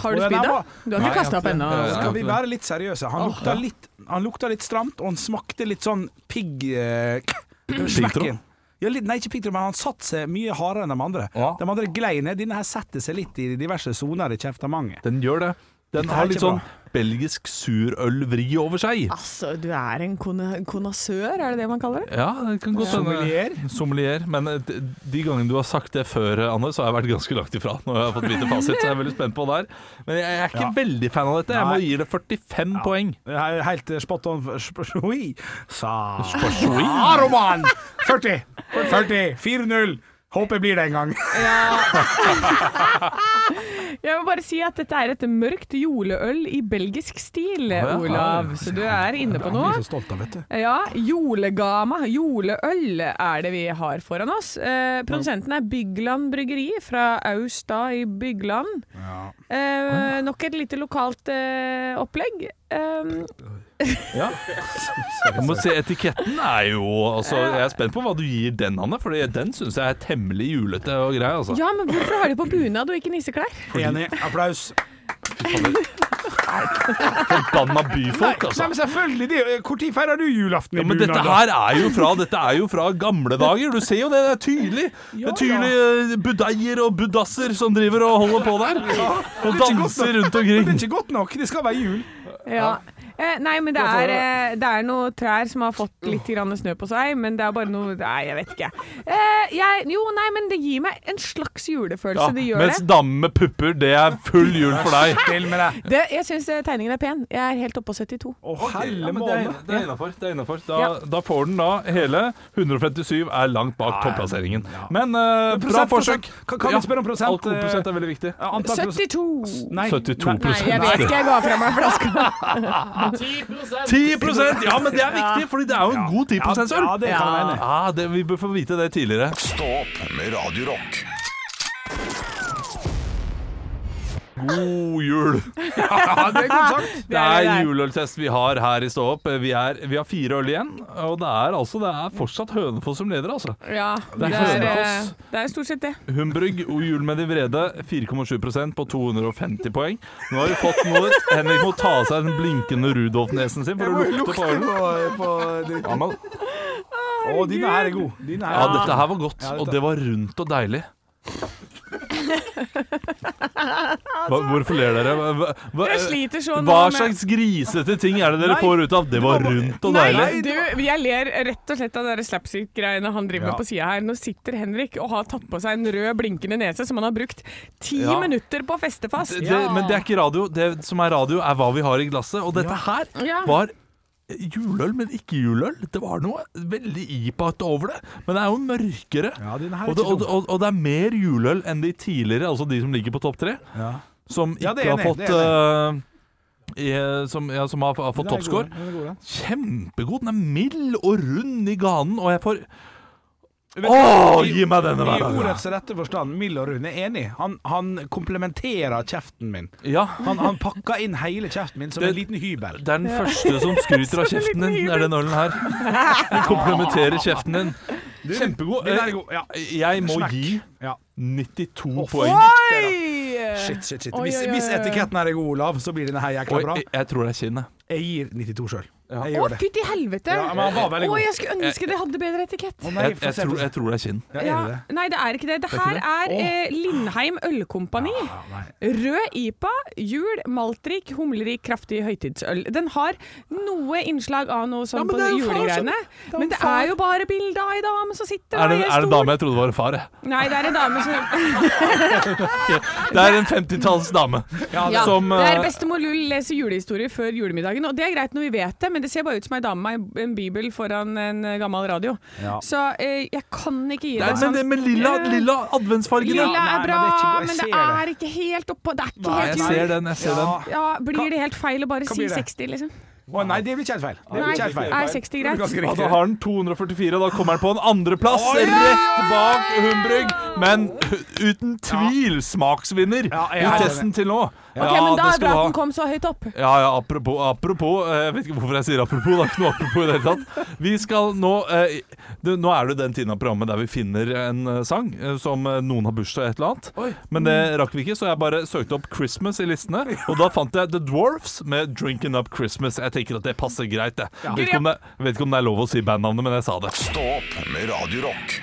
[SPEAKER 3] Har du
[SPEAKER 4] Og den er
[SPEAKER 3] spydd, da?
[SPEAKER 4] bra.
[SPEAKER 3] Du har
[SPEAKER 2] Nei,
[SPEAKER 3] ikke kasta opp
[SPEAKER 2] jeg
[SPEAKER 3] ennå?
[SPEAKER 2] har ikke det.
[SPEAKER 3] altså.
[SPEAKER 4] Skal vi være litt seriøse? Han lukta litt, han lukta litt stramt, og han smakte litt sånn pigg... eh, smekken. Ja, litt, nei, ikke piggtråd, men han satte seg mye hardere enn de andre.
[SPEAKER 2] Ja.
[SPEAKER 4] De andre glei ned. Denne her setter seg litt i diverse soner i kjeftemanget.
[SPEAKER 2] Den gjør det. Den
[SPEAKER 4] Dette er
[SPEAKER 2] har litt
[SPEAKER 4] ikke
[SPEAKER 2] sånn belgisk surølvri over seg.
[SPEAKER 4] Ah.
[SPEAKER 3] Altså, du er en kone- konnassør, er det det man kaller det?
[SPEAKER 2] Ja, det kan godt hende.
[SPEAKER 4] Sommelier?
[SPEAKER 2] Sommelier. Men eh, de de gangene du har sagt det før, eh, Anne, så har jeg vært ganske langt ifra. Når jeg har fått vite fasit, så jeg er veldig spent på det her. Men jeg er ikke
[SPEAKER 4] Ja.
[SPEAKER 2] veldig fan av dette. Jeg må
[SPEAKER 4] Nei.
[SPEAKER 2] gi det 45 poeng.
[SPEAKER 4] Helt eh, spot on sp- Oi! Sa
[SPEAKER 2] Porsjoin.
[SPEAKER 4] Ja, Roman! 40! 40! 4-0! Håper jeg blir det en gang.
[SPEAKER 3] Jeg må bare si at dette er et mørkt juleøl i belgisk stil,
[SPEAKER 2] ja.
[SPEAKER 3] Olav. Så du er inne på noe.
[SPEAKER 4] stolt av, vet du.
[SPEAKER 3] Ja, julegama, juleøl er det vi har foran oss. Eh, produsenten er Bygland bryggeri fra Austad i Bygland. Eh, nok et lite lokalt eh, opplegg. Eh,
[SPEAKER 2] Ja. Jeg må se, etiketten er jo altså, Jeg er spent på hva du gir den, Anne, for den syns jeg er temmelig julete og grei. Altså.
[SPEAKER 3] ja, men hvorfor har de på bunad og ikke nisseklær?
[SPEAKER 4] Enig. Applaus.
[SPEAKER 2] Forbanna byfolk,
[SPEAKER 4] Nei,
[SPEAKER 2] altså.
[SPEAKER 4] men selvfølgelig! Det, er jo- hvor tid feirer du julaften i
[SPEAKER 2] Ja, men dette
[SPEAKER 4] bunad, da?
[SPEAKER 2] her er jo fra, dette er jo fra gamle dager. Du ser jo det, det er tydelig. Det er tydelig eh, budeier og budasser som driver og holder på der. Og danser rundt
[SPEAKER 4] Men det
[SPEAKER 2] omkring.
[SPEAKER 4] er ikke godt nok. Det skal være jul.
[SPEAKER 3] Ja. Eh, nei, men det er, eh, det er noen trær som har fått litt grann snø på seg, men det er bare noe Nei, jeg vet ikke. Eh, jeg, jo, nei, men det gir meg en slags julefølelse.
[SPEAKER 2] Ja,
[SPEAKER 3] det gjør
[SPEAKER 2] mens
[SPEAKER 3] det.
[SPEAKER 2] damer med pupper, det er full jul for deg.
[SPEAKER 4] Til med deg.
[SPEAKER 3] det. Jeg syns tegningen er pen. Jeg er helt oppå 72.
[SPEAKER 4] Å, helle måne.
[SPEAKER 2] det er innafor. Da,
[SPEAKER 3] Ja.
[SPEAKER 2] da får den da hele. 157 er langt bak topplasseringen. Men eh, bra
[SPEAKER 4] Prosent,
[SPEAKER 2] forsøk.
[SPEAKER 4] prosent. Kan- kan vi spørre om prosent? eh,
[SPEAKER 2] Alkoholprosent er veldig viktig.
[SPEAKER 4] Ja, antall pros-
[SPEAKER 3] 72!
[SPEAKER 4] Nei.
[SPEAKER 2] 72
[SPEAKER 3] Nei, jeg vet ikke. Jeg ga fra meg flaska.
[SPEAKER 2] 10 Ja, men det er viktig, Fordi det er jo en god 10 %-øl.
[SPEAKER 4] Ja, det kan jeg mene.
[SPEAKER 2] Ah, det, vi bør få vite det tidligere.
[SPEAKER 1] Stå opp med Radio Rock.
[SPEAKER 2] God jul!
[SPEAKER 4] Ja, det er godt sagt.
[SPEAKER 2] Det
[SPEAKER 3] det
[SPEAKER 2] er
[SPEAKER 3] er.
[SPEAKER 2] juleøltest vi har her i Stå opp. Vi, er, vi har fire øl igjen, og det er, altså, det er fortsatt Hønefoss som leder, altså.
[SPEAKER 3] Ja,
[SPEAKER 2] Det
[SPEAKER 3] det
[SPEAKER 2] er
[SPEAKER 3] er, eh,
[SPEAKER 2] Hønefoss.
[SPEAKER 3] det er stort sett det.
[SPEAKER 2] Humbrygg og Jul med de vrede, 4,7 på 250 poeng. Nå har vi fått noe. Henrik må ta av seg den blinkende Rudolf-nesen sin for å lukte på ølen. Ja, men,
[SPEAKER 4] Å, dine her er gode. Dine her
[SPEAKER 2] ja,
[SPEAKER 4] er gode.
[SPEAKER 2] dette her var godt,
[SPEAKER 4] dette-
[SPEAKER 2] og det var rundt og deilig.
[SPEAKER 3] <laughs>
[SPEAKER 2] Hva, hvorfor ler dere? Hva, hva,
[SPEAKER 3] Jeg sliter så
[SPEAKER 2] Eh,
[SPEAKER 3] nå
[SPEAKER 2] hva
[SPEAKER 3] med-
[SPEAKER 2] slags grisete ting er det dere får ut av 'det var rundt og deilig'?
[SPEAKER 3] Nei, du, jeg ler rett og slett av de slapstick-greiene han driver
[SPEAKER 4] Ja.
[SPEAKER 3] med på sida her. Nå sitter Henrik og har tatt på seg en rød blinkende nese som han har brukt ti
[SPEAKER 2] Ja.
[SPEAKER 3] minutter på å feste fast.
[SPEAKER 2] det, men det er ikke radio. Det som er radio, er hva vi har i glasset. Og dette her
[SPEAKER 3] Ja.
[SPEAKER 2] var juleøl, men ikke juleøl. Det var noe veldig IPA-ete over det. Men det er jo mørkere.
[SPEAKER 4] Ja, den her er
[SPEAKER 2] og, det,
[SPEAKER 4] ikke
[SPEAKER 2] og,
[SPEAKER 4] dum.
[SPEAKER 2] og, og det er mer juleøl enn de tidligere, altså de som ligger på topp tre,
[SPEAKER 4] Ja.
[SPEAKER 2] som ikke
[SPEAKER 4] Ja, det er
[SPEAKER 2] har
[SPEAKER 4] enig,
[SPEAKER 2] fått
[SPEAKER 4] det er
[SPEAKER 2] eh, i- som, ja, som har, har fått
[SPEAKER 4] Den er god,
[SPEAKER 2] toppscore.
[SPEAKER 4] den er god, den.
[SPEAKER 2] Kjempegod. Den er mild og rund i ganen, og jeg får
[SPEAKER 4] Vet du,
[SPEAKER 2] Åh,
[SPEAKER 4] i-
[SPEAKER 2] gi meg denne
[SPEAKER 4] I
[SPEAKER 2] hver dag.
[SPEAKER 4] ordets rette forstand, Mild og Rune er enig. Han, han komplementerer kjeften min.
[SPEAKER 2] Ja.
[SPEAKER 4] Han, han pakker inn hele kjeften min som
[SPEAKER 2] Det-
[SPEAKER 4] en liten hybel.
[SPEAKER 2] Det er den første som skryter av kjeften din, er den ølen her. Den komplementerer kjeften din. Kjempegod.
[SPEAKER 4] Den er god. Ja.
[SPEAKER 2] eh, Jeg må
[SPEAKER 4] Smack.
[SPEAKER 2] gi
[SPEAKER 4] Ja.
[SPEAKER 2] 92
[SPEAKER 3] Oi!
[SPEAKER 2] poeng.
[SPEAKER 4] Shit, shit, shit.
[SPEAKER 3] Oi,
[SPEAKER 4] Hvis,
[SPEAKER 3] oi, oi,
[SPEAKER 4] hvis
[SPEAKER 3] oi.
[SPEAKER 4] etiketten her er god, Olav, så blir denne her
[SPEAKER 2] Oi,
[SPEAKER 4] jækla bra.
[SPEAKER 2] jeg, jeg tror det er kinnet.
[SPEAKER 4] Jeg gir 92 sjøl. Jeg
[SPEAKER 3] Å,
[SPEAKER 4] gjør det.
[SPEAKER 3] fytti helvete!
[SPEAKER 4] Ja, men han var veldig
[SPEAKER 3] Å,
[SPEAKER 4] god.
[SPEAKER 3] jeg skulle ønske de hadde bedre etikett.
[SPEAKER 4] Å, nei,
[SPEAKER 2] Jeg,
[SPEAKER 4] få
[SPEAKER 2] jeg,
[SPEAKER 4] se, få
[SPEAKER 2] tror,
[SPEAKER 4] se.
[SPEAKER 2] jeg tror det er kinn.
[SPEAKER 4] Ja,
[SPEAKER 3] Ja,
[SPEAKER 4] er det det?
[SPEAKER 3] nei, det er ikke det. Det her er eh, Lindheim Ølkompani. Rød IPA, jul, maltrik, humlerik, kraftig høytidsøl. Den har noe innslag av noe sånn på julegreiene. Men det er jo bare bilde av ei dame som sitter
[SPEAKER 2] Er det,
[SPEAKER 3] der i en
[SPEAKER 2] er det
[SPEAKER 3] stol.
[SPEAKER 2] dame jeg trodde var far? jeg?
[SPEAKER 3] Nei, det er en dame som
[SPEAKER 2] Det er en 50-talls dame.
[SPEAKER 3] ja,
[SPEAKER 2] som,
[SPEAKER 3] Det er
[SPEAKER 2] eh,
[SPEAKER 3] bestemor Lull leser julehistorier før julemiddagen, og det er greit når vi vet det, men det ser bare ut som ei dame med en bibel foran en eh, gammel radio.
[SPEAKER 4] Ja.
[SPEAKER 3] Så eh, jeg kan ikke gi
[SPEAKER 2] Nei,
[SPEAKER 3] deg
[SPEAKER 2] men, det-
[SPEAKER 3] sånn.
[SPEAKER 2] men lilla, lilla adventsfargen
[SPEAKER 3] Lilla
[SPEAKER 2] da.
[SPEAKER 4] nei,
[SPEAKER 3] er
[SPEAKER 4] men
[SPEAKER 3] bra,
[SPEAKER 4] det er ikke- jeg
[SPEAKER 3] men det
[SPEAKER 4] ser
[SPEAKER 3] er ikke helt oppå Det er ikke
[SPEAKER 4] Nei,
[SPEAKER 2] Jeg
[SPEAKER 3] helt jul.
[SPEAKER 2] ser den. jeg ser den
[SPEAKER 3] Ja, blir det helt feil å bare
[SPEAKER 4] Hva
[SPEAKER 3] si
[SPEAKER 4] blir det?
[SPEAKER 3] 60, liksom?
[SPEAKER 4] Å nei, det blir ikke helt feil. Det blir
[SPEAKER 3] Nei,
[SPEAKER 4] ikke helt feil.
[SPEAKER 3] er 60 greit?
[SPEAKER 9] Ganske
[SPEAKER 2] Ja, da
[SPEAKER 9] riktig.
[SPEAKER 2] har den 244, og da kommer den på en andreplass, rett bak Humbrygg. Men uten tvil smaksvinner
[SPEAKER 4] Ja,
[SPEAKER 2] i
[SPEAKER 4] jeg er
[SPEAKER 2] testen til nå. Ja,
[SPEAKER 3] Ok, men da
[SPEAKER 2] det
[SPEAKER 3] er
[SPEAKER 2] skal
[SPEAKER 3] bra
[SPEAKER 2] du
[SPEAKER 3] at
[SPEAKER 2] ha.
[SPEAKER 3] den kom så høyt opp.
[SPEAKER 2] Ja, ja, apropos, apropos eh, Jeg vet ikke hvorfor jeg sier apropos, det er ikke noe apropos i det hele tatt. Vi skal nå eh, det, Nå er det jo den tiden av programmet der vi finner en eh, sang eh, som eh, noen har bursdag et eller annet. Men det rakk vi ikke, så jeg bare søkte opp 'Christmas' i listene. Og da fant jeg The Dwarfs med 'Drinking Up Christmas'. Jeg tenker at det passer greit, det. Vet, ikke om det vet ikke om det er lov å si bandnavnet, men jeg sa det.
[SPEAKER 1] Stå opp med Radio Rock.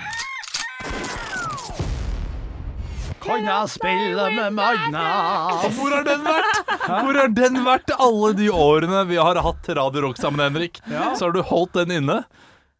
[SPEAKER 10] Kan jeg spille med Magna?
[SPEAKER 2] Hvor har den vært? Hvor har den vært alle de årene vi har hatt Radio Rock sammen, Henrik? Så har du holdt den inne.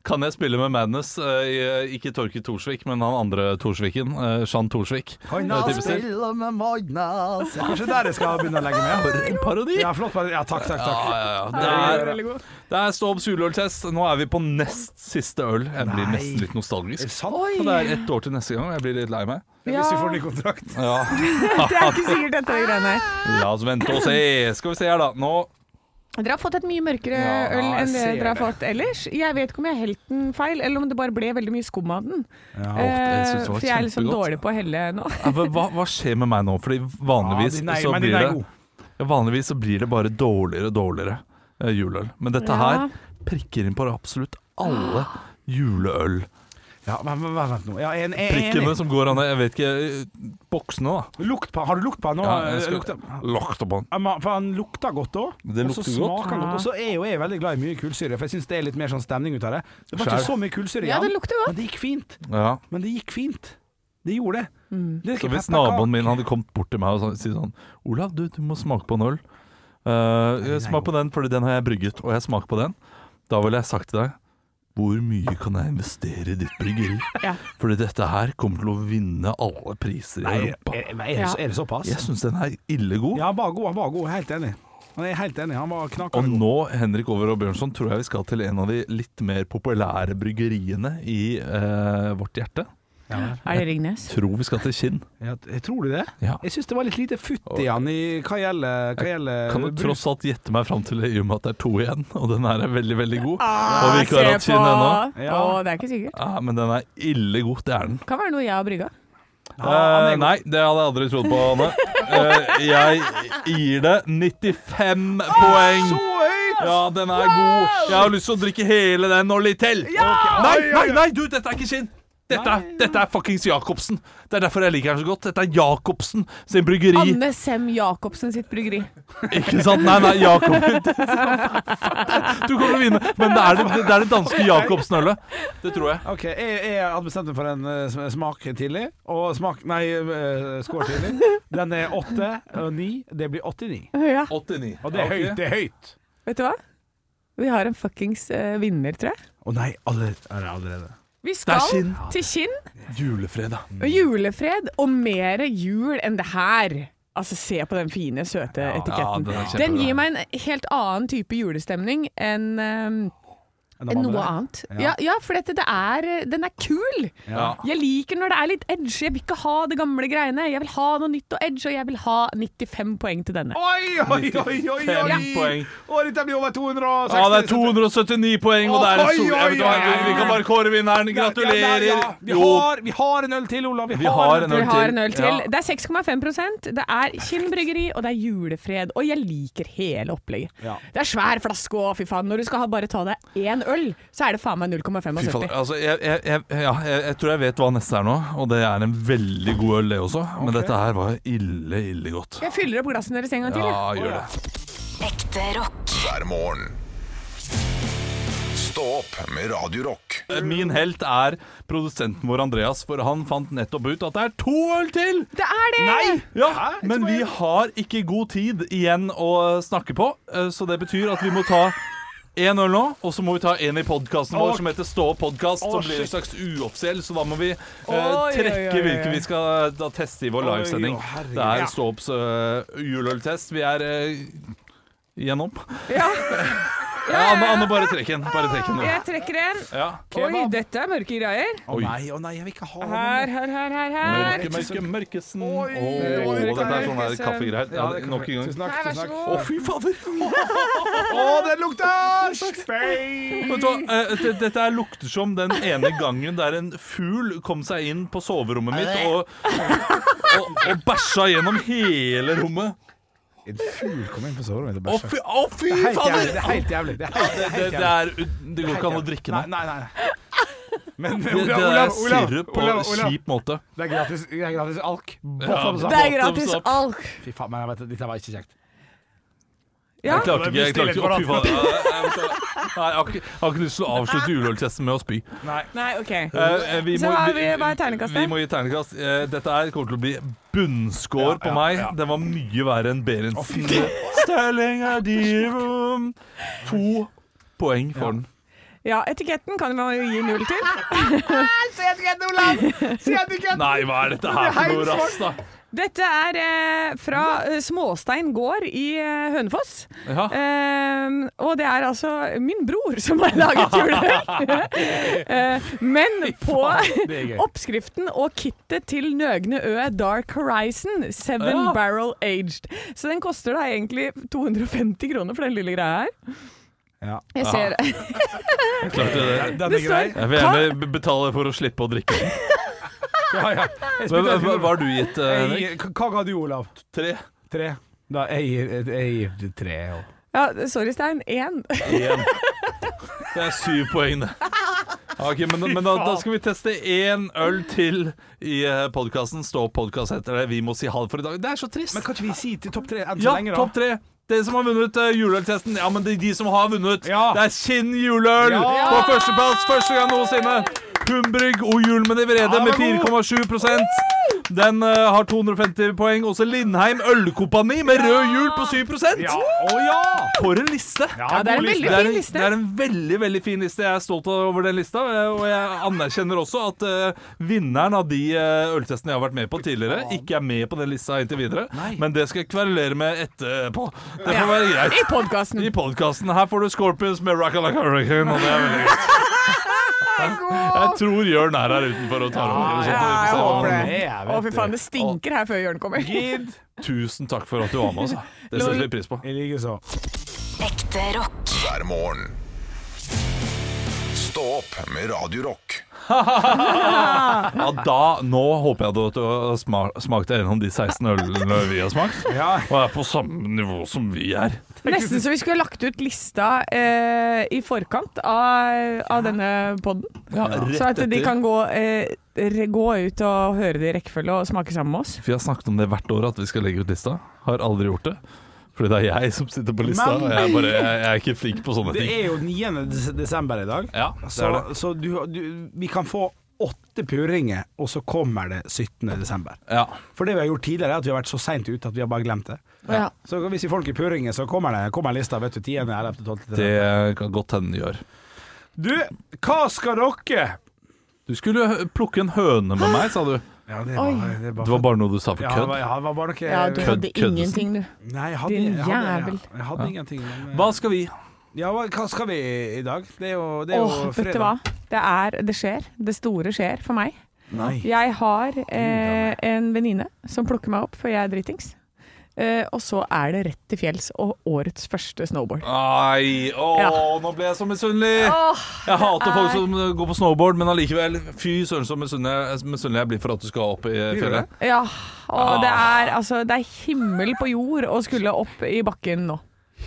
[SPEAKER 2] Kan jeg spille med Madness? eh, i- ikke Torkid Thorsvik, men han andre Thorsviken. eh, Jean Thorsvik. eh,
[SPEAKER 4] Kan
[SPEAKER 2] Det er
[SPEAKER 4] jeg
[SPEAKER 2] typisk.
[SPEAKER 4] spille med Magnas? Kanskje der jeg skal begynne å legge meg.
[SPEAKER 2] For en parodi!
[SPEAKER 4] Ja, flott. parodi. Ja, takk, takk, takk.
[SPEAKER 2] Ja, ja, ja. Det, er, det er stå opp surøltest. Nå er vi på nest siste øl. Jeg blir
[SPEAKER 4] Nei.
[SPEAKER 2] nesten litt nostalgisk.
[SPEAKER 4] sant?
[SPEAKER 2] For det er ett år til neste gang, og jeg blir litt lei meg.
[SPEAKER 3] Ja,
[SPEAKER 4] Hvis vi får ny kontrakt.
[SPEAKER 2] Ja,
[SPEAKER 3] det er ikke sikkert dette er greiene her.
[SPEAKER 2] La oss vente og se. Skal vi se her, da. Nå
[SPEAKER 3] Dere har fått et mye mørkere
[SPEAKER 4] Ja,
[SPEAKER 3] øl
[SPEAKER 4] jeg
[SPEAKER 3] enn det
[SPEAKER 4] ser
[SPEAKER 3] dere har
[SPEAKER 4] det.
[SPEAKER 3] fått ellers. Jeg vet ikke om jeg helt den feil, eller om det bare ble veldig mye skum av den.
[SPEAKER 2] jeg synes
[SPEAKER 3] Eh,
[SPEAKER 2] det var
[SPEAKER 3] for jeg er liksom
[SPEAKER 2] kjempegodt.
[SPEAKER 3] dårlig på å helle nå.
[SPEAKER 2] Ja, hva, hva- hva skjer med meg nå? Fordi vanligvis
[SPEAKER 4] Ja, din er-
[SPEAKER 2] så
[SPEAKER 4] men din
[SPEAKER 2] blir
[SPEAKER 4] er
[SPEAKER 2] det
[SPEAKER 4] god.
[SPEAKER 2] ja, Vanligvis så blir det bare dårligere og dårligere eh, juleøl. Men dette
[SPEAKER 3] Ja.
[SPEAKER 2] her prikker inn på absolutt alle juleølprikkene
[SPEAKER 4] Ja, men, men, men, vent nå. Ja, jeg er jeg er enig.
[SPEAKER 2] som går an Jeg vet ikke eh, Boksene, da.
[SPEAKER 4] Lukt på, har du lukt på den nå?
[SPEAKER 2] Ja, jeg skal-
[SPEAKER 4] eh, Lukter-
[SPEAKER 2] Lukter på den.
[SPEAKER 4] Ja, men- For han lukter godt òg.
[SPEAKER 2] Det
[SPEAKER 4] Og så
[SPEAKER 2] lukter godt.
[SPEAKER 4] smaker han godt. Og så er jo jeg veldig glad i mye kullsyre, for jeg syns det er litt mer sånn stemning ut av det. Det var ikke
[SPEAKER 2] Skjær.
[SPEAKER 4] så mye
[SPEAKER 3] <laughs>
[SPEAKER 4] kullsyre
[SPEAKER 3] Ja,
[SPEAKER 4] igjen,
[SPEAKER 3] det lukter godt.
[SPEAKER 4] men det gikk fint.
[SPEAKER 2] Ja.
[SPEAKER 4] Men det gikk fint. Det gjorde det.
[SPEAKER 3] Mm.
[SPEAKER 4] det er
[SPEAKER 2] Så
[SPEAKER 4] ikke
[SPEAKER 2] hvis
[SPEAKER 4] pepperkake.
[SPEAKER 2] naboen min hadde kommet bort til meg og sa- si sånn Olav, du, du må smake på en øl. Eh, smak på den, fordi den har jeg brygget, og jeg smaker på den. Da ville jeg sagt til deg hvor mye kan jeg investere i ditt bryggeri?
[SPEAKER 3] Ja.
[SPEAKER 2] Fordi dette her kommer til å vinne alle priser i
[SPEAKER 4] Nei,
[SPEAKER 2] Europa.
[SPEAKER 4] er, men er, det,
[SPEAKER 3] Ja.
[SPEAKER 4] så- er det såpass?
[SPEAKER 2] Jeg syns den er ille god.
[SPEAKER 4] Ja, han var god, han var god. Jeg er helt enig. Han er helt enig. Han var
[SPEAKER 2] Og
[SPEAKER 4] knakende
[SPEAKER 2] nå,
[SPEAKER 4] god.
[SPEAKER 2] Henrik Over og Bjørnson, tror jeg vi skal til en av de litt mer populære bryggeriene i eh, vårt hjerte.
[SPEAKER 3] Er det Ringnes?
[SPEAKER 2] Tror vi skal til Kinn.
[SPEAKER 4] Ja, jeg tror du det?
[SPEAKER 2] Ja.
[SPEAKER 4] Jeg syns det var litt lite futt i han i hva gjelder, hva gjelder
[SPEAKER 2] Kan du
[SPEAKER 4] brus.
[SPEAKER 2] tross alt gjette meg fram til det, i og med at det er to igjen, og den her er veldig, veldig god.
[SPEAKER 3] Ah,
[SPEAKER 2] og vi ikke har hatt
[SPEAKER 3] se
[SPEAKER 2] Kinn ennå.
[SPEAKER 3] på!
[SPEAKER 4] Ja.
[SPEAKER 3] Å, det er ikke sikkert.
[SPEAKER 2] Ja, men den er ille god, det er den.
[SPEAKER 3] Kan være noe jeg har brygga.
[SPEAKER 2] Eh,
[SPEAKER 4] Ja, han er god.
[SPEAKER 2] nei, det hadde jeg aldri trodd på, Anne. Eh, jeg gir det 95 poeng. Ja, den er god. Jeg har lyst til å drikke hele den og litt til. Nei, nei, nei, du, dette er ikke skinn. Dette, er- dette er fuckings Jacobsen. Det er derfor jeg liker den så godt. Dette er Jacobsen sin bryggeri.
[SPEAKER 3] Anne Sem Jacobsen sitt bryggeri.
[SPEAKER 2] Ikke sant? Nei, nei, Jakob Du kommer til å vinne. Men det er det, det, er det danske Jacobsen-ølet. Det tror jeg.
[SPEAKER 4] Ok, jeg, jeg hadde bestemt meg for en eh, sm- smak tidlig, og smak Nei, eh, skål tidlig. Den er åtte og ni. Det blir 89.
[SPEAKER 3] Ja.
[SPEAKER 2] 89.
[SPEAKER 4] Og det er høyt. Det er høyt.
[SPEAKER 3] Vet du hva? Vi har en fuckings eh, vinner, tror jeg.
[SPEAKER 4] Å nei, alle, er det allerede.
[SPEAKER 3] Vi
[SPEAKER 2] Det
[SPEAKER 3] skal
[SPEAKER 2] er skinn.
[SPEAKER 3] til Kinn
[SPEAKER 2] Julefredag.
[SPEAKER 3] og julefred og mer jul enn det her. Altså, se på den fine, søte etiketten.
[SPEAKER 2] den er kjempebra.
[SPEAKER 3] den gir meg en helt annen type julestemning enn um,
[SPEAKER 8] de andre.
[SPEAKER 3] Noe annet. Ja, ja for dette, det er, den er kul!
[SPEAKER 8] Ja.
[SPEAKER 3] Jeg liker når det er litt edge. Jeg vil ikke ha det gamle greiene. Jeg vil ha noe nytt og edge, og jeg vil ha 95 poeng til denne.
[SPEAKER 11] Oi, oi, oi, oi! oi.
[SPEAKER 2] Fem poeng.
[SPEAKER 11] Å, dette blir over 260.
[SPEAKER 2] Ja, det er 279 poeng, og det er en
[SPEAKER 11] Oi,
[SPEAKER 2] sol.
[SPEAKER 11] oi,
[SPEAKER 2] Jeg vet hva,
[SPEAKER 11] oi, oi.
[SPEAKER 2] Vi kan bare kåre
[SPEAKER 8] Ja, ja,
[SPEAKER 2] vinneren.
[SPEAKER 8] ja.
[SPEAKER 2] Gratulerer.
[SPEAKER 8] Vi,
[SPEAKER 2] Jo,
[SPEAKER 8] har, vi har en øl til, Olav. Vi,
[SPEAKER 2] vi har en
[SPEAKER 3] Vi
[SPEAKER 2] øl
[SPEAKER 3] har en
[SPEAKER 2] til.
[SPEAKER 3] øl til.
[SPEAKER 2] Ja.
[SPEAKER 3] Det er 6,5 Det er Kinn bryggeri, og det er julefred. Og jeg liker hele opplegget.
[SPEAKER 8] Ja.
[SPEAKER 3] Det er svær flaske og fy faen. Når du skal ha, bare ta deg én øl, så er det faen meg
[SPEAKER 2] Fy faen,
[SPEAKER 3] 0,75.
[SPEAKER 2] altså, jeg, jeg, jeg, ja, jeg, jeg tror jeg vet hva neste er nå, og det er en veldig god øl, det også. Men dette her var ille, ille godt.
[SPEAKER 3] Jeg fyller opp glassene deres en gang til.
[SPEAKER 2] Ja,
[SPEAKER 3] jeg.
[SPEAKER 2] gjør det.
[SPEAKER 5] Ekte rock.
[SPEAKER 1] hver morgen. Stå opp med Radio Rock.
[SPEAKER 2] Min helt er produsenten vår Andreas, for han fant nettopp ut at det er to øl til!
[SPEAKER 3] Det er det!
[SPEAKER 2] Ja, men vi har ikke god tid igjen å snakke på, eh, så det betyr at vi må ta én øl nå, og så må vi ta en i podkasten vår som heter Stå podkast, som blir en slags uoffisiell, så da må vi eh,
[SPEAKER 3] oi, oi,
[SPEAKER 2] trekke
[SPEAKER 3] oi.
[SPEAKER 2] hvilken vi skal eh, da teste i vår livesending. Det er Stå opps eh, juleøltest. Vi er eh, Igjennom.
[SPEAKER 3] Ja.
[SPEAKER 2] <laughs> Ja, Anne, Anne, bare trekk en. Bare trekk en.
[SPEAKER 3] Jeg trekker en.
[SPEAKER 2] Ja.
[SPEAKER 3] Oi, dette er mørke greier.
[SPEAKER 8] Å nei, å nei, jeg vil ikke ha
[SPEAKER 3] Her, her, her, her. her.
[SPEAKER 2] Mørke, mørke, mørkesen. Åh, dette er sånn der kaffegreier. Ja, det- nok en gang.
[SPEAKER 3] Nei, vær så
[SPEAKER 2] Å,
[SPEAKER 3] god.
[SPEAKER 2] fy fader!
[SPEAKER 11] Å, den lukter speil!
[SPEAKER 2] Vet du hva, eh, d- Dette her lukter som den ene gangen der en fugl kom seg inn på soverommet mitt og, og, og bæsja gjennom hele rommet.
[SPEAKER 11] En fugl kom inn på soverommet og
[SPEAKER 2] Å, fy, å, fy
[SPEAKER 11] Helt jævlig,
[SPEAKER 2] fader!
[SPEAKER 11] det er helt jævlig. Det er helt, det er
[SPEAKER 2] Det, det,
[SPEAKER 11] helt
[SPEAKER 2] det,
[SPEAKER 11] jævlig.
[SPEAKER 2] er, det går ikke an å drikke nå.
[SPEAKER 11] Nei, nei,
[SPEAKER 4] <laughs>
[SPEAKER 11] nei. Men
[SPEAKER 2] Det, det
[SPEAKER 11] Olav,
[SPEAKER 2] er
[SPEAKER 11] Olav, Olav,
[SPEAKER 2] sirup på
[SPEAKER 11] Olav, Olav.
[SPEAKER 2] kjip måte.
[SPEAKER 11] Det er gratis, det er gratis alk. Boff
[SPEAKER 2] Ja.
[SPEAKER 11] opp
[SPEAKER 3] Det
[SPEAKER 11] sammen.
[SPEAKER 3] er gratis alk.
[SPEAKER 11] Fy faen, men jeg vet, dette var ikke kjekt.
[SPEAKER 3] Ja.
[SPEAKER 2] Jeg klarte ikke. jeg klarte ikke, Å, fy
[SPEAKER 11] Still
[SPEAKER 2] fader. Nei, jeg- jeg- Nei, jeg har ikke, jeg har ikke lyst til å avslutte juleøltesten med å spy.
[SPEAKER 3] Nei, OK.
[SPEAKER 2] Eh, eh, vi
[SPEAKER 3] Så
[SPEAKER 2] må-
[SPEAKER 3] hva er vi- hva er terningkastet?
[SPEAKER 2] Vi må gi terningkast. Eh, Dette her kommer til å bli bunnscore på meg. Den var mye verre enn Berentsen. <laughs> Sterling er de room. To poeng for den.
[SPEAKER 3] Ja, etiketten kan man jo gi null til.
[SPEAKER 2] Nei, hva er dette her for noe rass, da?
[SPEAKER 3] Dette er eh, fra eh, Småstein gård i eh, Hønefoss.
[SPEAKER 2] Ja.
[SPEAKER 3] <laughs> Ehm, og det er altså min bror som har laget juleøl. Eh, men på oppskriften og kittet til Nøgne Ø Dark Horizon, Seven
[SPEAKER 2] Ja.
[SPEAKER 3] Barrel Aged. Så den koster da egentlig 250 kroner for den lille greia her.
[SPEAKER 8] Ja.
[SPEAKER 3] Jeg ser
[SPEAKER 2] Klarte det.
[SPEAKER 8] Den
[SPEAKER 3] Det
[SPEAKER 8] er grei.
[SPEAKER 3] står
[SPEAKER 2] Jeg vil gjerne be- betale for å slippe å drikke.
[SPEAKER 8] <laughs> Ja, ja. Jeg
[SPEAKER 2] Hva,
[SPEAKER 8] spytter
[SPEAKER 2] hva,
[SPEAKER 8] ut
[SPEAKER 2] hva
[SPEAKER 8] Olav.
[SPEAKER 2] har du gitt, eh,
[SPEAKER 8] Jeg
[SPEAKER 2] Henrik?
[SPEAKER 8] gir- Hva ga du, Olav?
[SPEAKER 2] Tre?
[SPEAKER 8] Tre?
[SPEAKER 11] Da, jeg gir- jeg gir tre. og-
[SPEAKER 3] Ja, sorry, Stein. Én.
[SPEAKER 2] Én. Det er syv poeng, det. Ja, ok, men men da, da skal vi teste én øl til i podkasten. Stå podkast heter det. Vi må si ha det for i dag. Det er så trist.
[SPEAKER 8] Men kan ikke vi si til topp tre enn så
[SPEAKER 2] Ja,
[SPEAKER 8] lenge, da?
[SPEAKER 2] topp tre. Dere som har vunnet eh, juleøltesten. Ja, men det er de som har vunnet.
[SPEAKER 8] Ja.
[SPEAKER 2] Det er Kinn juleøl på førsteplass første gang noensinne. Humbrygg og jul med de vrede med 4,7 Den eh, har 250 poeng. Også Lindheim Ølkompani med rød hjul på 7
[SPEAKER 8] Ja. Å ja!
[SPEAKER 2] For en liste!
[SPEAKER 3] Ja, det er en
[SPEAKER 2] Det
[SPEAKER 3] veldig
[SPEAKER 2] er,
[SPEAKER 3] fin
[SPEAKER 2] en,
[SPEAKER 3] liste.
[SPEAKER 2] det er en veldig veldig fin liste. Jeg er stolt over den lista. eh, Og jeg anerkjenner også at eh, vinneren av de eh, øltestene jeg har vært med på tidligere, ikke er med på den lista inntil videre. Men det skal jeg kverulere med etterpå. Det får være
[SPEAKER 3] I
[SPEAKER 2] greit.
[SPEAKER 3] podkasten.
[SPEAKER 2] I podkasten her får du Scorpions med Rock Like a Hurricane, og det er veldig
[SPEAKER 3] <laughs>
[SPEAKER 2] greit. Jeg tror Jørn er her utenfor og tar over. Så
[SPEAKER 3] Ja, jeg
[SPEAKER 2] vi får se hva
[SPEAKER 3] håper
[SPEAKER 2] han-
[SPEAKER 3] det. Å, fy faen, det stinker her før Jørn kommer.
[SPEAKER 2] Tusen takk for at du var med, altså. Det setter vi pris på.
[SPEAKER 8] Jeg liker så.
[SPEAKER 5] Ekte rock.
[SPEAKER 1] hver morgen. Stå opp med Radio Rock.
[SPEAKER 2] Ja, da, nå håper jeg at du har sma- smakt deg gjennom de 16 ølene vi har smakt, og er på samme nivå som vi er.
[SPEAKER 3] Nesten så vi skulle lagt ut lista eh, i forkant av, av denne podden.
[SPEAKER 2] Ja, rett
[SPEAKER 3] Så at de
[SPEAKER 2] etter.
[SPEAKER 3] kan gå, eh, re- gå ut og høre det i rekkefølge og smake sammen med oss.
[SPEAKER 2] Vi har snakket om det hvert år at vi skal legge ut lista. Har aldri gjort det. Fordi det er jeg som sitter på lista,
[SPEAKER 8] Men-
[SPEAKER 2] og jeg, er bare, jeg, jeg er ikke flink på sånne
[SPEAKER 8] Det
[SPEAKER 2] ting.
[SPEAKER 8] er jo 9. des- desember i dag.
[SPEAKER 2] Ja, det
[SPEAKER 8] Så,
[SPEAKER 2] er det.
[SPEAKER 8] så du, du, vi kan få åtte purringer, og så kommer det 17. desember.
[SPEAKER 2] Ja.
[SPEAKER 8] For det vi har gjort tidligere, er at vi har vært så seint ute at vi har bare glemt det.
[SPEAKER 3] Ja.
[SPEAKER 8] Så hvis vi folk i purringer, så kommer det kommer lista, vet du. 10., 11., 12.
[SPEAKER 2] Det kan godt hende det gjør.
[SPEAKER 8] Du, hva skal dere?
[SPEAKER 2] Du skulle hø- plukke en høne med meg, sa du.
[SPEAKER 8] Ja, det var, det var,
[SPEAKER 2] Det var bare noe du sa for
[SPEAKER 8] ja, det var,
[SPEAKER 2] kødd.
[SPEAKER 8] ja, det var bare noe
[SPEAKER 3] Ja, du
[SPEAKER 2] Kødd-
[SPEAKER 3] hadde
[SPEAKER 2] køddesen.
[SPEAKER 3] ingenting, du.
[SPEAKER 8] Nei, jeg hadde,
[SPEAKER 3] Din
[SPEAKER 8] jeg hadde, jeg
[SPEAKER 3] jævel.
[SPEAKER 8] hadde, jeg hadde ingenting. Men, eh,
[SPEAKER 2] Hva skal vi?
[SPEAKER 8] Ja, hva hva skal vi i dag? Det er jo, det er
[SPEAKER 3] Åh,
[SPEAKER 8] jo
[SPEAKER 3] vet du hva? Det er Det skjer. Det store skjer for meg.
[SPEAKER 8] Nei.
[SPEAKER 3] Jeg har eh, en venninne som plukker meg opp, for jeg er dritings. Eh, og så er det rett til fjells og årets første snowboard.
[SPEAKER 2] Ai, å,
[SPEAKER 3] Ja.
[SPEAKER 2] nå ble jeg så misunnelig! jeg hater
[SPEAKER 3] det
[SPEAKER 2] folk
[SPEAKER 3] er-
[SPEAKER 2] som går på snowboard, men allikevel, fy søren så misunnelig misunnelig jeg blir for at du skal opp i fjellet.
[SPEAKER 3] Ja, og det er altså Det er himmel på jord å skulle opp i bakken nå.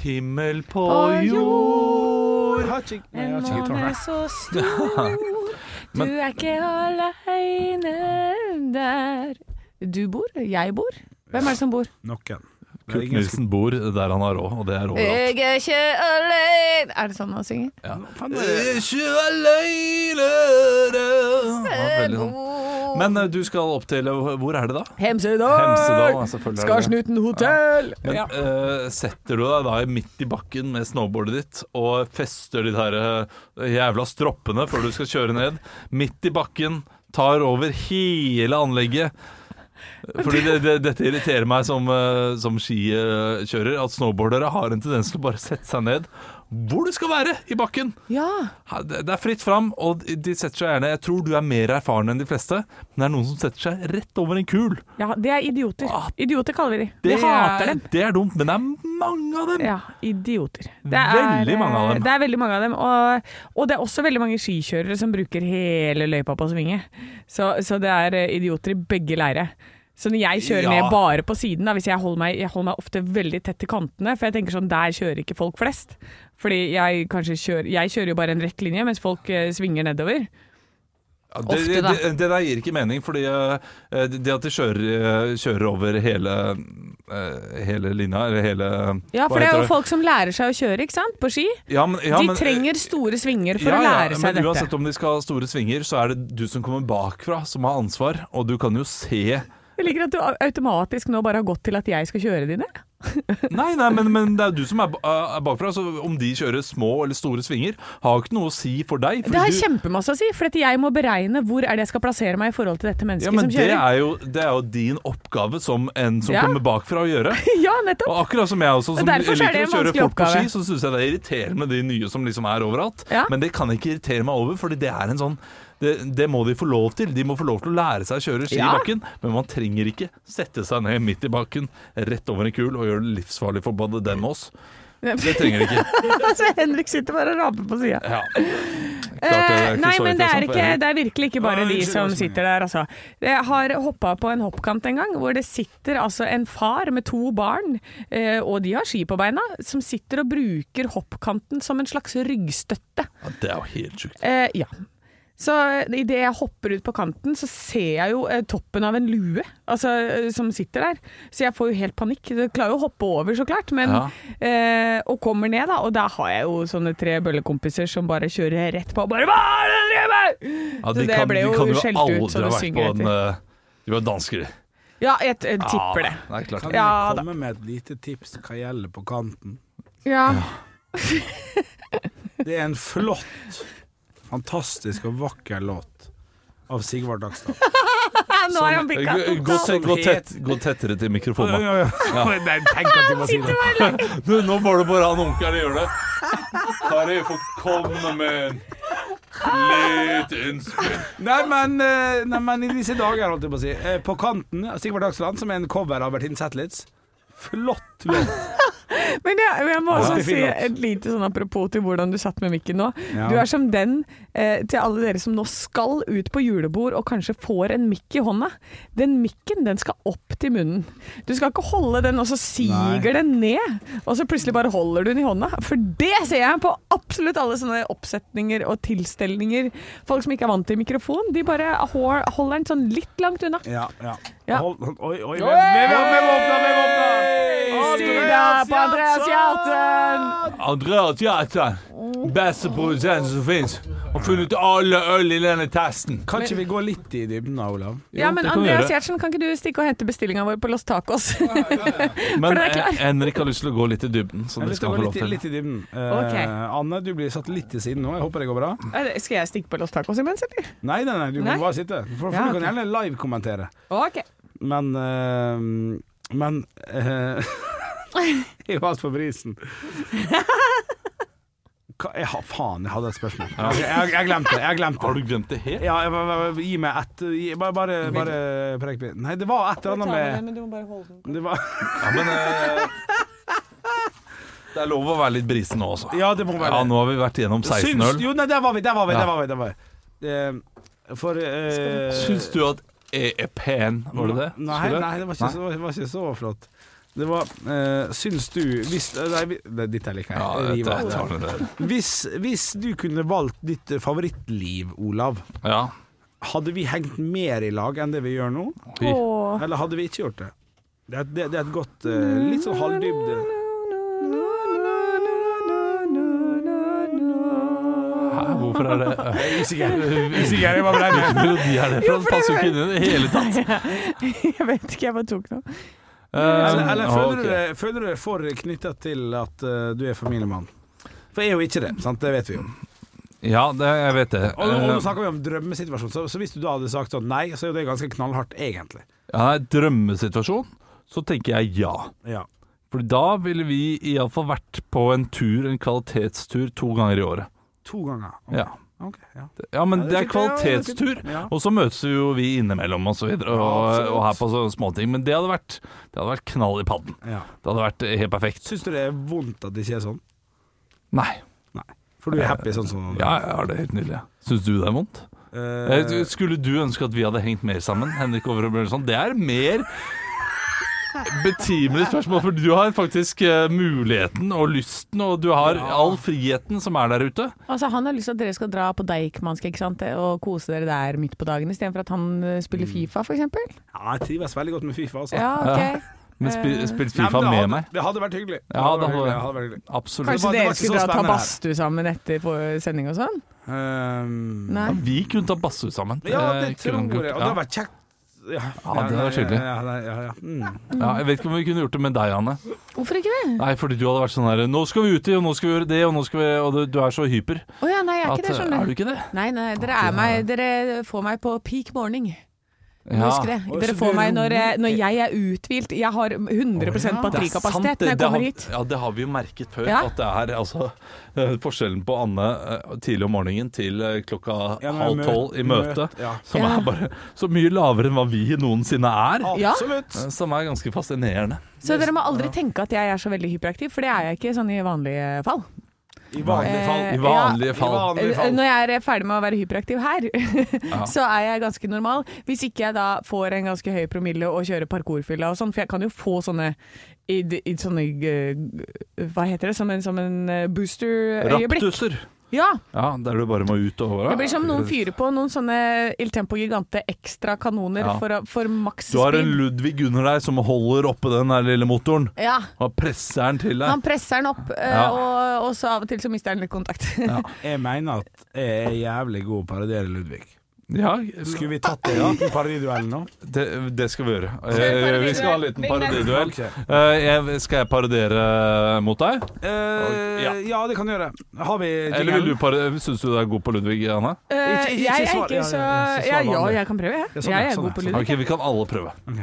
[SPEAKER 2] Himmel på
[SPEAKER 3] På
[SPEAKER 2] jord
[SPEAKER 8] Har ikke- nei,
[SPEAKER 3] En
[SPEAKER 8] jeg har ikke gitar,
[SPEAKER 3] måne
[SPEAKER 8] nei.
[SPEAKER 3] <laughs> så stor, du er ikke aleine der. Du bor, jeg bor. Hvem er det som bor?
[SPEAKER 8] Noen. Det er Eh,
[SPEAKER 2] Kurt
[SPEAKER 8] ingen som-
[SPEAKER 2] Nilsen bor der han har råd, og det er overalt.
[SPEAKER 3] Jeg er ikke aleine Er det sånn han synger?
[SPEAKER 8] Faen, det er-
[SPEAKER 2] Ikke aleine Veldig sånn. Men eh, du skal opp til Hvor er det, da?
[SPEAKER 3] Hemsedal!
[SPEAKER 2] Hemsedal, ja, selvfølgelig er det det.
[SPEAKER 3] Skarsnuten hotell!
[SPEAKER 2] Men
[SPEAKER 3] Ja.
[SPEAKER 2] eh, setter du deg da midt i bakken med snowboardet ditt og fester de der eh, jævla stroppene før du skal kjøre ned, midt i bakken, tar over hele anlegget fordi det, det, Dette irriterer meg som, eh, som skikjører, at snowboardere har en tendens til å bare sette seg ned hvor du skal være i bakken.
[SPEAKER 3] ja.
[SPEAKER 2] Ha- Det det er fritt fram, og de- de setter seg gjerne Jeg tror du er mer erfaren enn de fleste, men det er noen som setter seg rett over en kul.
[SPEAKER 3] Ja, det er idioter. Idioter kaller vi de.
[SPEAKER 2] Det
[SPEAKER 3] Vi hater
[SPEAKER 2] er,
[SPEAKER 3] dem.
[SPEAKER 2] det er dumt, men det er mange av dem.
[SPEAKER 3] Ja, idioter. Det
[SPEAKER 2] Veldig mange av dem.
[SPEAKER 3] Det er veldig mange av dem. Og, og det er også veldig mange skikjørere som bruker hele løypa på å svinge. Så, så det er eh, idioter i begge leire. Så når jeg kjører
[SPEAKER 2] Ja.
[SPEAKER 3] ned bare på siden, da, hvis jeg holder, meg, jeg holder meg ofte veldig tett til kantene, for jeg tenker sånn, der kjører ikke folk flest. Fordi jeg, kanskje kjører, jeg kjører jo bare en rett linje, mens folk eh, svinger nedover.
[SPEAKER 2] Ja, det,
[SPEAKER 3] Ofte, da.
[SPEAKER 2] Det, det der gir ikke mening, fordi eh, det det at de kjører, eh, kjører over hele, eh, hele linja, eller hele
[SPEAKER 3] Ja,
[SPEAKER 2] hva
[SPEAKER 3] for det er
[SPEAKER 2] heter
[SPEAKER 3] jo folk som lærer seg å kjøre, ikke sant, på ski.
[SPEAKER 2] Ja, men- ja,
[SPEAKER 3] de
[SPEAKER 2] men-
[SPEAKER 3] trenger store svinger for
[SPEAKER 2] Ja,
[SPEAKER 3] å
[SPEAKER 2] ja,
[SPEAKER 3] lære seg
[SPEAKER 2] men
[SPEAKER 3] dette.
[SPEAKER 2] Uansett om de skal ha store svinger, så er det du som kommer bakfra som har ansvar, og du kan jo se
[SPEAKER 3] Jeg liker at du automatisk nå bare har gått til at jeg skal kjøre dine.
[SPEAKER 2] Nei, nei, men, men det er jo du som er, ba- eh, er bakfra, så om de kjører små eller store svinger, har jo ikke noe å si for deg. fordi
[SPEAKER 3] Det
[SPEAKER 2] du,
[SPEAKER 3] har kjempemasse å si, for at jeg må beregne hvor er det jeg skal plassere meg i forhold til dette mennesket
[SPEAKER 2] ja, men
[SPEAKER 3] som
[SPEAKER 2] det
[SPEAKER 3] kjører.
[SPEAKER 2] er, jo, det er jo din oppgave som en som
[SPEAKER 3] Ja.
[SPEAKER 2] kommer bakfra å gjøre.
[SPEAKER 3] <laughs> Ja, nettopp.
[SPEAKER 2] Og akkurat som jeg også,
[SPEAKER 3] Og
[SPEAKER 2] som
[SPEAKER 3] derfor så er
[SPEAKER 2] liker å
[SPEAKER 3] det en
[SPEAKER 2] kjøre
[SPEAKER 3] vanskelig
[SPEAKER 2] fort på
[SPEAKER 3] oppgave.
[SPEAKER 2] ski, så syns jeg det er irriterende med de nye som liksom er overalt.
[SPEAKER 3] Ja.
[SPEAKER 2] Men det kan jeg ikke irritere meg over, fordi det er en sånn det, det må de få lov til. De må få lov til å lære seg å kjøre ski
[SPEAKER 3] Ja.
[SPEAKER 2] i bakken, men man trenger ikke sette seg ned midt i bakken, rett over en kul og gjøre det livsfarlig for både dem og oss. Det trenger de ikke.
[SPEAKER 3] <laughs> altså, Henrik sitter bare og raper på sida.
[SPEAKER 2] Ja.
[SPEAKER 3] Eh, nei, men det er,
[SPEAKER 2] interessant for
[SPEAKER 3] ikke,
[SPEAKER 2] Henrik.
[SPEAKER 3] det er virkelig ikke bare
[SPEAKER 8] Nei,
[SPEAKER 3] de
[SPEAKER 8] unnskyld,
[SPEAKER 3] som
[SPEAKER 8] altså.
[SPEAKER 3] sitter der, altså. Jeg har hoppa på en hoppkant en gang, hvor det sitter altså en far med to barn, eh, og de har ski på beina, som sitter og bruker hoppkanten som en slags ryggstøtte.
[SPEAKER 2] Ja, det er jo helt sjukt.
[SPEAKER 3] Eh, ja. Så eh, idet jeg hopper ut på kanten, så ser jeg jo eh, toppen av en lue altså, eh, som sitter der. Så jeg får jo helt panikk. Jeg klarer jo å hoppe over, så klart, men
[SPEAKER 2] Ja.
[SPEAKER 3] eh, Og kommer ned, da. Og da har jeg jo sånne tre bøllekompiser som bare kjører rett på og bare Hva er det du driver med?!
[SPEAKER 2] Ja,
[SPEAKER 3] Så det ble jo skjelt ut, så
[SPEAKER 2] ha vært
[SPEAKER 3] det
[SPEAKER 2] på
[SPEAKER 3] synger
[SPEAKER 2] en eh, De var dansker, de.
[SPEAKER 3] Ja, jeg, jeg tipper det.
[SPEAKER 2] Ja, det er klart.
[SPEAKER 8] Kan
[SPEAKER 3] Ja,
[SPEAKER 8] du komme med et lite tips hva gjelder på kanten?
[SPEAKER 3] Ja.
[SPEAKER 8] Det er en flott, fantastisk og vakker låt av Sigvard Dagstad.
[SPEAKER 3] Ah, Nå har
[SPEAKER 2] Sånn,
[SPEAKER 3] han pikka
[SPEAKER 2] Gå, gå,
[SPEAKER 3] totalt.
[SPEAKER 2] te- gå, tett, gå tettere til mikrofonen.
[SPEAKER 8] Nei, tenk at du må si det.
[SPEAKER 2] Du, nå må du bare han onkelen gjøre det. Kari, få komme med en litt innspill.
[SPEAKER 8] Nei men, eh, nei, men i disse dager, holdt jeg på å si. eh, På kanten av Sigvard Dagsland, som er en cover av Bertine Zetlitz. Flott låt.
[SPEAKER 3] Men jeg, jeg må også
[SPEAKER 8] det er
[SPEAKER 3] si
[SPEAKER 8] fint, altså.
[SPEAKER 3] et lite sånn apropos til hvordan du satt med mikken nå.
[SPEAKER 8] Ja.
[SPEAKER 3] Du er som den eh, til alle dere som nå skal ut på julebord og kanskje får en mikk i hånda. Den mikken den skal opp til munnen. Du skal ikke holde den, og så siger den ned. Og så plutselig bare holder du den i hånda. For det ser jeg på absolutt alle sånne oppsetninger og tilstelninger. Folk som ikke er vant til mikrofon, de bare hår- holder den sånn litt langt unna.
[SPEAKER 8] Ja, ja.
[SPEAKER 3] Ja.
[SPEAKER 8] Hold, hold, oi, oi, hvem hvem- hvem åpna, hvem åpna?
[SPEAKER 3] Syda på Andreas Hjerten!
[SPEAKER 2] Andreas Gjertsen, beste produsenten som fins, har funnet alle øl i denne testen.
[SPEAKER 8] Kan ikke vi gå litt i dybden da, Olav?
[SPEAKER 3] Ja, men
[SPEAKER 2] det kan vi
[SPEAKER 3] Andreas
[SPEAKER 2] gjøre.
[SPEAKER 3] Gjertsen, kan ikke du stikke og hente bestillinga vår på Los Tacos?
[SPEAKER 2] Men
[SPEAKER 3] det er klart.
[SPEAKER 2] eh, Henrik har lyst til å gå litt i dybden, så
[SPEAKER 8] Jeg har lyst
[SPEAKER 2] det
[SPEAKER 8] til
[SPEAKER 2] skal
[SPEAKER 8] å
[SPEAKER 2] han
[SPEAKER 8] gå
[SPEAKER 2] få
[SPEAKER 8] litt,
[SPEAKER 2] lov
[SPEAKER 8] i-
[SPEAKER 2] til.
[SPEAKER 8] litt i dybden. Eh,
[SPEAKER 3] Ok.
[SPEAKER 8] Anne, du blir satt litt til siden nå. Jeg håper det går bra.
[SPEAKER 3] Skal jeg stikke på Los Tacos imens, eller?
[SPEAKER 8] Nei, nei, nei du
[SPEAKER 3] Nei.
[SPEAKER 8] må bare sitte. For, for
[SPEAKER 3] Ja,
[SPEAKER 8] Du
[SPEAKER 3] ok.
[SPEAKER 8] kan gjerne live-kommentere.
[SPEAKER 3] Ok.
[SPEAKER 8] Men eh,
[SPEAKER 4] <laughs>
[SPEAKER 8] Men eh, Jeg var på brisen.
[SPEAKER 4] Hva, jeg, har- faen, jeg hadde et spørsmål. Ok, Jeg, jeg glemte det. Jeg glemte
[SPEAKER 2] Har
[SPEAKER 4] det.
[SPEAKER 2] du glemt det helt?
[SPEAKER 4] Ja, jeg, jeg, jeg, gi meg ett gi- Bare, bare, bare prek på Nei, det var et eller annet med
[SPEAKER 3] du må bare holde den.
[SPEAKER 4] det
[SPEAKER 2] <laughs>
[SPEAKER 4] var,
[SPEAKER 2] Ja, men eh, Det er lov å være litt brisen nå også.
[SPEAKER 4] Ja, det må være
[SPEAKER 2] Ja, nå har vi vært igjennom 16
[SPEAKER 4] Syns-
[SPEAKER 2] øl.
[SPEAKER 4] Jo, nei, der var vi, der var vi.
[SPEAKER 2] Ja.
[SPEAKER 4] Der var vi, der var vi. Eh, for eh,
[SPEAKER 2] Syns du at E, jeg er pen, var det det?
[SPEAKER 4] Nei,
[SPEAKER 2] Skulle?
[SPEAKER 4] nei det, var ikke, Så, det var ikke så flott. Det var eh, Syns du hvis, eh, Nei, vi- det, dette liker jeg.
[SPEAKER 2] Ja,
[SPEAKER 4] Jeg river
[SPEAKER 2] dette
[SPEAKER 4] alt her.
[SPEAKER 2] tar det.
[SPEAKER 4] Hvis, hvis du kunne valgt ditt eh, favorittliv, Olav,
[SPEAKER 2] Ja.
[SPEAKER 4] hadde vi hengt mer i lag enn det vi gjør nå?
[SPEAKER 2] Fy.
[SPEAKER 4] Eller hadde vi ikke gjort det? Det er, det, det er et godt eh, Litt sånn halvdybde
[SPEAKER 2] Hæ, hvorfor er det
[SPEAKER 4] <laughs> Usikker. Usikker, jeg bare ble med.
[SPEAKER 2] <laughs> Hvilken melodi er det? For den passer jo ikke inn i det hele tatt.
[SPEAKER 3] <laughs> Jeg vet ikke, jeg bare tok noe.
[SPEAKER 4] Eller, eller
[SPEAKER 2] Eh,
[SPEAKER 4] føler,
[SPEAKER 2] ok.
[SPEAKER 4] du deg, føler du deg for knytta til at eh, du er familiemann? For jeg er jo ikke det, sant? det vet vi jo.
[SPEAKER 2] Ja, det, jeg vet det.
[SPEAKER 4] Og, nå- og nå
[SPEAKER 2] Eh,
[SPEAKER 4] snakker vi om drømmesituasjon, så, så hvis du da hadde sagt sånn nei, så er jo det ganske knallhardt, egentlig.
[SPEAKER 2] Ja, drømmesituasjon, så tenker jeg ja.
[SPEAKER 4] Ja.
[SPEAKER 2] For da ville vi iallfall vært på en tur, en kvalitetstur, to ganger i året.
[SPEAKER 4] To ganger. Ok.
[SPEAKER 2] Ja,
[SPEAKER 4] Ok, ja.
[SPEAKER 2] ja men
[SPEAKER 4] Ja, det
[SPEAKER 2] det
[SPEAKER 4] er
[SPEAKER 2] er
[SPEAKER 4] fint, ja, det er fint.
[SPEAKER 2] kvalitetstur.
[SPEAKER 4] Ja.
[SPEAKER 2] Og så møtes jo vi innimellom og så videre, og,
[SPEAKER 4] absolutt.
[SPEAKER 2] og her på sånne småting. Men det hadde, vært, det hadde vært knall i padden.
[SPEAKER 4] Ja.
[SPEAKER 2] Det hadde vært eh, helt perfekt.
[SPEAKER 4] Syns du det er vondt at det ikke er sånn?
[SPEAKER 2] Nei.
[SPEAKER 4] For du er happy sånn som
[SPEAKER 2] Eh, Ja, jeg har det helt nydelig. Syns du det er vondt?
[SPEAKER 4] Eh,
[SPEAKER 2] Eh, du- Skulle du ønske at vi hadde hengt mer sammen? Henrik Over og Bjørnson? Det er mer betimelig spørsmål, for du har faktisk eh, muligheten og lysten, og du har all friheten som er der ute.
[SPEAKER 3] Altså, han har lyst til at dere skal dra på Deichmanske ikke sant? og kose dere der midt på dagen, istedenfor at han eh, spiller Fifa, f.eks.
[SPEAKER 4] ja, jeg trives veldig godt med Fifa, altså.
[SPEAKER 3] Ja,
[SPEAKER 2] Ja.
[SPEAKER 3] ok.
[SPEAKER 2] Eh, Men spi- spilt
[SPEAKER 4] Nei,
[SPEAKER 2] Fifa
[SPEAKER 4] men det
[SPEAKER 2] med
[SPEAKER 4] hadde,
[SPEAKER 2] meg.
[SPEAKER 4] Det hadde vært hyggelig. Det
[SPEAKER 2] Ja,
[SPEAKER 4] hadde
[SPEAKER 2] det
[SPEAKER 4] vært hyggelig, det
[SPEAKER 2] hadde-
[SPEAKER 4] hadde vært hyggelig.
[SPEAKER 2] Absolutt.
[SPEAKER 4] var-
[SPEAKER 3] Kanskje
[SPEAKER 4] det var
[SPEAKER 3] dere
[SPEAKER 4] ikke
[SPEAKER 3] skulle dra og
[SPEAKER 4] så
[SPEAKER 3] ta
[SPEAKER 4] spennende her.
[SPEAKER 3] badstue sammen etter på sending og sånn?
[SPEAKER 4] Ehm,
[SPEAKER 3] Nei.
[SPEAKER 2] Vi kunne ta badstue sammen.
[SPEAKER 4] ja, det
[SPEAKER 2] Eh,
[SPEAKER 4] tror
[SPEAKER 2] kunne vi gjort.
[SPEAKER 4] jeg. Og det hadde vært kjekt. Ja,
[SPEAKER 2] det hadde vært hyggelig.
[SPEAKER 4] Ja, ja, ja, ja. Mm.
[SPEAKER 2] Ja. ja, jeg vet ikke om vi kunne gjort det med deg, Anne.
[SPEAKER 3] Hvorfor ikke det?
[SPEAKER 2] Nei, fordi du hadde vært sånn her Nå skal vi uti, og nå skal vi gjøre det, og nå skal vi Og du- du er så hyper.
[SPEAKER 3] Å ja, nei, jeg er ikke det,
[SPEAKER 2] eh, er
[SPEAKER 3] skjønner
[SPEAKER 2] du
[SPEAKER 3] du.
[SPEAKER 2] ikke det?
[SPEAKER 3] Nei, nei, dere er meg Dere får meg på peak morning. Husk det.
[SPEAKER 4] Oi,
[SPEAKER 3] Dere
[SPEAKER 4] så
[SPEAKER 3] får
[SPEAKER 4] det er
[SPEAKER 3] meg når, jeg- når
[SPEAKER 4] rolig.
[SPEAKER 3] jeg er uthvilt. Jeg har 100
[SPEAKER 2] Det er sant,
[SPEAKER 3] batterikapasitet når
[SPEAKER 2] det
[SPEAKER 3] jeg kommer
[SPEAKER 2] har-
[SPEAKER 3] hit.
[SPEAKER 2] Ja, det har vi jo merket før.
[SPEAKER 3] Ja.
[SPEAKER 2] At det er altså eh, forskjellen på Anne eh, tidlig om morgenen til eh, klokka
[SPEAKER 4] Ja, men
[SPEAKER 2] halv
[SPEAKER 4] møt-
[SPEAKER 2] tolv i møte,
[SPEAKER 4] møt, ja.
[SPEAKER 2] som
[SPEAKER 3] Ja.
[SPEAKER 2] er bare så mye lavere enn hva vi noensinne er.
[SPEAKER 3] Ja.
[SPEAKER 4] Absolutt.
[SPEAKER 2] eh, Som er ganske fascinerende.
[SPEAKER 3] Så dere må aldri tenke at jeg er så veldig hyperaktiv, for det er jeg ikke sånn i vanlige fall.
[SPEAKER 4] I vanlige
[SPEAKER 3] Eh,
[SPEAKER 4] fall.
[SPEAKER 2] I vanlige
[SPEAKER 4] I
[SPEAKER 2] fall.
[SPEAKER 4] vanlige fall.
[SPEAKER 3] Når jeg er ferdig med å være hyperaktiv her, <laughs> så er jeg ganske normal. Hvis ikke jeg da får en ganske høy promille og kjører parkourfylla og sånn, for jeg kan jo få sånne i, i sånne eh, Hva heter det? Som en, som en eh, booster-øyeblikk.
[SPEAKER 2] Raptusser.
[SPEAKER 3] Ja.
[SPEAKER 2] Ja, der du bare må ut og
[SPEAKER 3] Det blir som noen fyrer på noen sånne Il Tempo Gigante ekstra kanoner
[SPEAKER 2] Ja.
[SPEAKER 3] for, å- for maks
[SPEAKER 2] Du har en
[SPEAKER 3] speed.
[SPEAKER 2] Ludvig under deg som holder oppe den der lille motoren.
[SPEAKER 3] Ja.
[SPEAKER 2] Og presser den til
[SPEAKER 3] Han
[SPEAKER 2] deg.
[SPEAKER 3] presser den opp, eh,
[SPEAKER 2] Ja.
[SPEAKER 3] og, og så av og til så mister han litt kontakt. <laughs>
[SPEAKER 4] Jeg mener at jeg er jævlig god å parodiere Ludvig.
[SPEAKER 2] Ja,
[SPEAKER 4] Skulle vi tatt
[SPEAKER 3] <laughs>
[SPEAKER 4] det i parodiduellen nå?
[SPEAKER 2] det, det skal vi gjøre. Eh, Vi skal ha en liten parodiduell.
[SPEAKER 4] Ok.
[SPEAKER 2] Eh, jeg- Skal jeg parodiere mot deg?
[SPEAKER 4] Eh, ja. det kan du gjøre. Har vi
[SPEAKER 2] Eller vil du pare... Syns du du er god på Ludvig, Anne?
[SPEAKER 3] Eh,
[SPEAKER 4] Ikke- ikke- ikke
[SPEAKER 3] jeg er
[SPEAKER 4] svar- ja,
[SPEAKER 3] ikke så
[SPEAKER 4] ja, ikke
[SPEAKER 3] ja,
[SPEAKER 4] svar
[SPEAKER 3] ja,
[SPEAKER 4] vanlig.
[SPEAKER 3] jeg kan prøve, jeg.
[SPEAKER 4] Ja, sånn,
[SPEAKER 3] jeg
[SPEAKER 4] ja,
[SPEAKER 3] er
[SPEAKER 4] sånn,
[SPEAKER 3] god
[SPEAKER 4] ja,
[SPEAKER 3] på
[SPEAKER 4] sånn.
[SPEAKER 3] lyd.
[SPEAKER 2] Ok, vi kan alle prøve.
[SPEAKER 4] Ok.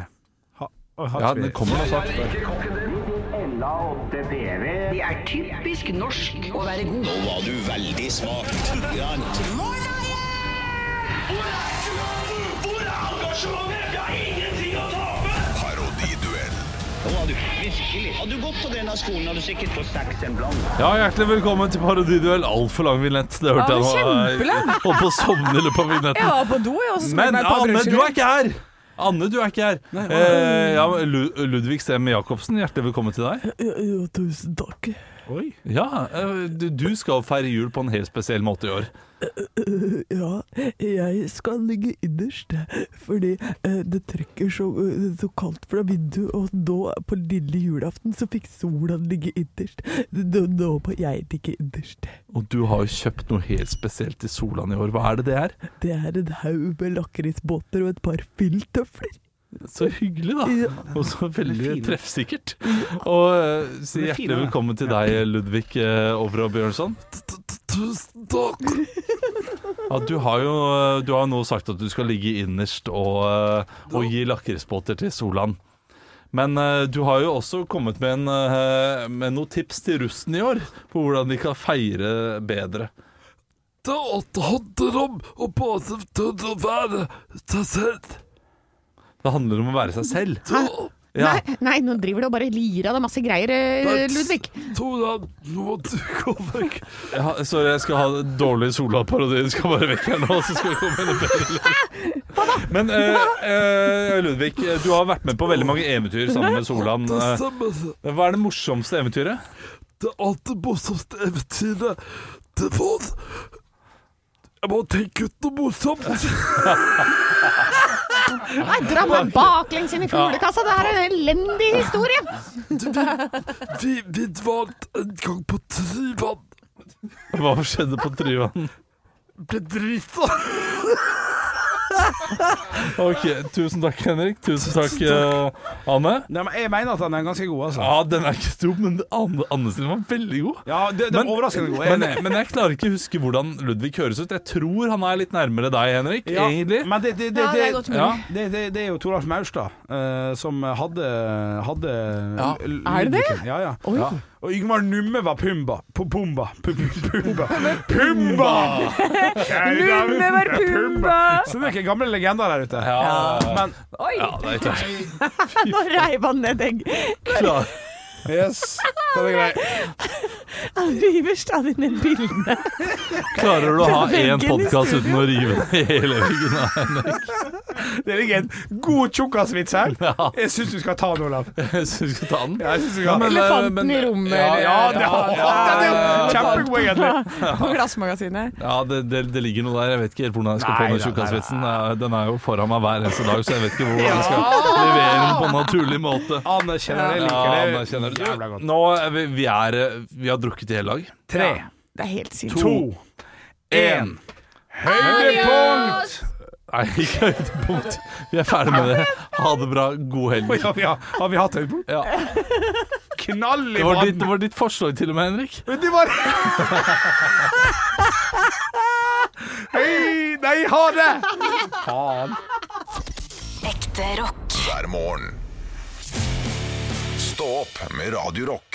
[SPEAKER 4] Ha, å, har
[SPEAKER 2] Ja,
[SPEAKER 4] ikke vi-
[SPEAKER 2] den kommer nå snart.
[SPEAKER 12] Det er typisk norsk å være god. Nå var du veldig smart.
[SPEAKER 13] Hvor er engasjementet? Jeg har ingenting å tape!
[SPEAKER 1] Parodiduell.
[SPEAKER 12] Nå var du virkelig. Hadde du gått på denne skolen, hadde du sikkert fått seks en blank.
[SPEAKER 2] Ja, Hjertelig velkommen til parodiduell. Altfor lang vignett. Det hørte
[SPEAKER 3] Ja,
[SPEAKER 2] jeg nå.
[SPEAKER 3] kjempelang.
[SPEAKER 2] Jeg Holdt på å sovne i løpet av
[SPEAKER 3] Jeg
[SPEAKER 2] vignetten.
[SPEAKER 3] var på do, jeg, og så skulle jeg
[SPEAKER 2] Men
[SPEAKER 3] meg på
[SPEAKER 2] Anne, du
[SPEAKER 3] brødskiver.
[SPEAKER 2] er ikke her! Anne, du er ikke her. Eh, ja, men Lu- Ludvig Stem Jacobsen, hjertelig velkommen til deg.
[SPEAKER 3] Ja, tusen takk. <laughs>
[SPEAKER 4] Oi.
[SPEAKER 2] Ja, eh, du- Du skal feire jul på en helt spesiell måte i år.
[SPEAKER 14] Ja, jeg skal ligge innerst, fordi eh, det trekker så, eh, så kaldt fra vinduet, og nå på lille julaften så fikk sola ligge innerst. Nå, nå må jeg ligge innerst.
[SPEAKER 2] Og du har jo kjøpt noe helt spesielt til Solan i år. Hva er det det er?
[SPEAKER 14] Det er en haug med lakrisbåter og et par filttøfler.
[SPEAKER 2] Så hyggelig, da. Og så veldig
[SPEAKER 4] Fine.
[SPEAKER 2] treffsikkert. Og eh, si
[SPEAKER 4] Det er fine,
[SPEAKER 2] hjertelig
[SPEAKER 4] da.
[SPEAKER 2] velkommen til deg, Ludvig eh, Overå Bjørnson.
[SPEAKER 14] Tusen takk!
[SPEAKER 2] <laughs> Ja, du har jo eh, du har nå sagt at du skal ligge innerst og, eh, og gi lakrisbåter til Solan. Men eh, du har jo også kommet med, en, eh, med noen tips til russen i år på hvordan de kan feire bedre.
[SPEAKER 15] Det handler om å bare tørre å være seg selv.
[SPEAKER 2] Det handler om å være seg selv. Ja.
[SPEAKER 3] Nei, nei, nå driver du og bare lirer av deg masse greier, eh,
[SPEAKER 2] Nei,
[SPEAKER 3] Ludvig.
[SPEAKER 15] Tora, nå må du gå vekk.
[SPEAKER 2] Jeg har- sorry, jeg skal ha den dårlige Sola-parodien. Skal bare vekk her nå, så skal vi komme med bedre lyd. Men eh, eh, Ludvig, du har vært med på veldig mange eventyr sammen med Solan.
[SPEAKER 15] Det
[SPEAKER 2] Eh,
[SPEAKER 15] stemmer.
[SPEAKER 2] Hva er det morsomste eventyret?
[SPEAKER 15] Det aller morsomste eventyret, det var Jeg må tenke ut noe morsomt.
[SPEAKER 3] Nei, dra meg baklengs inn i fuglekassa, det her er en elendig historie.
[SPEAKER 15] Vi, vi var en gang på Tryvann.
[SPEAKER 2] Hva skjedde på Tryvann?
[SPEAKER 15] Ble drita.
[SPEAKER 2] Ok, tusen takk, Henrik. Tusen takk, eh, Anne.
[SPEAKER 4] Nei, men jeg mener at han er ganske god, altså.
[SPEAKER 2] Ja, den er ikke dum, men Anne, Anne sin var veldig god.
[SPEAKER 4] Ja, det, det var overraskende god. Jeg er
[SPEAKER 2] Men,
[SPEAKER 4] enig.
[SPEAKER 2] men jeg klarer ikke å huske hvordan Ludvig høres ut. Jeg tror han er litt nærmere deg, Henrik.
[SPEAKER 4] Ja,
[SPEAKER 2] egentlig.
[SPEAKER 4] Men det, det, det,
[SPEAKER 2] Ja, det er godt mulig.
[SPEAKER 4] ja, det, det, det er jo Toralf Maurstad eh, som hadde, hadde
[SPEAKER 2] Ja.
[SPEAKER 4] l-
[SPEAKER 2] Er det det?
[SPEAKER 4] lydikken. Ja, ja.
[SPEAKER 2] Oi.
[SPEAKER 4] ja. Og Yngvar Numme var Pumba. P Pumba. P Pumba. Pumba! Kjære damer,
[SPEAKER 16] Numme var Pumba.
[SPEAKER 4] Så det er ikke gamle legender der ute.
[SPEAKER 2] Ja.
[SPEAKER 4] Men
[SPEAKER 3] Oi!
[SPEAKER 2] Ja, det er klart.
[SPEAKER 3] Nå reiv han ned egg.
[SPEAKER 2] Klar.
[SPEAKER 4] Yes. Det er greit.
[SPEAKER 3] Han river stadig ned bildene.
[SPEAKER 2] Klarer du å ha
[SPEAKER 3] Fra veggen
[SPEAKER 2] én
[SPEAKER 3] i
[SPEAKER 2] podkast
[SPEAKER 3] studio.
[SPEAKER 2] uten å rive ned hele veggen? av Henrik?
[SPEAKER 4] Det ligger en god tjukkasvits her. Jeg syns du skal ta den, Olav.
[SPEAKER 2] Jeg syns du skal ta den.
[SPEAKER 4] Ja, jeg synes du skal.
[SPEAKER 3] Elefanten i rommet.
[SPEAKER 4] Ja, ja, det,
[SPEAKER 2] ja,
[SPEAKER 4] ja, det, er jo
[SPEAKER 2] ja.
[SPEAKER 4] kjempegodt, egentlig.
[SPEAKER 3] På Glassmagasinet.
[SPEAKER 2] Ja, det, det, det ligger noe der. Jeg vet ikke helt hvordan jeg skal
[SPEAKER 4] Nei,
[SPEAKER 2] få
[SPEAKER 4] nei,
[SPEAKER 2] den tjukkasvitsen. Den er jo foran meg hver eneste dag, så jeg vet ikke hvordan
[SPEAKER 4] Ja.
[SPEAKER 2] jeg skal levere den på en naturlig måte.
[SPEAKER 4] Anerkjenner det,
[SPEAKER 2] Ja,
[SPEAKER 4] liker det.
[SPEAKER 2] anerkjenner det.
[SPEAKER 4] Jævla godt.
[SPEAKER 2] Nå er vi, vi, er, eh, vi har drukket i hele dag.
[SPEAKER 4] Tre,
[SPEAKER 3] Det er helt sinnssykt.
[SPEAKER 4] to, én. Høydepunkt!
[SPEAKER 2] Nei, <laughs> ikke høydepunkt. Vi er ferdig med det. Ha det bra. God helg.
[SPEAKER 4] Oi, har, vi, har vi hatt høydepunkt?
[SPEAKER 2] Ja.
[SPEAKER 4] Knall i
[SPEAKER 2] Det var, ditt,
[SPEAKER 4] vann!
[SPEAKER 2] det var ditt forslag til og med, Henrik.
[SPEAKER 4] Men
[SPEAKER 2] <laughs>
[SPEAKER 4] det var Hei, nei, ha det!
[SPEAKER 1] Faen.
[SPEAKER 5] Ekte rock.
[SPEAKER 1] Hver morgen. Stå opp med Radio Rock.